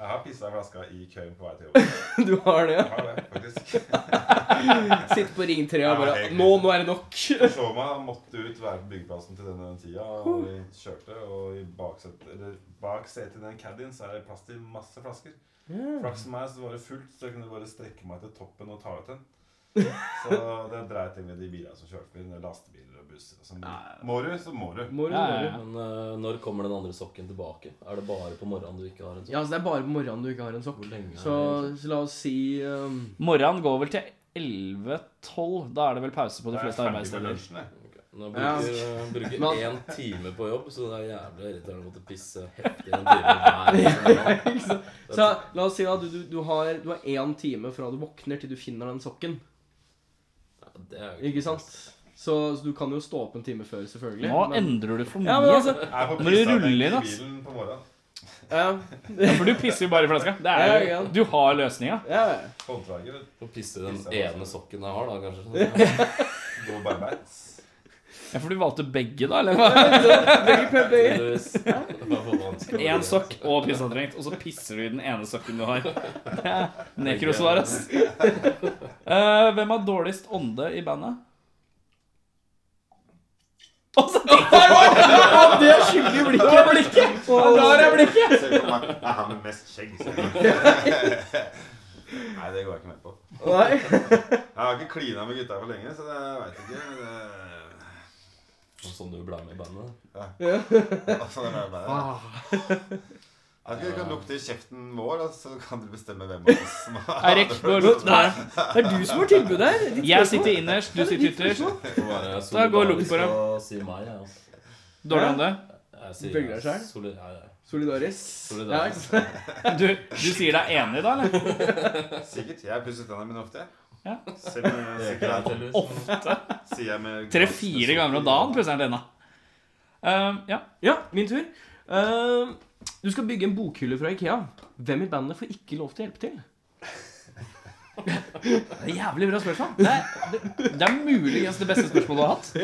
[SPEAKER 6] Jeg har pissa i flaska i køen på vei til jobb.
[SPEAKER 3] *laughs* Du har det, ja.
[SPEAKER 6] Jeg har det, faktisk.
[SPEAKER 3] Sitte på ring 3 og
[SPEAKER 6] Ja,
[SPEAKER 3] bare
[SPEAKER 6] helt-
[SPEAKER 3] Nå, nå er det nok. *laughs*
[SPEAKER 6] Så meg måtte ut være på byggeplassen til denne tida, og vi kjørte. Og i baksetet, eller bak setet i den caddien så er det plass til masse flasker. Flaks for meg så var det fullt, så jeg kunne bare strekke meg til toppen og ta ut en. Så det dreit jeg med de bilene som kjørte forbi. de Lastebiler og busser. og sånn. må du, så må du.
[SPEAKER 3] Må du,
[SPEAKER 4] Ja,
[SPEAKER 3] må
[SPEAKER 4] ja,
[SPEAKER 3] du.
[SPEAKER 4] ja.
[SPEAKER 5] Men eh, når kommer den andre sokken tilbake? Er det bare på morgenen du ikke har en sokk?
[SPEAKER 3] Ja, altså Det er bare på morgenen du ikke har en sokk.
[SPEAKER 5] Hvor lenge
[SPEAKER 3] Så,
[SPEAKER 5] er det?
[SPEAKER 3] så la oss si ehm,
[SPEAKER 4] Morgenen går vel til 11-12. Da er det vel pause på de fleste arbeidssteder.
[SPEAKER 6] lunsjen, jeg.
[SPEAKER 5] egentlig? Nå bruker jeg bruker
[SPEAKER 3] Men-
[SPEAKER 5] én time på jobb, så det er jævlig irriterende å måtte pisse heftig en time hver
[SPEAKER 4] *laughs*
[SPEAKER 5] dag.
[SPEAKER 3] Så la oss si da, du, du, du har du har én time fra du våkner til du finner den sokken.
[SPEAKER 5] Ja, det er jo
[SPEAKER 3] Ikke sant? Så, så du kan jo stå opp en time før, selvfølgelig.
[SPEAKER 4] Nå
[SPEAKER 3] men-
[SPEAKER 4] endrer du for
[SPEAKER 3] Ja, men
[SPEAKER 4] mye.
[SPEAKER 3] altså
[SPEAKER 6] Jeg er på
[SPEAKER 4] Må du
[SPEAKER 6] pissa
[SPEAKER 4] rulle inn,
[SPEAKER 6] i
[SPEAKER 4] ass?
[SPEAKER 6] bilen på morgenen.
[SPEAKER 3] Ja,
[SPEAKER 4] For du pisser jo bare i flaska. Det er jo, du har løsninga.
[SPEAKER 3] ja, ja.
[SPEAKER 6] Håndverker. vet du.
[SPEAKER 5] Å pisse i den
[SPEAKER 6] Pisse, altså.
[SPEAKER 5] ene sokken jeg har, da,
[SPEAKER 4] *laughs*
[SPEAKER 5] kanskje.
[SPEAKER 6] Går barbeint.
[SPEAKER 4] Ja, for du valgte begge, da? eller hva?
[SPEAKER 5] Tydeligvis. Det var for vanskelig.
[SPEAKER 4] Én sokk og pissantrengt, og så pisser du i den ene sokken du
[SPEAKER 3] *laughs*
[SPEAKER 4] har. Det er Nekrosvar, ass. Eh, hvem har dårligst ånde i bandet? Og så
[SPEAKER 3] Det er skyldig blikket. blikket.
[SPEAKER 4] drar jeg blikket!
[SPEAKER 6] Se på meg. Jeg har med mest skjegg. så- Nei, det går jeg ikke med på.
[SPEAKER 3] Nei.
[SPEAKER 6] Jeg har ikke klina med gutta for lenge, så det veit jeg ikke. Men det...
[SPEAKER 5] Sånn du ble med i bandet.
[SPEAKER 6] Altså, det er bare... Jeg vet ikke, Du kan lukte i kjeften vår, da, så kan du bestemme hvem av oss som har
[SPEAKER 4] Eirik, gå og lukt på meg.
[SPEAKER 3] Det er du som har tilbudet her. Ditt
[SPEAKER 4] Jeg
[SPEAKER 3] spørsmål.
[SPEAKER 4] sitter innerst, du sitter ytterst.
[SPEAKER 5] Får være
[SPEAKER 4] Da går og lukter på
[SPEAKER 5] solidarisk og Si meg, jeg, altså.
[SPEAKER 4] Dårlig ånde.
[SPEAKER 5] Jeg sier
[SPEAKER 4] Velger
[SPEAKER 5] jeg
[SPEAKER 4] deg selv?
[SPEAKER 5] soli- ja, ja.
[SPEAKER 3] Solidaris.
[SPEAKER 5] Solidaris.
[SPEAKER 4] Ja, ikke sant? du, du sier deg enig, da? eller?
[SPEAKER 6] Sikkert. Jeg pusser tennene mine ofte. jeg.
[SPEAKER 4] Ja.
[SPEAKER 6] Selv om jeg
[SPEAKER 5] Det er
[SPEAKER 6] sikkert
[SPEAKER 5] ikke
[SPEAKER 6] er-
[SPEAKER 5] det, heldigvis, men-
[SPEAKER 6] sier jeg med
[SPEAKER 4] Tre-fire ganger om dagen pusser han tenna. Eh, ja.
[SPEAKER 3] Ja, min tur. Eh, du skal bygge en bokhylle fra Ikea. Hvem i bandet får ikke lov til å hjelpe til?
[SPEAKER 4] Det er jævlig bra spørsmål. Det er, det, det er muligens det beste spørsmålet du har hatt.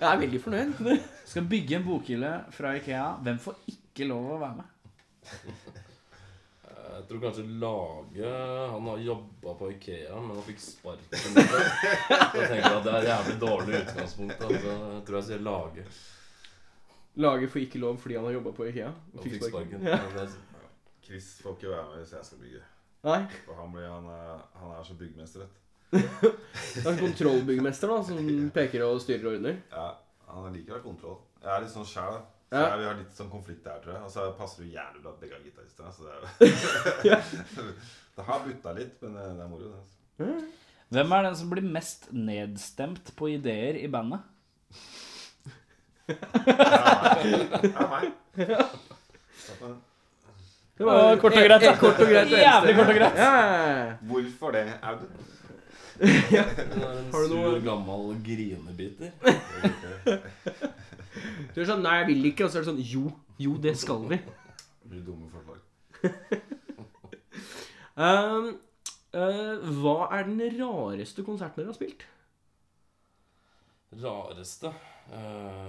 [SPEAKER 3] Jeg er veldig fornøyd. *laughs*
[SPEAKER 4] Skal bygge en bokhylle fra Ikea. Hvem får ikke lov å være med?
[SPEAKER 5] Jeg tror kanskje Lage Han har jobba på Ikea, men han fikk sparken. Så jeg tenker at det er et jævlig dårlig utgangspunkt. da. Så jeg tror jeg sier Lage.
[SPEAKER 3] Laget får ikke lov fordi han har jobba på Ikea.
[SPEAKER 5] Han fikk sparken.
[SPEAKER 3] Ja.
[SPEAKER 5] Men det-
[SPEAKER 6] Chris får ikke være med hvis jeg skal bygge.
[SPEAKER 3] Nei,
[SPEAKER 6] For han, blir, han, er, han er så byggmester, vet du.
[SPEAKER 3] Det er en kontrollbyggmester da, som peker og styrer og ordner.
[SPEAKER 6] Ja, han liker å ha kontroll. Jeg er litt sånn sjæl, da. Så
[SPEAKER 3] Ja.
[SPEAKER 6] jeg, vi har litt sånn konflikt der, tror jeg. Og så passer det jo jævlig bra at begge er gitarister. da, Så det, er, *laughs* det har butta litt, men det er moro. det, altså.
[SPEAKER 4] Hvem er den som blir mest nedstemt på ideer i bandet?
[SPEAKER 6] Det er meg. Takk for det.
[SPEAKER 3] Det var
[SPEAKER 4] Å, kort og greit, da.
[SPEAKER 3] Eh, *laughs* Kort og greit og
[SPEAKER 4] Jævlig kort
[SPEAKER 3] enstemmig.
[SPEAKER 4] og greit.
[SPEAKER 3] Ja, ja, ja.
[SPEAKER 6] Hvorfor det, Audun?
[SPEAKER 5] det er en
[SPEAKER 3] Har du noe-
[SPEAKER 5] sur, gammel grinebiter.
[SPEAKER 3] Du er sånn Nei, jeg vil ikke. Og så er det sånn Jo, jo, det skal vi.
[SPEAKER 6] Det Blir dumme forslag.
[SPEAKER 3] Um, eh, hva er den rareste konserten dere har spilt?
[SPEAKER 5] Rareste Eh,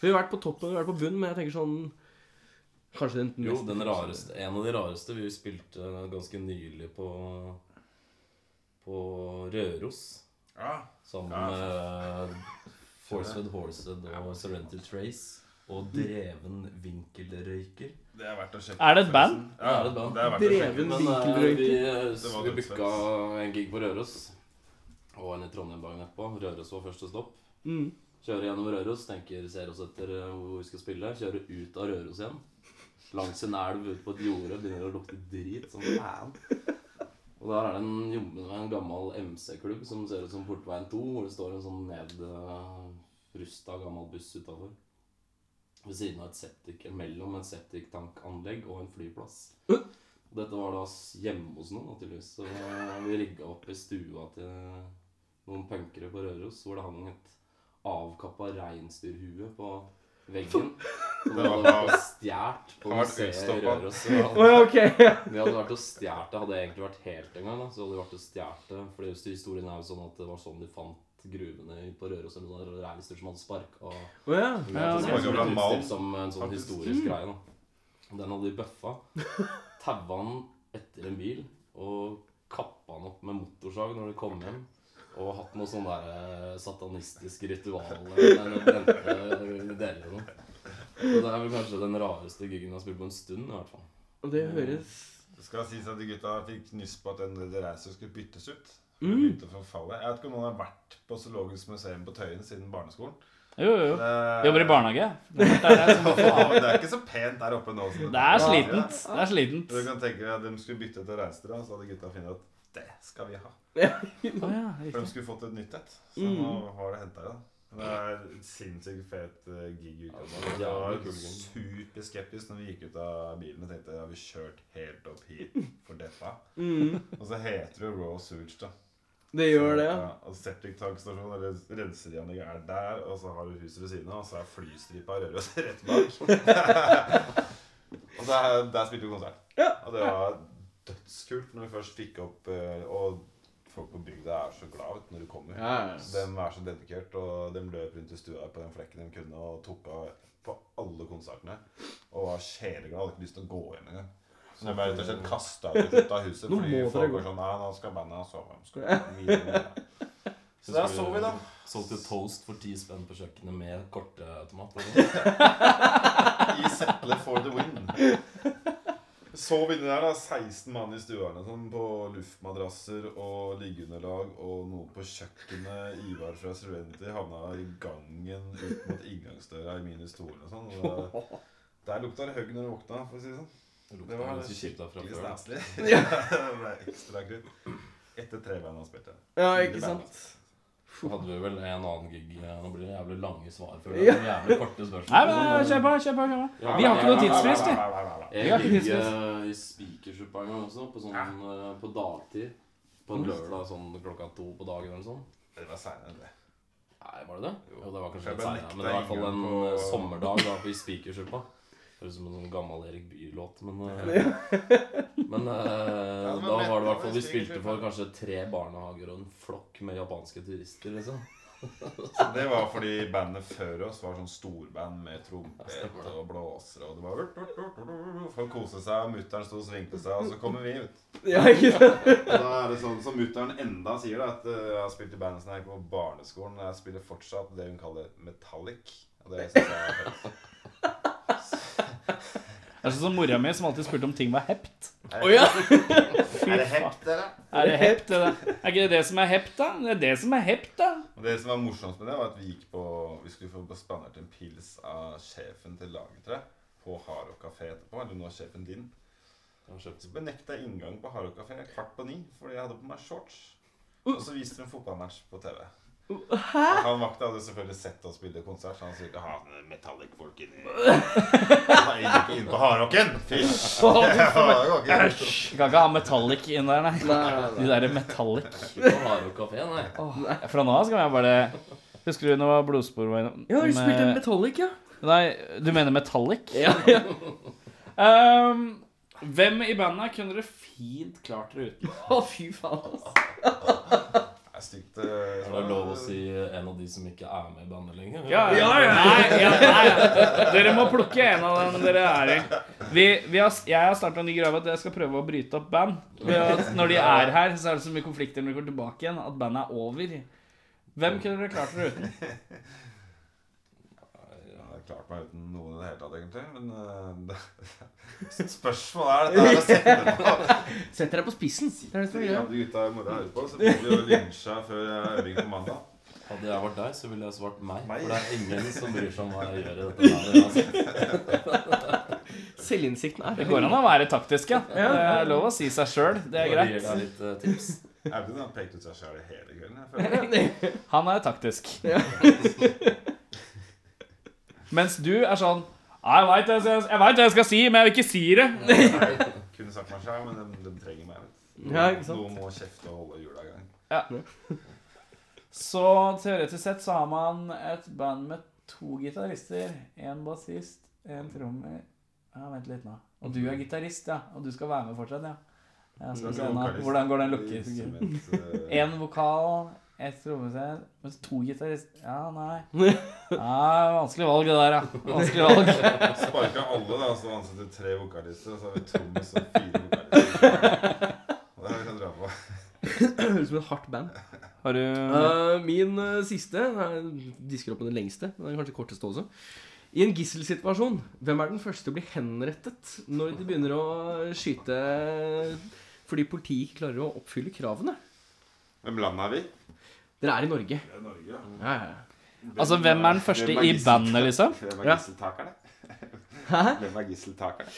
[SPEAKER 3] Vi har vært på toppen og vi har vært på bunnen, men jeg tenker sånn Kanskje den
[SPEAKER 5] Jo,
[SPEAKER 3] mest-
[SPEAKER 5] den rareste. En av de rareste. Vi spilte ganske nylig på På Røros.
[SPEAKER 6] Ja.
[SPEAKER 5] Sammen
[SPEAKER 6] Ja.
[SPEAKER 5] med Forced Horsehead og Serenity Trace. Og Dreven Vinkelrøyker.
[SPEAKER 6] Det er verdt å sjekke.
[SPEAKER 4] Er det et band?
[SPEAKER 6] Ja,
[SPEAKER 5] Det er et band.
[SPEAKER 6] Det er verdt å
[SPEAKER 3] Dreven
[SPEAKER 6] sjekke.
[SPEAKER 5] Men eh,
[SPEAKER 3] Vinkelrøyker.
[SPEAKER 5] vi,
[SPEAKER 6] Det var
[SPEAKER 5] eh, vi
[SPEAKER 6] dødsfett.
[SPEAKER 5] booka en gig på Røros. Og en i Trondheim dagen etterpå. Røros var første stopp.
[SPEAKER 3] Mm.
[SPEAKER 5] Kjører gjennom Røros, tenker, ser oss etter eh, hvor vi skal spille. Kjører ut av Røros igjen. Langs en elv ut på et jorde, begynner å lukte drit. Sånn faen. Og der er det en, jommen meg en gammel MC-klubb som ser ut som Portveien 2, hvor det står en sånn nedrusta gammel buss utafor. Ved siden av et septik, mellom et septiktankanlegg og en flyplass. Og dette var da s- hjemme hos noen, da, tydeligvis. Så eh, vi rigga opp i stua til noen punkere på Røros, hvor det hang et avkappa reinsdyrhue på veggen. Som
[SPEAKER 6] Det
[SPEAKER 5] det
[SPEAKER 6] var-
[SPEAKER 5] var stjålet på
[SPEAKER 6] Han var
[SPEAKER 5] museet i
[SPEAKER 6] utstoppet.
[SPEAKER 5] Røros. Så
[SPEAKER 3] Å, ja,
[SPEAKER 5] hadde-
[SPEAKER 3] ok. ja.
[SPEAKER 5] Vi hadde vært og stjålet det. Hadde jeg egentlig vært helt en gang, da, så hadde vi vært og stjålet det. Fordi hvis historien er jo sånn at det var sånn de fant gruvene på Røros, eller noe sånt, reinsdyr som hadde sparka
[SPEAKER 3] Å, ja.
[SPEAKER 5] ja,
[SPEAKER 4] ok.
[SPEAKER 5] okay.
[SPEAKER 6] Så det
[SPEAKER 5] Som
[SPEAKER 6] ble mal.
[SPEAKER 5] utstilt som en sånn
[SPEAKER 6] Faktisk.
[SPEAKER 5] historisk greie. da Den hadde de bøffa. Taua han etter en bil og kappa han opp med motorsag når de kom hjem. Og hatt noe sånn der eh, satanistisk ritual eh, der de brente deler og noe. Så det er vel kanskje den rareste gigen jeg har spilt på en stund. i hvert fall
[SPEAKER 3] Og Det høres
[SPEAKER 6] Det skal sies at de gutta fikk nyss på at den reisen skulle byttes ut. For det begynte å forfalle. Jeg vet ikke om noen har vært på Zoologisk museum på Tøyen siden barneskolen.
[SPEAKER 4] Jo, jo, jo.
[SPEAKER 6] Det-
[SPEAKER 4] Jobber i barnehage. Det er, det som-
[SPEAKER 6] Faen, *laughs* det er ikke så pent der oppe nå. som
[SPEAKER 4] det er slitent. Det er slitent.
[SPEAKER 6] Du kan tenke deg at De skulle bytte til reinsdyr, da, så hadde gutta funnet at det skal vi ha.
[SPEAKER 4] Å, ja,
[SPEAKER 6] For de
[SPEAKER 4] riktig.
[SPEAKER 6] skulle fått et nytt et. Så
[SPEAKER 3] Mm.
[SPEAKER 6] nå har det henta det. da. Men Det er en sinnssykt fet eh, gig i uka. nå. Jeg var superskeptisk når vi gikk ut av bilen og tenkte har vi kjørt helt opp hit for dette? Og så heter det jo Raw Sewage, da.
[SPEAKER 3] Mm. Det gjør det, ja.
[SPEAKER 6] Ja, og Septiktankstasjonen eller renseanlegget er der, og så har du huset ved siden av, og så er flystripa Røros rett bak.
[SPEAKER 4] *laughs*
[SPEAKER 6] *laughs* og der, der spilte vi konsert. Og det var dødskult når vi først fikk opp eh, Og folk på bygda er så glad vet du, når du kommer.
[SPEAKER 3] ja. ja.
[SPEAKER 6] De er så dedikert, og de løp rundt i stua på den flekken de kunne, og tok av på alle konsertene. Og var sjeleglad, hadde ikke lyst til å gå hjem engang. Så de ble rett og slett kasta ut av huset
[SPEAKER 3] Nå
[SPEAKER 6] fordi
[SPEAKER 3] må dere
[SPEAKER 6] folk
[SPEAKER 3] gå.
[SPEAKER 6] var sånn Nei, nå skal bandet sove. nå
[SPEAKER 3] *laughs*
[SPEAKER 6] Skal vi videre." så der så vi, da.
[SPEAKER 5] Solgte toast for ti spenn på kjøkkenet med kortautomat.
[SPEAKER 6] *laughs* I Settle for the win. Sov inni der, da. 16 mann i stuerne sånn, på luftmadrasser og liggeunderlag og noe på kjøkkenet. Ivar fra Surventi havna i gangen ut mot inngangsdøra i mine stoler og sånn. og det- Der lukta det høgg når du våkna, for å si det sånn. Det var skikkelig staselig. det ble ekstra krutt. Etter trebeina spilte jeg.
[SPEAKER 3] Ja, ikke sant?
[SPEAKER 5] Så hadde vi vel en annen gig eh, Nå blir det jævlig lange svar før det. er Jævlig korte spørsmål.
[SPEAKER 4] Nei, men kjør på, kjør på. kjør på. Vi har ikke noe tidsfrist, vi.
[SPEAKER 6] vi.
[SPEAKER 5] Jeg
[SPEAKER 4] Vi har ikke
[SPEAKER 5] gikk
[SPEAKER 4] tidsfrist.
[SPEAKER 5] eh, i Spikersuppa en gang også, på, sånn, eh, på dagtid.
[SPEAKER 4] Mm.
[SPEAKER 5] På en lørdag sånn klokka to på dagen eller sånn.
[SPEAKER 6] Det var seinere enn det.
[SPEAKER 5] Nei, var det det? Jo, det var kanskje
[SPEAKER 6] Jeg
[SPEAKER 5] litt
[SPEAKER 6] bare
[SPEAKER 5] seinere,
[SPEAKER 6] nekta
[SPEAKER 5] men det var i hvert fall en
[SPEAKER 6] inngang på-
[SPEAKER 5] eh, sommerdag da, i Spikersuppa. Høres ut som en sånn gammel Erik Bye-låt, *laughs* men eh, Men eh,
[SPEAKER 6] men
[SPEAKER 5] da var det i
[SPEAKER 6] nettopp
[SPEAKER 5] hvert fall
[SPEAKER 6] i
[SPEAKER 5] Vi spilte
[SPEAKER 6] Spikersuppa.
[SPEAKER 5] for kanskje tre barnehager og en flokk med japanske turister, liksom.
[SPEAKER 6] Det var fordi bandet før oss var sånn storband med trompet og blåsere. Og det var urt, urt, urt, urt, urt. Folk koste seg, og mutter'n sto og svingte seg, og så kommer vi ut.
[SPEAKER 3] Ja, ikke sant?
[SPEAKER 6] Og da er det sånn som mutter'n enda sier, da, at eh, jeg har spilt i bandet siden jeg gikk på barneskolen. og Jeg spiller fortsatt det hun kaller metallic. Og det synes jeg er fett.
[SPEAKER 4] Det er sånn som mora mi som alltid spurte om ting var hept.
[SPEAKER 6] Er det hekt, dere?
[SPEAKER 4] Er det hept, *laughs* det der? Er ikke det det som er hept, da? Det er det som er hept, da.
[SPEAKER 6] Og det som var morsomst med det, var at vi gikk på Vi skulle få spandert en pils av sjefen til laget, tror jeg. På Haro kafé etterpå. Eller nå sjefen din.
[SPEAKER 5] Jeg har kjøpt
[SPEAKER 6] Så benekta jeg inngang på Haro kafé kvart på ni fordi jeg hadde på meg shorts. Og så viste de en fotballmatch på TV. Og han vakta hadde selvfølgelig sett oss spille konsert, så han sikkert ha Metallic-folk inni Nei, ikke inn på hardrocken! Fysj! *laughs* Det var ikke greit.
[SPEAKER 4] Vi kan ikke ha metallic inn der, nei. De der metallic.
[SPEAKER 5] Ikke på Haro kafé, nei.
[SPEAKER 4] Fra nå av skal jeg bare Husker du når blodspor var innom?
[SPEAKER 3] Ja, vi spilte
[SPEAKER 4] med-
[SPEAKER 3] Metallic, ja.
[SPEAKER 4] Nei, du mener metallic? *laughs*
[SPEAKER 3] Ja, ja.
[SPEAKER 4] Ehm, hvem i bandet kunne dere fint klart dere uten?
[SPEAKER 3] Å, fy faen. ass.
[SPEAKER 6] Det er stygt. eh,
[SPEAKER 5] Er det lov å si eh, en av de som ikke er med i bandet lenger?
[SPEAKER 3] Ja, ja.
[SPEAKER 4] Nei, ja, nei, ja. Dere må plukke en av dem dere er i. Vi, vi har, jeg har starta en ny greie at jeg skal prøve å bryte opp band. Ved at Når de er her, så er det så mye konflikter når de går tilbake igjen, at bandet er over. Hvem kunne dere klart dere uten?
[SPEAKER 6] Jeg har klart meg uten noen i det hele tatt, egentlig. Men eh, *laughs* det, spørsmålet
[SPEAKER 3] *laughs*
[SPEAKER 6] er dette her å sette på.
[SPEAKER 3] Sett dere på spissen. Det er det som
[SPEAKER 6] De
[SPEAKER 3] er greia.
[SPEAKER 6] gamle gutta i morgen hører på, så blir vi jo lynsja før øving på mandag.
[SPEAKER 5] Hadde jeg vært deg, så ville jeg svart meg.
[SPEAKER 6] Meg?
[SPEAKER 5] For det er ingen som bryr seg om hva jeg gjør i dette her. Altså.
[SPEAKER 3] Selvinnsikten er
[SPEAKER 4] Det går an å være taktisk, ja. Det er lov å si seg sjøl. Det er
[SPEAKER 5] Bare gir
[SPEAKER 4] greit.
[SPEAKER 5] deg litt eh, tips.
[SPEAKER 6] Audun har pekt ut seg sjøl hele kvelden. Jeg føler.
[SPEAKER 4] Han er taktisk. *laughs* Mens du er sånn Jeg veit det jeg, jeg, vet det jeg skal si, men jeg vil ikke si det.
[SPEAKER 6] Kunne sagt meg sjøl, men de, de trenger meg. Vet. du.
[SPEAKER 3] Ja, ikke sant?
[SPEAKER 6] Noen må kjefte og holde hjula i gang.
[SPEAKER 4] Så teoretisk sett så har man et band med to gitarister. Én bassist, én trommer Ja, Vent litt nå. Og du er gitarist, ja. Og du skal være med fortsatt, ja. ja skal vi se nå. Hvordan går den lukkes?
[SPEAKER 3] *laughs*
[SPEAKER 6] lukkes?
[SPEAKER 4] Én vokal, ett trommesett, mens to gitarister Ja, nei. Ja, vanskelig valg, det der, ja. Vanskelig valg.
[SPEAKER 6] Sparka alle, da, så ansatte vi tre vokalister, og så har vi trommis og fire vokalister.
[SPEAKER 3] *laughs*
[SPEAKER 6] Og Det er vi kan dra på.
[SPEAKER 3] Høres ut som et hardt band.
[SPEAKER 4] Har du
[SPEAKER 3] Eh, min eh, siste jeg disker opp med den lengste. men Den er kanskje korteste også. I en gisselsituasjon, hvem er den første til å bli henrettet når de begynner å skyte fordi politiet ikke klarer å oppfylle kravene?
[SPEAKER 6] Hvem land er vi?
[SPEAKER 3] Dere er i Norge.
[SPEAKER 6] Det er Norge. ja.
[SPEAKER 3] Ja, ja, ja.
[SPEAKER 4] Altså, hvem er den første i bandet, liksom?
[SPEAKER 6] Hvem
[SPEAKER 3] Ja.
[SPEAKER 6] er gisseltakerne? Hvem er gisseltakerne?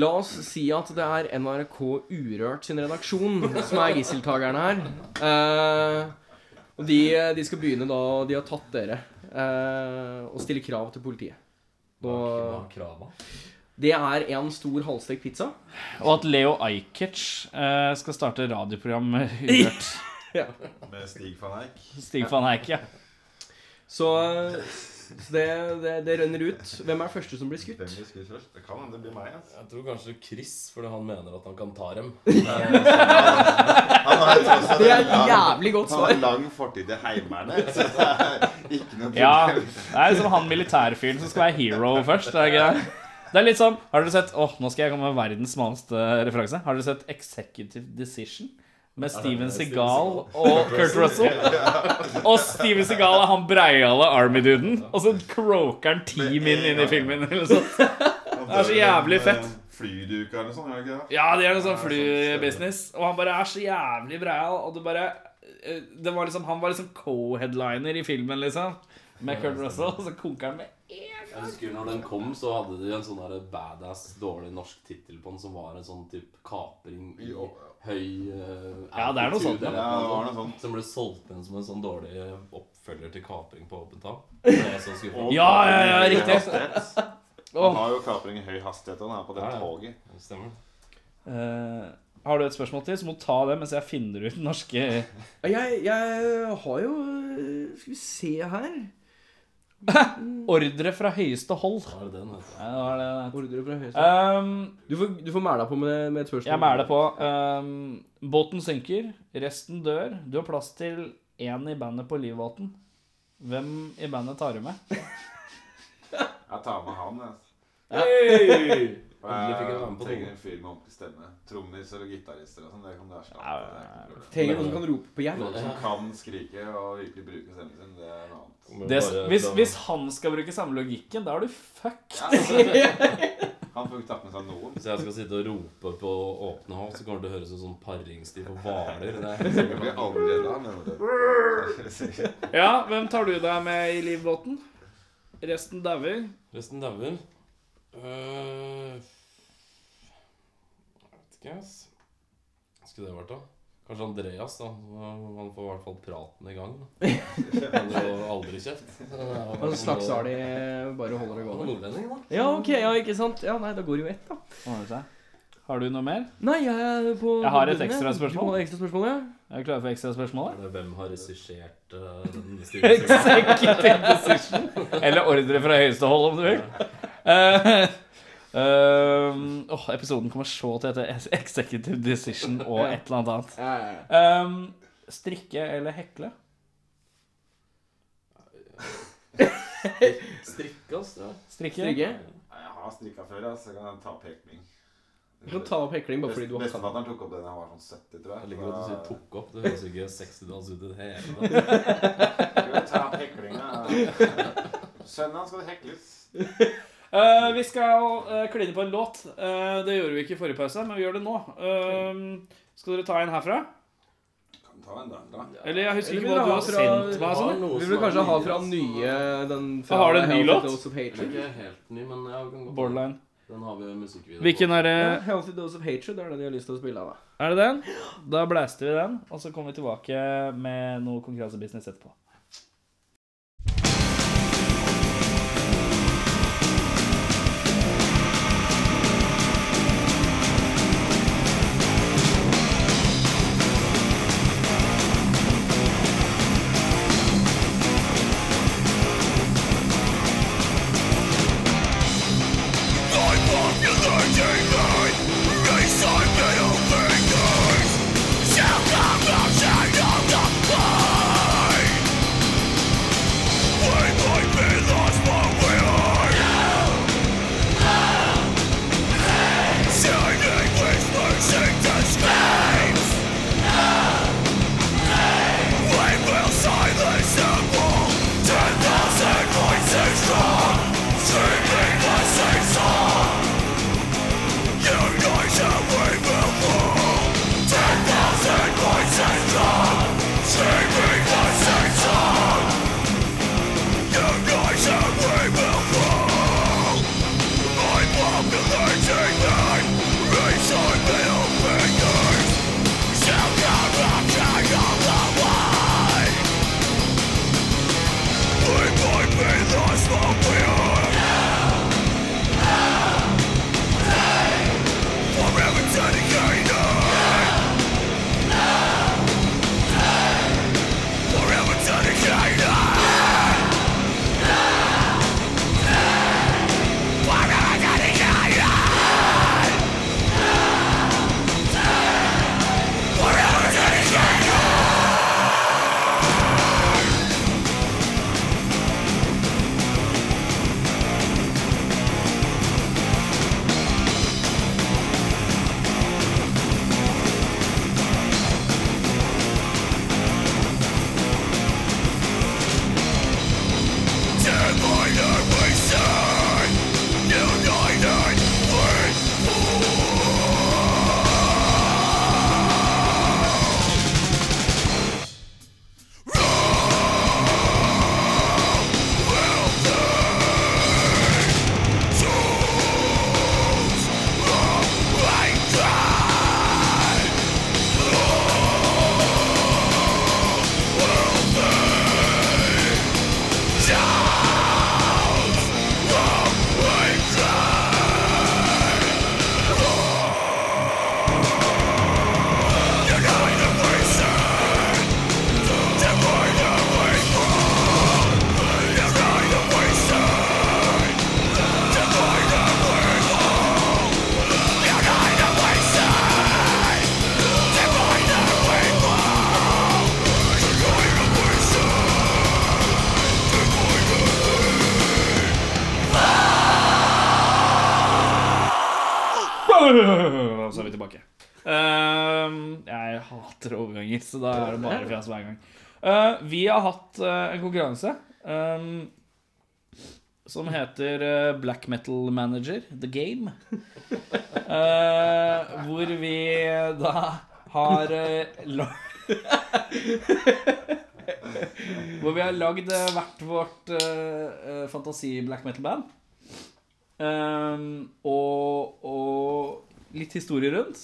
[SPEAKER 3] La oss si at det er NRK Urørt sin redaksjon som er gisseltakerne her. Eh, og de, de skal begynne da de har tatt dere, eh, og stille krav til politiet.
[SPEAKER 5] Hva
[SPEAKER 3] Og
[SPEAKER 5] er krava?
[SPEAKER 3] det er en stor halvstekt pizza.
[SPEAKER 4] Og at Leo Ajkic eh, skal starte radioprogram med
[SPEAKER 3] *laughs*
[SPEAKER 4] Urørt.
[SPEAKER 6] Med Stig van Eijk.
[SPEAKER 4] Stig van Eijk, ja.
[SPEAKER 3] Så, så det, det, det rønner ut. Hvem er første som blir skutt?
[SPEAKER 6] Hvem vi skulle først? Det kan hende det blir meg. Altså.
[SPEAKER 5] Jeg tror kanskje Chris, fordi han mener at han kan ta dem.
[SPEAKER 6] Han har jo tross alt
[SPEAKER 3] Det er
[SPEAKER 6] en
[SPEAKER 3] et
[SPEAKER 6] lang-
[SPEAKER 3] jævlig godt
[SPEAKER 6] han har
[SPEAKER 3] svar.
[SPEAKER 6] en lang fortid i Heimevernet, så det er ikke noe
[SPEAKER 4] ja.
[SPEAKER 6] problem.
[SPEAKER 4] Det er som han militærfyren som skal være hero først. Er det ikke det? Det er litt sånn Har dere sett Åh, nå skal jeg komme med verdens smaleste referanse. Har dere sett Executive Decision? Med Steven Seagal og Kurt Russell. Og Steven Seagal er han breiale Army-duden. Og så croaker han ti min inn i filmen. Eller sånn. sånt.
[SPEAKER 6] Det
[SPEAKER 4] er så jævlig fett.
[SPEAKER 6] Flyduka eller sånn, er det ikke det?
[SPEAKER 4] Ja, det er noe sånn flybusiness. Og han bare er så jævlig breial. Og det bare eh, det var liksom, Han var liksom co-headliner i filmen, liksom. Med Kurt Russell. Og så koker han med en
[SPEAKER 5] Jeg husker når den kom, så hadde de en sånn der badass, dårlig norsk tittel på den, som var en sånn typ kapring i
[SPEAKER 6] Jo.
[SPEAKER 5] høy eh,
[SPEAKER 4] Ja, det er noe
[SPEAKER 5] altitude
[SPEAKER 4] sånt, ja.
[SPEAKER 5] eller
[SPEAKER 6] Ja, det var
[SPEAKER 5] noe
[SPEAKER 6] noe sånt.
[SPEAKER 5] Som ble solgt inn som en sånn dårlig oppfølger til kapring på åpent
[SPEAKER 4] *laughs*
[SPEAKER 5] hav. Så jeg er så skuffet.
[SPEAKER 4] Ja, ja, ja,
[SPEAKER 6] Høy
[SPEAKER 4] riktig.
[SPEAKER 6] hastighet.
[SPEAKER 4] Åh.
[SPEAKER 6] Han har jo kapring i høy hastighet, og han er på det
[SPEAKER 5] Ja, ja.
[SPEAKER 6] toget.
[SPEAKER 5] Det Stemmer.
[SPEAKER 4] Eh, har du et spørsmål til, så må du ta det mens jeg finner ut den norske
[SPEAKER 3] Jeg, jeg har jo øh, Skal vi se her
[SPEAKER 4] ordre fra høyeste hold.
[SPEAKER 5] Da er det den, vet du.
[SPEAKER 4] Ja, det var det.
[SPEAKER 3] Ordre fra høyest
[SPEAKER 4] Ehm,
[SPEAKER 3] Du får, du får mæle deg på med, med et spørsmål.
[SPEAKER 4] jeg mæler på. ehm, båten synker, resten dør. Du har plass til én i bandet på livbåten. Hvem i bandet tar du med?
[SPEAKER 6] Jeg tar med han, jeg.
[SPEAKER 5] Endelig fikk jeg være med på
[SPEAKER 6] trenger
[SPEAKER 5] noe.
[SPEAKER 6] en fyr med ordentlig stemme. Trommiser og gitarister og sånn, det kan du erstatte.
[SPEAKER 4] Ja, ja,
[SPEAKER 6] Det er ikke noe problem.
[SPEAKER 3] Trenger noen som kan rope på hjelp.
[SPEAKER 6] Folk som kan skrike og virkelig bruke stemmen sin, det er noe
[SPEAKER 4] *laughs*
[SPEAKER 6] annet.
[SPEAKER 5] Kommer
[SPEAKER 4] Det,
[SPEAKER 5] bare
[SPEAKER 4] hvis,
[SPEAKER 5] fra-
[SPEAKER 4] hvis han skal bruke samme logikken, da er du fucked.
[SPEAKER 6] Ja, altså, han får ikke tatt med seg noen.
[SPEAKER 5] Hvis jeg skal sitte og rope på åpne hav, så kommer det til å høres ut som paringstiv på Hvaler. Det er
[SPEAKER 6] *laughs*
[SPEAKER 5] jeg helt sikker
[SPEAKER 6] Jeg
[SPEAKER 5] på.
[SPEAKER 6] blir aldri da, mener du.
[SPEAKER 4] Ja, hvem tar du deg med i livbåten? Resten dauer.
[SPEAKER 5] Resten dauer. Øh, Jeg vet ikke, ass. Hva skulle det vært, da? Kanskje Andreas, da. Han får i hvert fall praten i gang. da. *laughs* Han får aldri kjeft.
[SPEAKER 3] Og så slags har de bare holder det
[SPEAKER 5] Han er
[SPEAKER 3] gående.
[SPEAKER 5] nordlending, da.
[SPEAKER 3] Ja, ok, ja, ikke sant? Ja, nei, da går det jo ett, da.
[SPEAKER 4] Ordner det seg. Har du noe mer?
[SPEAKER 3] Nei, jeg er på
[SPEAKER 4] Jeg har et
[SPEAKER 3] bunnen,
[SPEAKER 4] ekstra spørsmål.
[SPEAKER 3] Du har et ekstra spørsmål, ja?
[SPEAKER 4] Er du klar for ekstraspørsmålet?
[SPEAKER 5] Er det Hvem har regissert uh, *laughs* den stilen?
[SPEAKER 4] Executive decision. Eller ordre fra høyeste hold, om du vil. Eh, ehm, åh, episoden kommer så til å hete Executive decision og et eller annet annet. Ehm, strikke eller hekle?
[SPEAKER 5] Strikke, ass. Ja.
[SPEAKER 4] Strikke.
[SPEAKER 3] Trygge?
[SPEAKER 6] Jeg har strikka før, ass, så jeg kan ta pekning.
[SPEAKER 3] Du kan ta opp hekling bare fordi du har
[SPEAKER 6] Bestefatteren tok opp den da han var sånn 70, tror jeg.
[SPEAKER 5] Jeg liker godt at du sier
[SPEAKER 6] Da-
[SPEAKER 5] 'tok opp'. Det høres jo ikke sexy dans ut i det *laughs* hele tatt.
[SPEAKER 6] Skal vi ta heklinga? Sønnen skal hekles.
[SPEAKER 4] Eh, vi skal eh, kline på en låt. Eh, det gjorde vi ikke i forrige pause, men vi gjør det nå. Ehm, skal dere ta en herfra?
[SPEAKER 6] Kan ta en dag, da.
[SPEAKER 4] Eller jeg husker
[SPEAKER 3] Eller
[SPEAKER 4] ikke
[SPEAKER 3] vil
[SPEAKER 4] hva
[SPEAKER 3] du
[SPEAKER 4] du
[SPEAKER 3] ha
[SPEAKER 4] har
[SPEAKER 3] fra-
[SPEAKER 4] sendt meg. Sånn.
[SPEAKER 5] noe
[SPEAKER 3] Vi
[SPEAKER 5] som
[SPEAKER 3] vil
[SPEAKER 5] er
[SPEAKER 3] kanskje ha
[SPEAKER 5] nyere,
[SPEAKER 3] fra
[SPEAKER 5] ass.
[SPEAKER 3] nye den fra
[SPEAKER 4] Har du en ny
[SPEAKER 3] Healthy
[SPEAKER 4] låt?
[SPEAKER 3] Dose of Hatred?
[SPEAKER 5] Ikke helt ny, men jeg kan gå på den.
[SPEAKER 4] Borderline.
[SPEAKER 5] Den har vi jo musikkvideo
[SPEAKER 4] Hvilken er det?
[SPEAKER 3] Ja, Healthy Dose of Hatred det er den jeg har lyst til å spille av. da.
[SPEAKER 4] Er det den? Da blæster vi den, og så kommer vi tilbake med noe konkurransebusiness etterpå.
[SPEAKER 7] Forever
[SPEAKER 2] Og så er vi tilbake. Ehm, jeg hater overganger, så da er det bare fjas hver gang. Eh, vi har hatt eh, en konkurranse ehm, som heter eh, Black Metal Manager The Game. Eh, hvor vi da har eh, la- *laughs* Hvor vi har lagd eh, hvert vårt eh, eh, fantasi-black metal-band. Ehm, og, og litt historie rundt.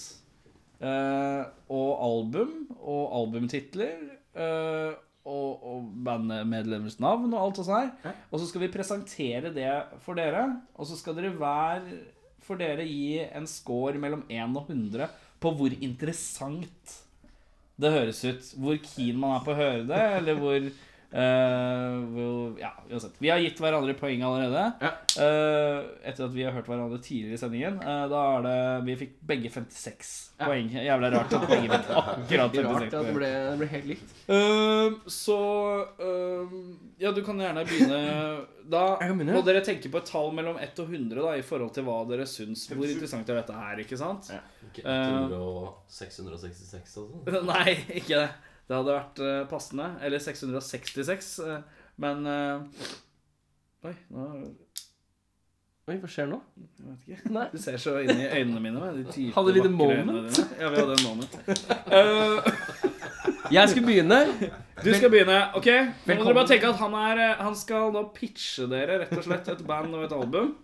[SPEAKER 2] Eh, og album og albumtitler. eh, og, og bandmedlemmers navn og alt og sånn her. Og så skal vi presentere det for dere. Og så skal dere hver for dere gi en score mellom 1 og 100 på hvor interessant det høres ut. Hvor keen man er på å høre det, eller hvor, eh, hvor Ja, uansett. Vi har gitt hverandre poeng allerede. Eh, etter at vi har hørt hverandre tidligere i sendingen. Eh, da er det Vi fikk begge 56 poeng. Jævla rart at begge
[SPEAKER 3] *laughs*
[SPEAKER 2] fikk akkurat 56
[SPEAKER 3] Rart at det
[SPEAKER 2] poeng.
[SPEAKER 3] ble, det ble helt likt.
[SPEAKER 4] Ehm, så ehm, Ja, du kan gjerne begynne. Da
[SPEAKER 3] Jeg kan begynne, ja.
[SPEAKER 4] må dere tenke på et tall mellom 1 og 100 da, i forhold til hva dere syns. Hvor interessant er dette her, ikke sant?
[SPEAKER 5] Ikke 100 og 666 og sånn.
[SPEAKER 4] *laughs* Nei, ikke det. Det hadde vært eh, passende. Eller 666. eh, men eh, Oi, nå
[SPEAKER 3] Oi, hva skjer nå?
[SPEAKER 4] jeg vet ikke.
[SPEAKER 3] Nei.
[SPEAKER 4] Du ser så inn i øynene mine. med De dype,
[SPEAKER 3] Hadde vi det
[SPEAKER 4] vakre øynene
[SPEAKER 3] moment?
[SPEAKER 4] dine. Ja, vi hadde en moment. Eh,
[SPEAKER 3] Jeg skulle begynne.
[SPEAKER 4] du skal begynne. Ok, nå må
[SPEAKER 3] Velkommen.
[SPEAKER 4] dere bare tenke at han, er, eh, han skal nå pitche dere rett og slett et band og et album.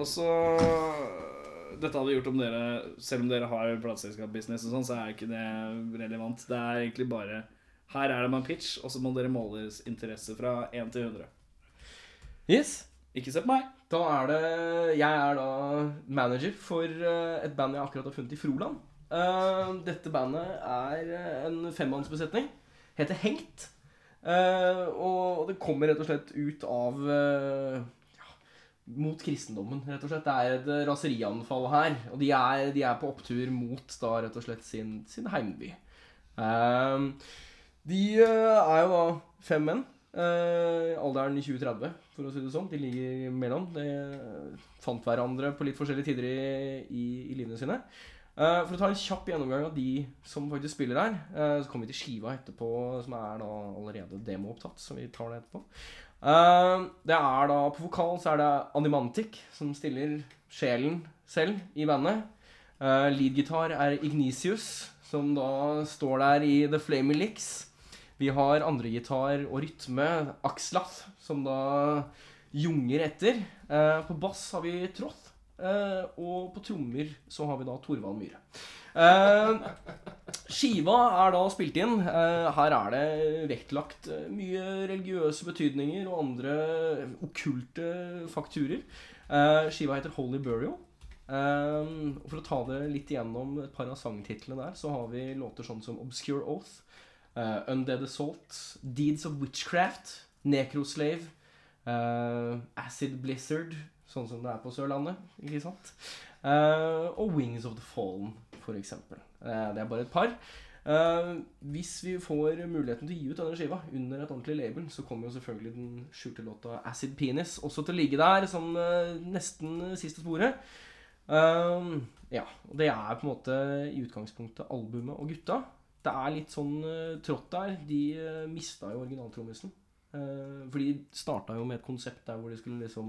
[SPEAKER 4] Og så Dette hadde vi gjort om dere Selv om dere har plateselskapsbusiness og sånn, så er ikke det relevant. Det er egentlig bare Her er det med en pitch, og så må dere måle deres interesse fra 1 til 100.
[SPEAKER 3] Yes.
[SPEAKER 4] Ikke se på meg.
[SPEAKER 3] Da er det Jeg er da manager for eh, et band jeg akkurat har funnet i Froland. Eh, dette bandet er eh, en femmannsbesetning. Heter Hengt. Eh, og det kommer rett og slett ut av eh, ja, Mot kristendommen, rett og slett. Det er et eh, raserianfall her. Og de er, de er på opptur mot da rett og slett sin, sin heimby. Eh, de eh, er jo da fem menn. Eh, alderen 20-30, for å si det sånn. De ligger mellom. De eh, fant hverandre på litt forskjellige tider i, i, i livene sine. Eh, for å ta en kjapp gjennomgang av de som faktisk spiller her, eh, så kommer vi til skiva etterpå, som er da allerede demoopptatt, så vi tar det etterpå. Eh, det er da På vokal så er det Animantic som stiller sjelen selv i bandet. Uh, Leadgitar er Ignisius, som da står der i The Flaming Licks. Vi har andregitar og rytme, Axlath, som da junger etter. Eh, på bass har vi Troth, eh, og på trommer så har vi da Torvald Myhre. Eh, skiva er da spilt inn. Eh, her er det vektlagt eh, mye religiøse betydninger og andre okkulte fakturer. Eh, skiva heter Holy Burial. Eh, og for å ta det litt igjennom et par av sangtitlene der, så har vi låter sånn som Obscure Oath. Eh, Undead Assault, Deeds of Witchcraft, Necroslave, eh, Acid Blizzard, sånn som det er på Sørlandet, ikke sant? Eh, og Wings of the Fallen, for eksempel. Eh, det er bare et par. Eh, hvis vi får muligheten til å gi ut denne skiva under et ordentlig label, så kommer jo selvfølgelig den skjulte låta Acid Penis også til å ligge der som eh, nesten siste sporet. Ehm, ja, og det er på en måte i utgangspunktet albumet og gutta. Det er litt sånn eh, trått der. De uh, mista jo originaltrommisen. Eh, for de starta jo med et konsept der hvor de skulle liksom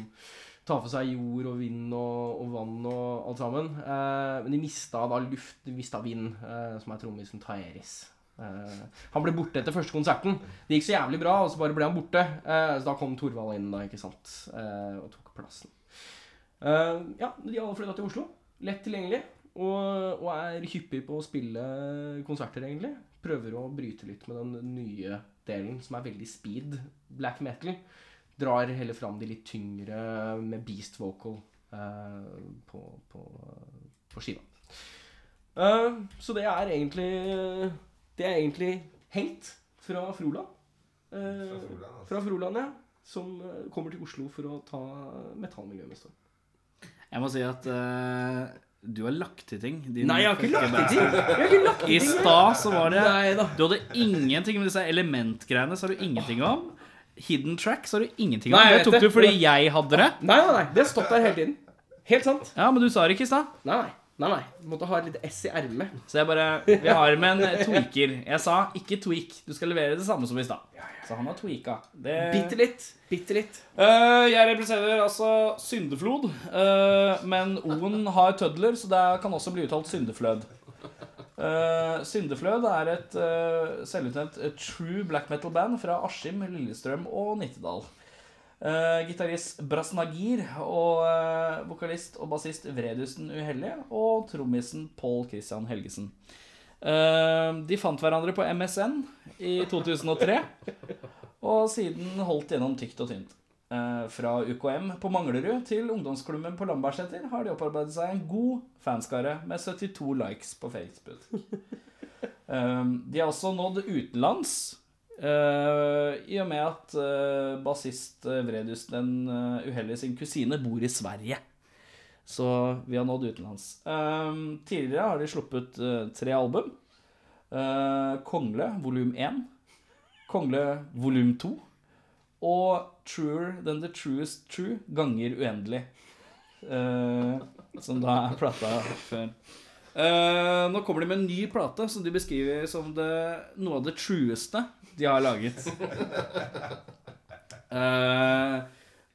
[SPEAKER 3] ta for seg jord og vind og, og vann og alt sammen. Eh, men de mista da luft, de mista vind, eh, som er trommisen Taeris. Eh, han ble borte etter første konserten. Det gikk så jævlig bra, og så bare ble han borte. Eh, så da kom Torvald inn, da, ikke sant, eh, og tok plassen. Eh, ja, de har alle flytta til Oslo. Lett tilgjengelig. Og, og er hyppig på å spille konserter, egentlig. Prøver å bryte litt med den nye delen, som er veldig speed. Black metal. Drar heller fram de litt tyngre med beast vocal eh, på, på, på skiva. Eh, så det er egentlig Det er egentlig hengt fra Froland.
[SPEAKER 8] Fra
[SPEAKER 3] Eh,
[SPEAKER 8] Froland, altså.
[SPEAKER 3] fra Froland, ja. Som eh, kommer til Oslo for å ta metallmiljøet neste år.
[SPEAKER 2] Jeg må si at eh, du har lagt til ting. Din
[SPEAKER 3] Nei, jeg har ikke lagt det til. Jeg har ikke lagt det
[SPEAKER 2] I
[SPEAKER 3] til.
[SPEAKER 2] stad så var det
[SPEAKER 3] Nei da.
[SPEAKER 2] Du hadde ingenting med disse elementgreiene, så har du ingenting om. Hidden track så har du ingenting om.
[SPEAKER 3] Nei,
[SPEAKER 2] det
[SPEAKER 3] jeg vet
[SPEAKER 2] tok du
[SPEAKER 3] det.
[SPEAKER 2] fordi jeg hadde det.
[SPEAKER 3] Nei, nei, nei. Det har stått der hele tiden. Helt sant.
[SPEAKER 2] Ja, men du sa det ikke i stad.
[SPEAKER 3] Nei, nei. Nei, nei. Måtte ha et lite S i ermet.
[SPEAKER 2] Så jeg bare Vi har med en eh, tweaker. Jeg sa ikke tweak. Du skal levere det samme som i stad. Så han har tweaka. Det
[SPEAKER 3] Bitte litt. Bitte litt.
[SPEAKER 2] Eh, jeg representerer altså syndeflod, eh, men O-en har tødler, så det kan også bli uttalt syndeflød. Eh, syndeflød er et uh, selvutnevnt eh, true black metal-band fra Askim, Lillestrøm og Nittedal. Uh, Gitarist Brasnagir og eh, vokalist og bassist Vredusen Uhellige og trommisen Pål Christian Helgesen. Eh, de fant hverandre på MSN i 2003, og siden holdt gjennom tykt og tynt. Eh, Fra UKM på Manglerud til ungdomsklubben på Lambertseter har de opparbeidet seg en god fanskare med 72 likes på Facebook. Um, De har også nådd utenlands, eh, i og med at eh, bassist eh, Vredus den eh, uheldige sin kusine bor i Sverige. Så vi har nådd utenlands. Um, Tidligere har de sluppet eh, tre album. Eh, Kongle volum 1, Kongle volum 2 og truer than the truest true ganger uendelig. Eh, som da er plata før. Eh, nå kommer de med en ny plate som de beskriver som det, noe av det trueste de har laget. Eh,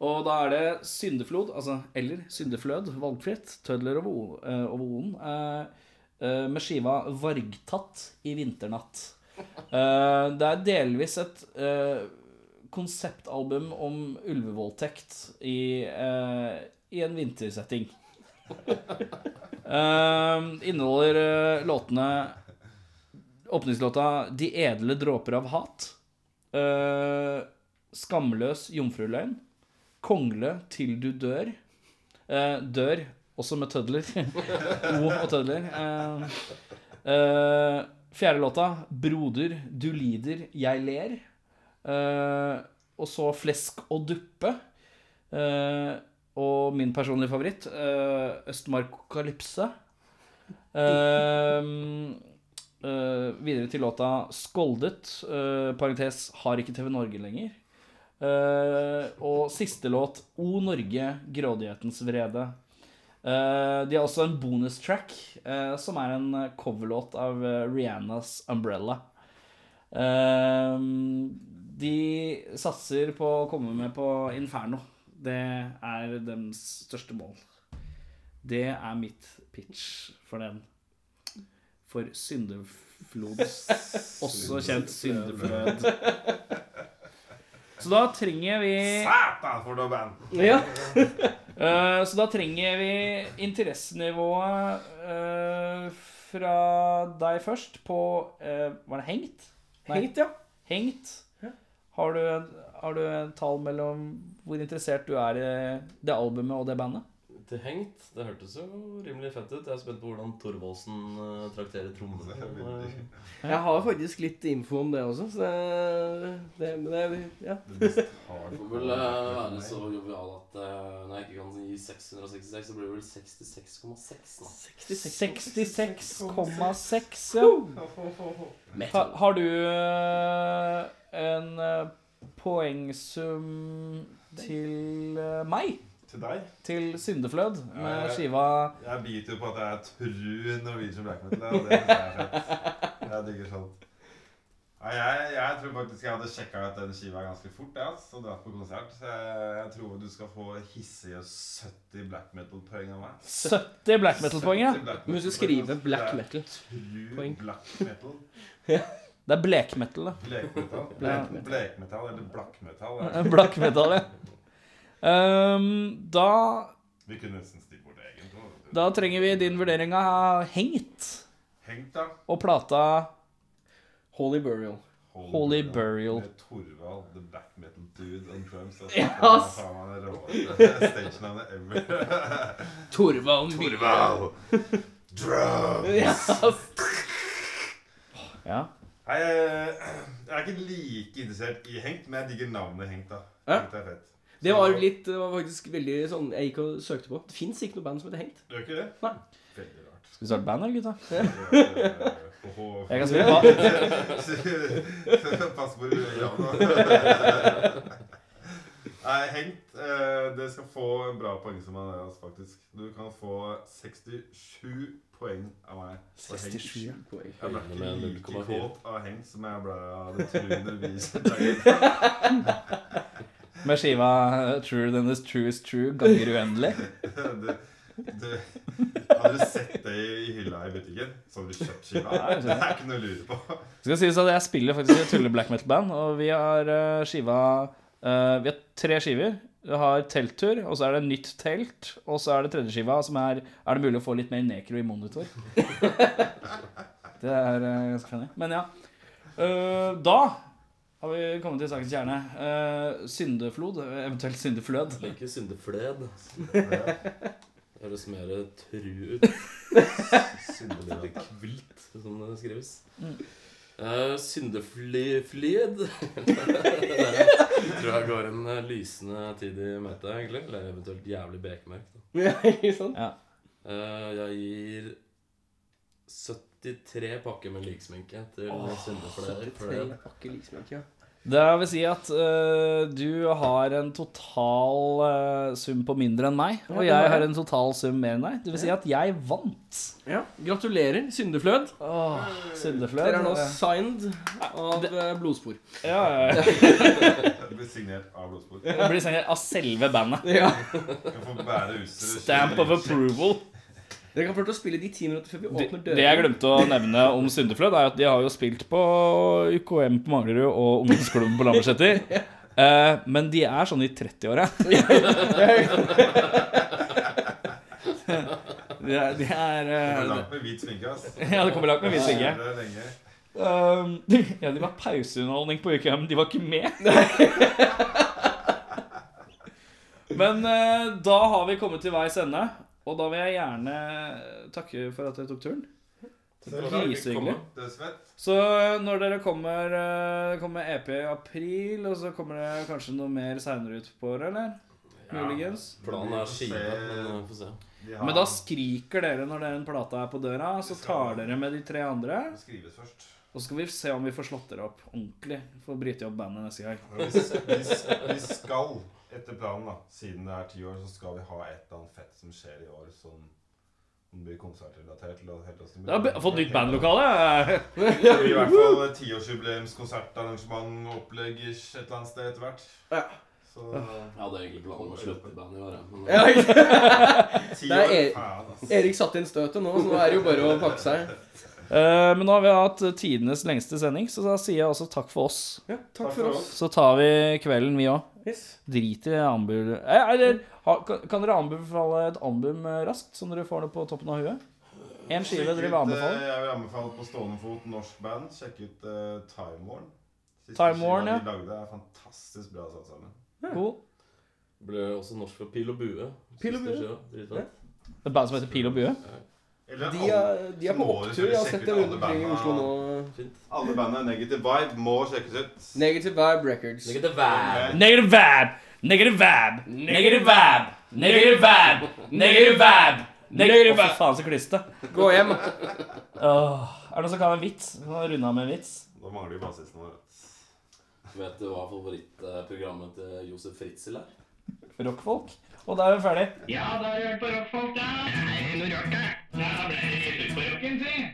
[SPEAKER 2] og da er det syndeflod, altså eller syndeflød, valgfritt, tødler over o- eh, over o-en, eh, eh, med skiva 'Vargtatt i vinternatt'. Eh, det er delvis et eh, konseptalbum om ulvevoldtekt i, eh, i en vintersetting. Eh, inneholder eh, låtene Åpningslåta 'De edle dråper av hat'. eh, 'Skamløs jomfruløgn'. 'Kongle til du dør'. eh, 'Dør', også med tødler. *laughs* O og tødler. Eh, eh, fjerde låta 'Broder, du lider, jeg ler'. Eh, og så flesk og duppe. Eh, og min personlige favoritt, eh, Østmark Kalypse. Eh, eh, videre til låta 'Skoldet', eh, parentes 'Har ikke TV Norge lenger'. Eh, og siste låt 'O Norge, grådighetens vrede'. Eh, de har også en bonustrack, eh, som er en eh, coverlåt av eh, Rihannas 'Umbrella'. Ehm, de satser på å komme med på Inferno. Det er deres største mål. Det er mitt pitch for den. For syndeflods Også kjent syndeflød. Så da trenger vi
[SPEAKER 6] Satan, for noe band!
[SPEAKER 3] Ja.
[SPEAKER 2] Eh, Så da trenger vi interessenivået eh, fra deg først på eh, Var det hengt? Nei.
[SPEAKER 3] Hengt, ja.
[SPEAKER 2] Hengt. Har du, har du en tall mellom hvor interessert du er i det albumet og det bandet?
[SPEAKER 5] Til hengt. Det hørtes jo rimelig fett ut. Jeg er spent på hvordan Thorvaldsen eh, trakterer trommene. Eh,
[SPEAKER 3] Jeg har faktisk litt info om det også, så det, det, men det ja.
[SPEAKER 5] Det får vel eh, være så jovial at eh, når jeg ikke kan gi 666, så blir det vel 66,6. da.
[SPEAKER 2] 66,6. Ja. Ha, har du eh, en eh, poengsum til eh, meg?
[SPEAKER 6] Til deg?
[SPEAKER 2] til Syndeflød
[SPEAKER 6] Ja,
[SPEAKER 2] med
[SPEAKER 6] ja.
[SPEAKER 2] skiva
[SPEAKER 6] Jeg biter jo på at jeg er tru Norwegian black metal. ja, og Det synes jeg er fett. Jeg digger sånt. Nei, jeg, jeg tror faktisk jeg hadde sjekka ut den skiva ganske fort jeg, ass, og dratt på konsert. Så jeg, jeg tror du skal få hissige 70 black metal-poeng av meg.
[SPEAKER 2] 70 black metal-poeng. ja.
[SPEAKER 6] 70 black
[SPEAKER 3] Du
[SPEAKER 6] metal-poeng,
[SPEAKER 3] må skrive
[SPEAKER 6] ass.
[SPEAKER 3] black
[SPEAKER 6] Det er
[SPEAKER 3] metal.
[SPEAKER 6] Tru
[SPEAKER 3] Poeng.
[SPEAKER 6] black metal.
[SPEAKER 2] Det er blekmetal,
[SPEAKER 4] *laughs*
[SPEAKER 2] det.
[SPEAKER 6] Blekmetall. Blek, blekmetall eller blakkmetall. er-
[SPEAKER 2] Black metal, ja. Ehm, da,
[SPEAKER 6] Vi kunne nesten stilt bort egen. tror jeg.
[SPEAKER 2] da trenger vi din vurdering av Hengt
[SPEAKER 6] Hengt, da.
[SPEAKER 2] og plata
[SPEAKER 3] Holy Burial.
[SPEAKER 2] Holy Burial.
[SPEAKER 6] Med Torvald, the black metal dude on drums. Altså,
[SPEAKER 2] Ja,
[SPEAKER 6] Det er
[SPEAKER 2] ass.
[SPEAKER 6] faen meg det råeste *laughs* stage-navnet
[SPEAKER 3] *laughs*
[SPEAKER 6] ever.
[SPEAKER 3] Torvald
[SPEAKER 2] *laughs*
[SPEAKER 6] Torvald! Drum!
[SPEAKER 2] Ja.
[SPEAKER 6] Nei, eh, jeg, jeg er ikke like interessert i Hengt, men jeg digger navnet Hengt, da.
[SPEAKER 3] Ja.
[SPEAKER 6] Hengt er fett.
[SPEAKER 3] Det var litt, det var faktisk veldig sånn jeg gikk og søkte på. Det fins ikke noe band som heter Hengt.
[SPEAKER 6] Gjør ikke det?
[SPEAKER 3] Nei.
[SPEAKER 6] Veldig rart.
[SPEAKER 2] Skal vi starte band, eller, gutta?
[SPEAKER 6] *laughs* Åhå.
[SPEAKER 2] Jeg kan spille ba
[SPEAKER 6] *laughs* Pass på hvor du gjør av nå. Nei, Nei, Hengt, eh, det skal få en bra poeng som Andreas, faktisk. Du kan få 67 poeng av meg. Og Hengt-
[SPEAKER 4] 67 poeng.
[SPEAKER 6] Jeg ble ikke
[SPEAKER 5] Med
[SPEAKER 6] like
[SPEAKER 5] 0,4.
[SPEAKER 6] kåt av Hengt som jeg ble av det truende viset.
[SPEAKER 4] Med skiva eh, 'True Then This True Is True' ganger uendelig.
[SPEAKER 6] Du, du, hadde du sett det i i hylla i butikken, så hadde du kjøpt skiva. Det er ikke noe å lure på.
[SPEAKER 4] Det skal sies at jeg spiller faktisk i et tulle black metal-band, og vi har eh, skiva eh, Vi har tre skiver. Vi har telttur, og så er det nytt telt, og så er det tredje skiva, som er Er det mulig å få litt mer nekro i monitor? det er eh, ganske funny. Men ja. Eh, da har vi kommet til sakens kjerne. Eh, syndeflod, eventuelt syndeflød.
[SPEAKER 5] Jeg liker syndefled. Det høres mer tru ut. Syndeflid, som det skrives.
[SPEAKER 3] Mm.
[SPEAKER 5] Uh, *laughs* Syndeflid Tror jeg går en eh, lysende tid i møte, egentlig. Eller eventuelt jævlig bekmørkt. da.
[SPEAKER 3] Ja, *laughs* ikke sant?
[SPEAKER 4] Ja.
[SPEAKER 5] Eh, jeg gir 73 pakker med liksminke til syndefled. for det.
[SPEAKER 3] Pakke liksmink, ja.
[SPEAKER 4] Det vil si at øh, du har en total øh, sum på mindre enn meg, og
[SPEAKER 3] det har
[SPEAKER 4] jeg
[SPEAKER 3] jeg.
[SPEAKER 4] har en total sum mer enn deg. Det vil si at jeg vant.
[SPEAKER 3] ja. Gratulerer, syndeflød.
[SPEAKER 4] Åh, syndeflød.
[SPEAKER 3] Dere er nå signed av eh, blodspor.
[SPEAKER 4] Ja, ja, ja.
[SPEAKER 6] Det blir signert av Blodspor.
[SPEAKER 4] Jeg blir sendt av selve bandet.
[SPEAKER 3] Ja.
[SPEAKER 6] Kan få bære utstyret.
[SPEAKER 4] Stamp of approval.
[SPEAKER 3] Dere kan få lov til å spille de ti minutter før vi
[SPEAKER 4] Det,
[SPEAKER 3] åpner
[SPEAKER 4] det jeg
[SPEAKER 3] dørene.
[SPEAKER 4] glemte å nevne om Syndeflød, er at de har jo spilt på UKM på Manglerud og ungdomsklubben på Lammerseter. *laughs* Eh, men de er sånn i 30-åra. de er, de er eh,
[SPEAKER 6] Langt med hvit sminke, ass.
[SPEAKER 4] *laughs* Ja, det kommer langt med hvit sminke.
[SPEAKER 6] Det er lenge.
[SPEAKER 4] Um, ja, de var pauseunderholdning på UKM, de var ikke med. Men eh, da har vi kommet til veis ende, og da vil jeg gjerne takke for at dere tok turen. Grisehyggelig.
[SPEAKER 6] Det er svett.
[SPEAKER 4] Så når dere kommer eh, Det kommer EP i april, og så kommer det kanskje noe mer seinere ut på året, eller? Muligens.
[SPEAKER 5] Planen er skive, men eh, får se.
[SPEAKER 6] De har-
[SPEAKER 4] Men da skriker dere når den plata er på døra, så tar dere med de tre andre.
[SPEAKER 6] Det skrives først.
[SPEAKER 4] Og så skal vi se om vi får slått dere opp ordentlig for å bryte opp bandet neste gang.
[SPEAKER 6] Vi, vi, vi skal, etter planen, da siden det er ti år, så skal vi ha et eller annet fett som skjer i år som blir konsertrelatert. eller helt oss til-
[SPEAKER 4] Jeg har be- fått nytt bandlokale!
[SPEAKER 6] Det blir i hvert fall et tiårsjubileumskonsertarrangementopplegg et eller annet sted etter hvert.
[SPEAKER 3] Ja.
[SPEAKER 6] Så
[SPEAKER 5] Jeg hadde egentlig planen om å slutte i bandet i år, jeg, men
[SPEAKER 3] Ja, ikke sant?
[SPEAKER 6] ti
[SPEAKER 3] Det er
[SPEAKER 6] år,
[SPEAKER 3] e-
[SPEAKER 6] faen, altså. ass.
[SPEAKER 3] Erik satte inn støtet nå, så nå er det jo bare å pakke seg.
[SPEAKER 4] Eh, Men nå har vi hatt tidenes lengste sending, så da sier jeg også takk for oss.
[SPEAKER 3] Ja, takk for oss.
[SPEAKER 4] Så tar vi kvelden, vi òg.
[SPEAKER 3] Yes.
[SPEAKER 4] Drit i anbud. Eh, Eller ha- kan kan dere anbefale et album eh, raskt, som dere får det på toppen av huet? Én skive dere vil
[SPEAKER 6] Sjekk ut,
[SPEAKER 4] anbefale?
[SPEAKER 6] eh, Jeg vil anbefale på stående fot norsk band. Sjekk ut uh, Time Warn. Siste
[SPEAKER 4] Time
[SPEAKER 6] skiva
[SPEAKER 4] Warn, ja.
[SPEAKER 6] De lagde er fantastisk bra satt sammen.
[SPEAKER 4] Cool.
[SPEAKER 5] det ble også norsk for Pil og bue.
[SPEAKER 3] Pil og Bue.
[SPEAKER 5] Siste skiva, dritfett.
[SPEAKER 4] Et band som heter Pil og bue?
[SPEAKER 6] Eller
[SPEAKER 3] De er, de er på
[SPEAKER 6] Må du
[SPEAKER 3] opptur. Jeg har
[SPEAKER 6] sjekke
[SPEAKER 3] sett
[SPEAKER 6] ut
[SPEAKER 3] dem rundt
[SPEAKER 6] alle
[SPEAKER 3] omkring i Oslo nå.
[SPEAKER 5] Fint.
[SPEAKER 6] alle bandene Negative Vibe må sjekkes ut.
[SPEAKER 3] Negative Vibe Records.
[SPEAKER 5] Lykke til hver.
[SPEAKER 4] Negative vab! Negative vab! Negative vab! Negative vab! Negative vab! Negative vab! Å, fy faen, så kliste.
[SPEAKER 3] Gå hjem.
[SPEAKER 4] Åh, er det noen som kan ha en vits? Vi kan runde av med en vits.
[SPEAKER 6] Da mangler vi bassisten vår.
[SPEAKER 5] Vet du hva favorittprogrammet til Josef Fritzel er?
[SPEAKER 4] Rockfolk. Og da er vi ferdig.
[SPEAKER 7] Ja, da har jeg hørt på rockfolk, da. Det er noe rart, det. Da ble det gitt ut på rocken, si.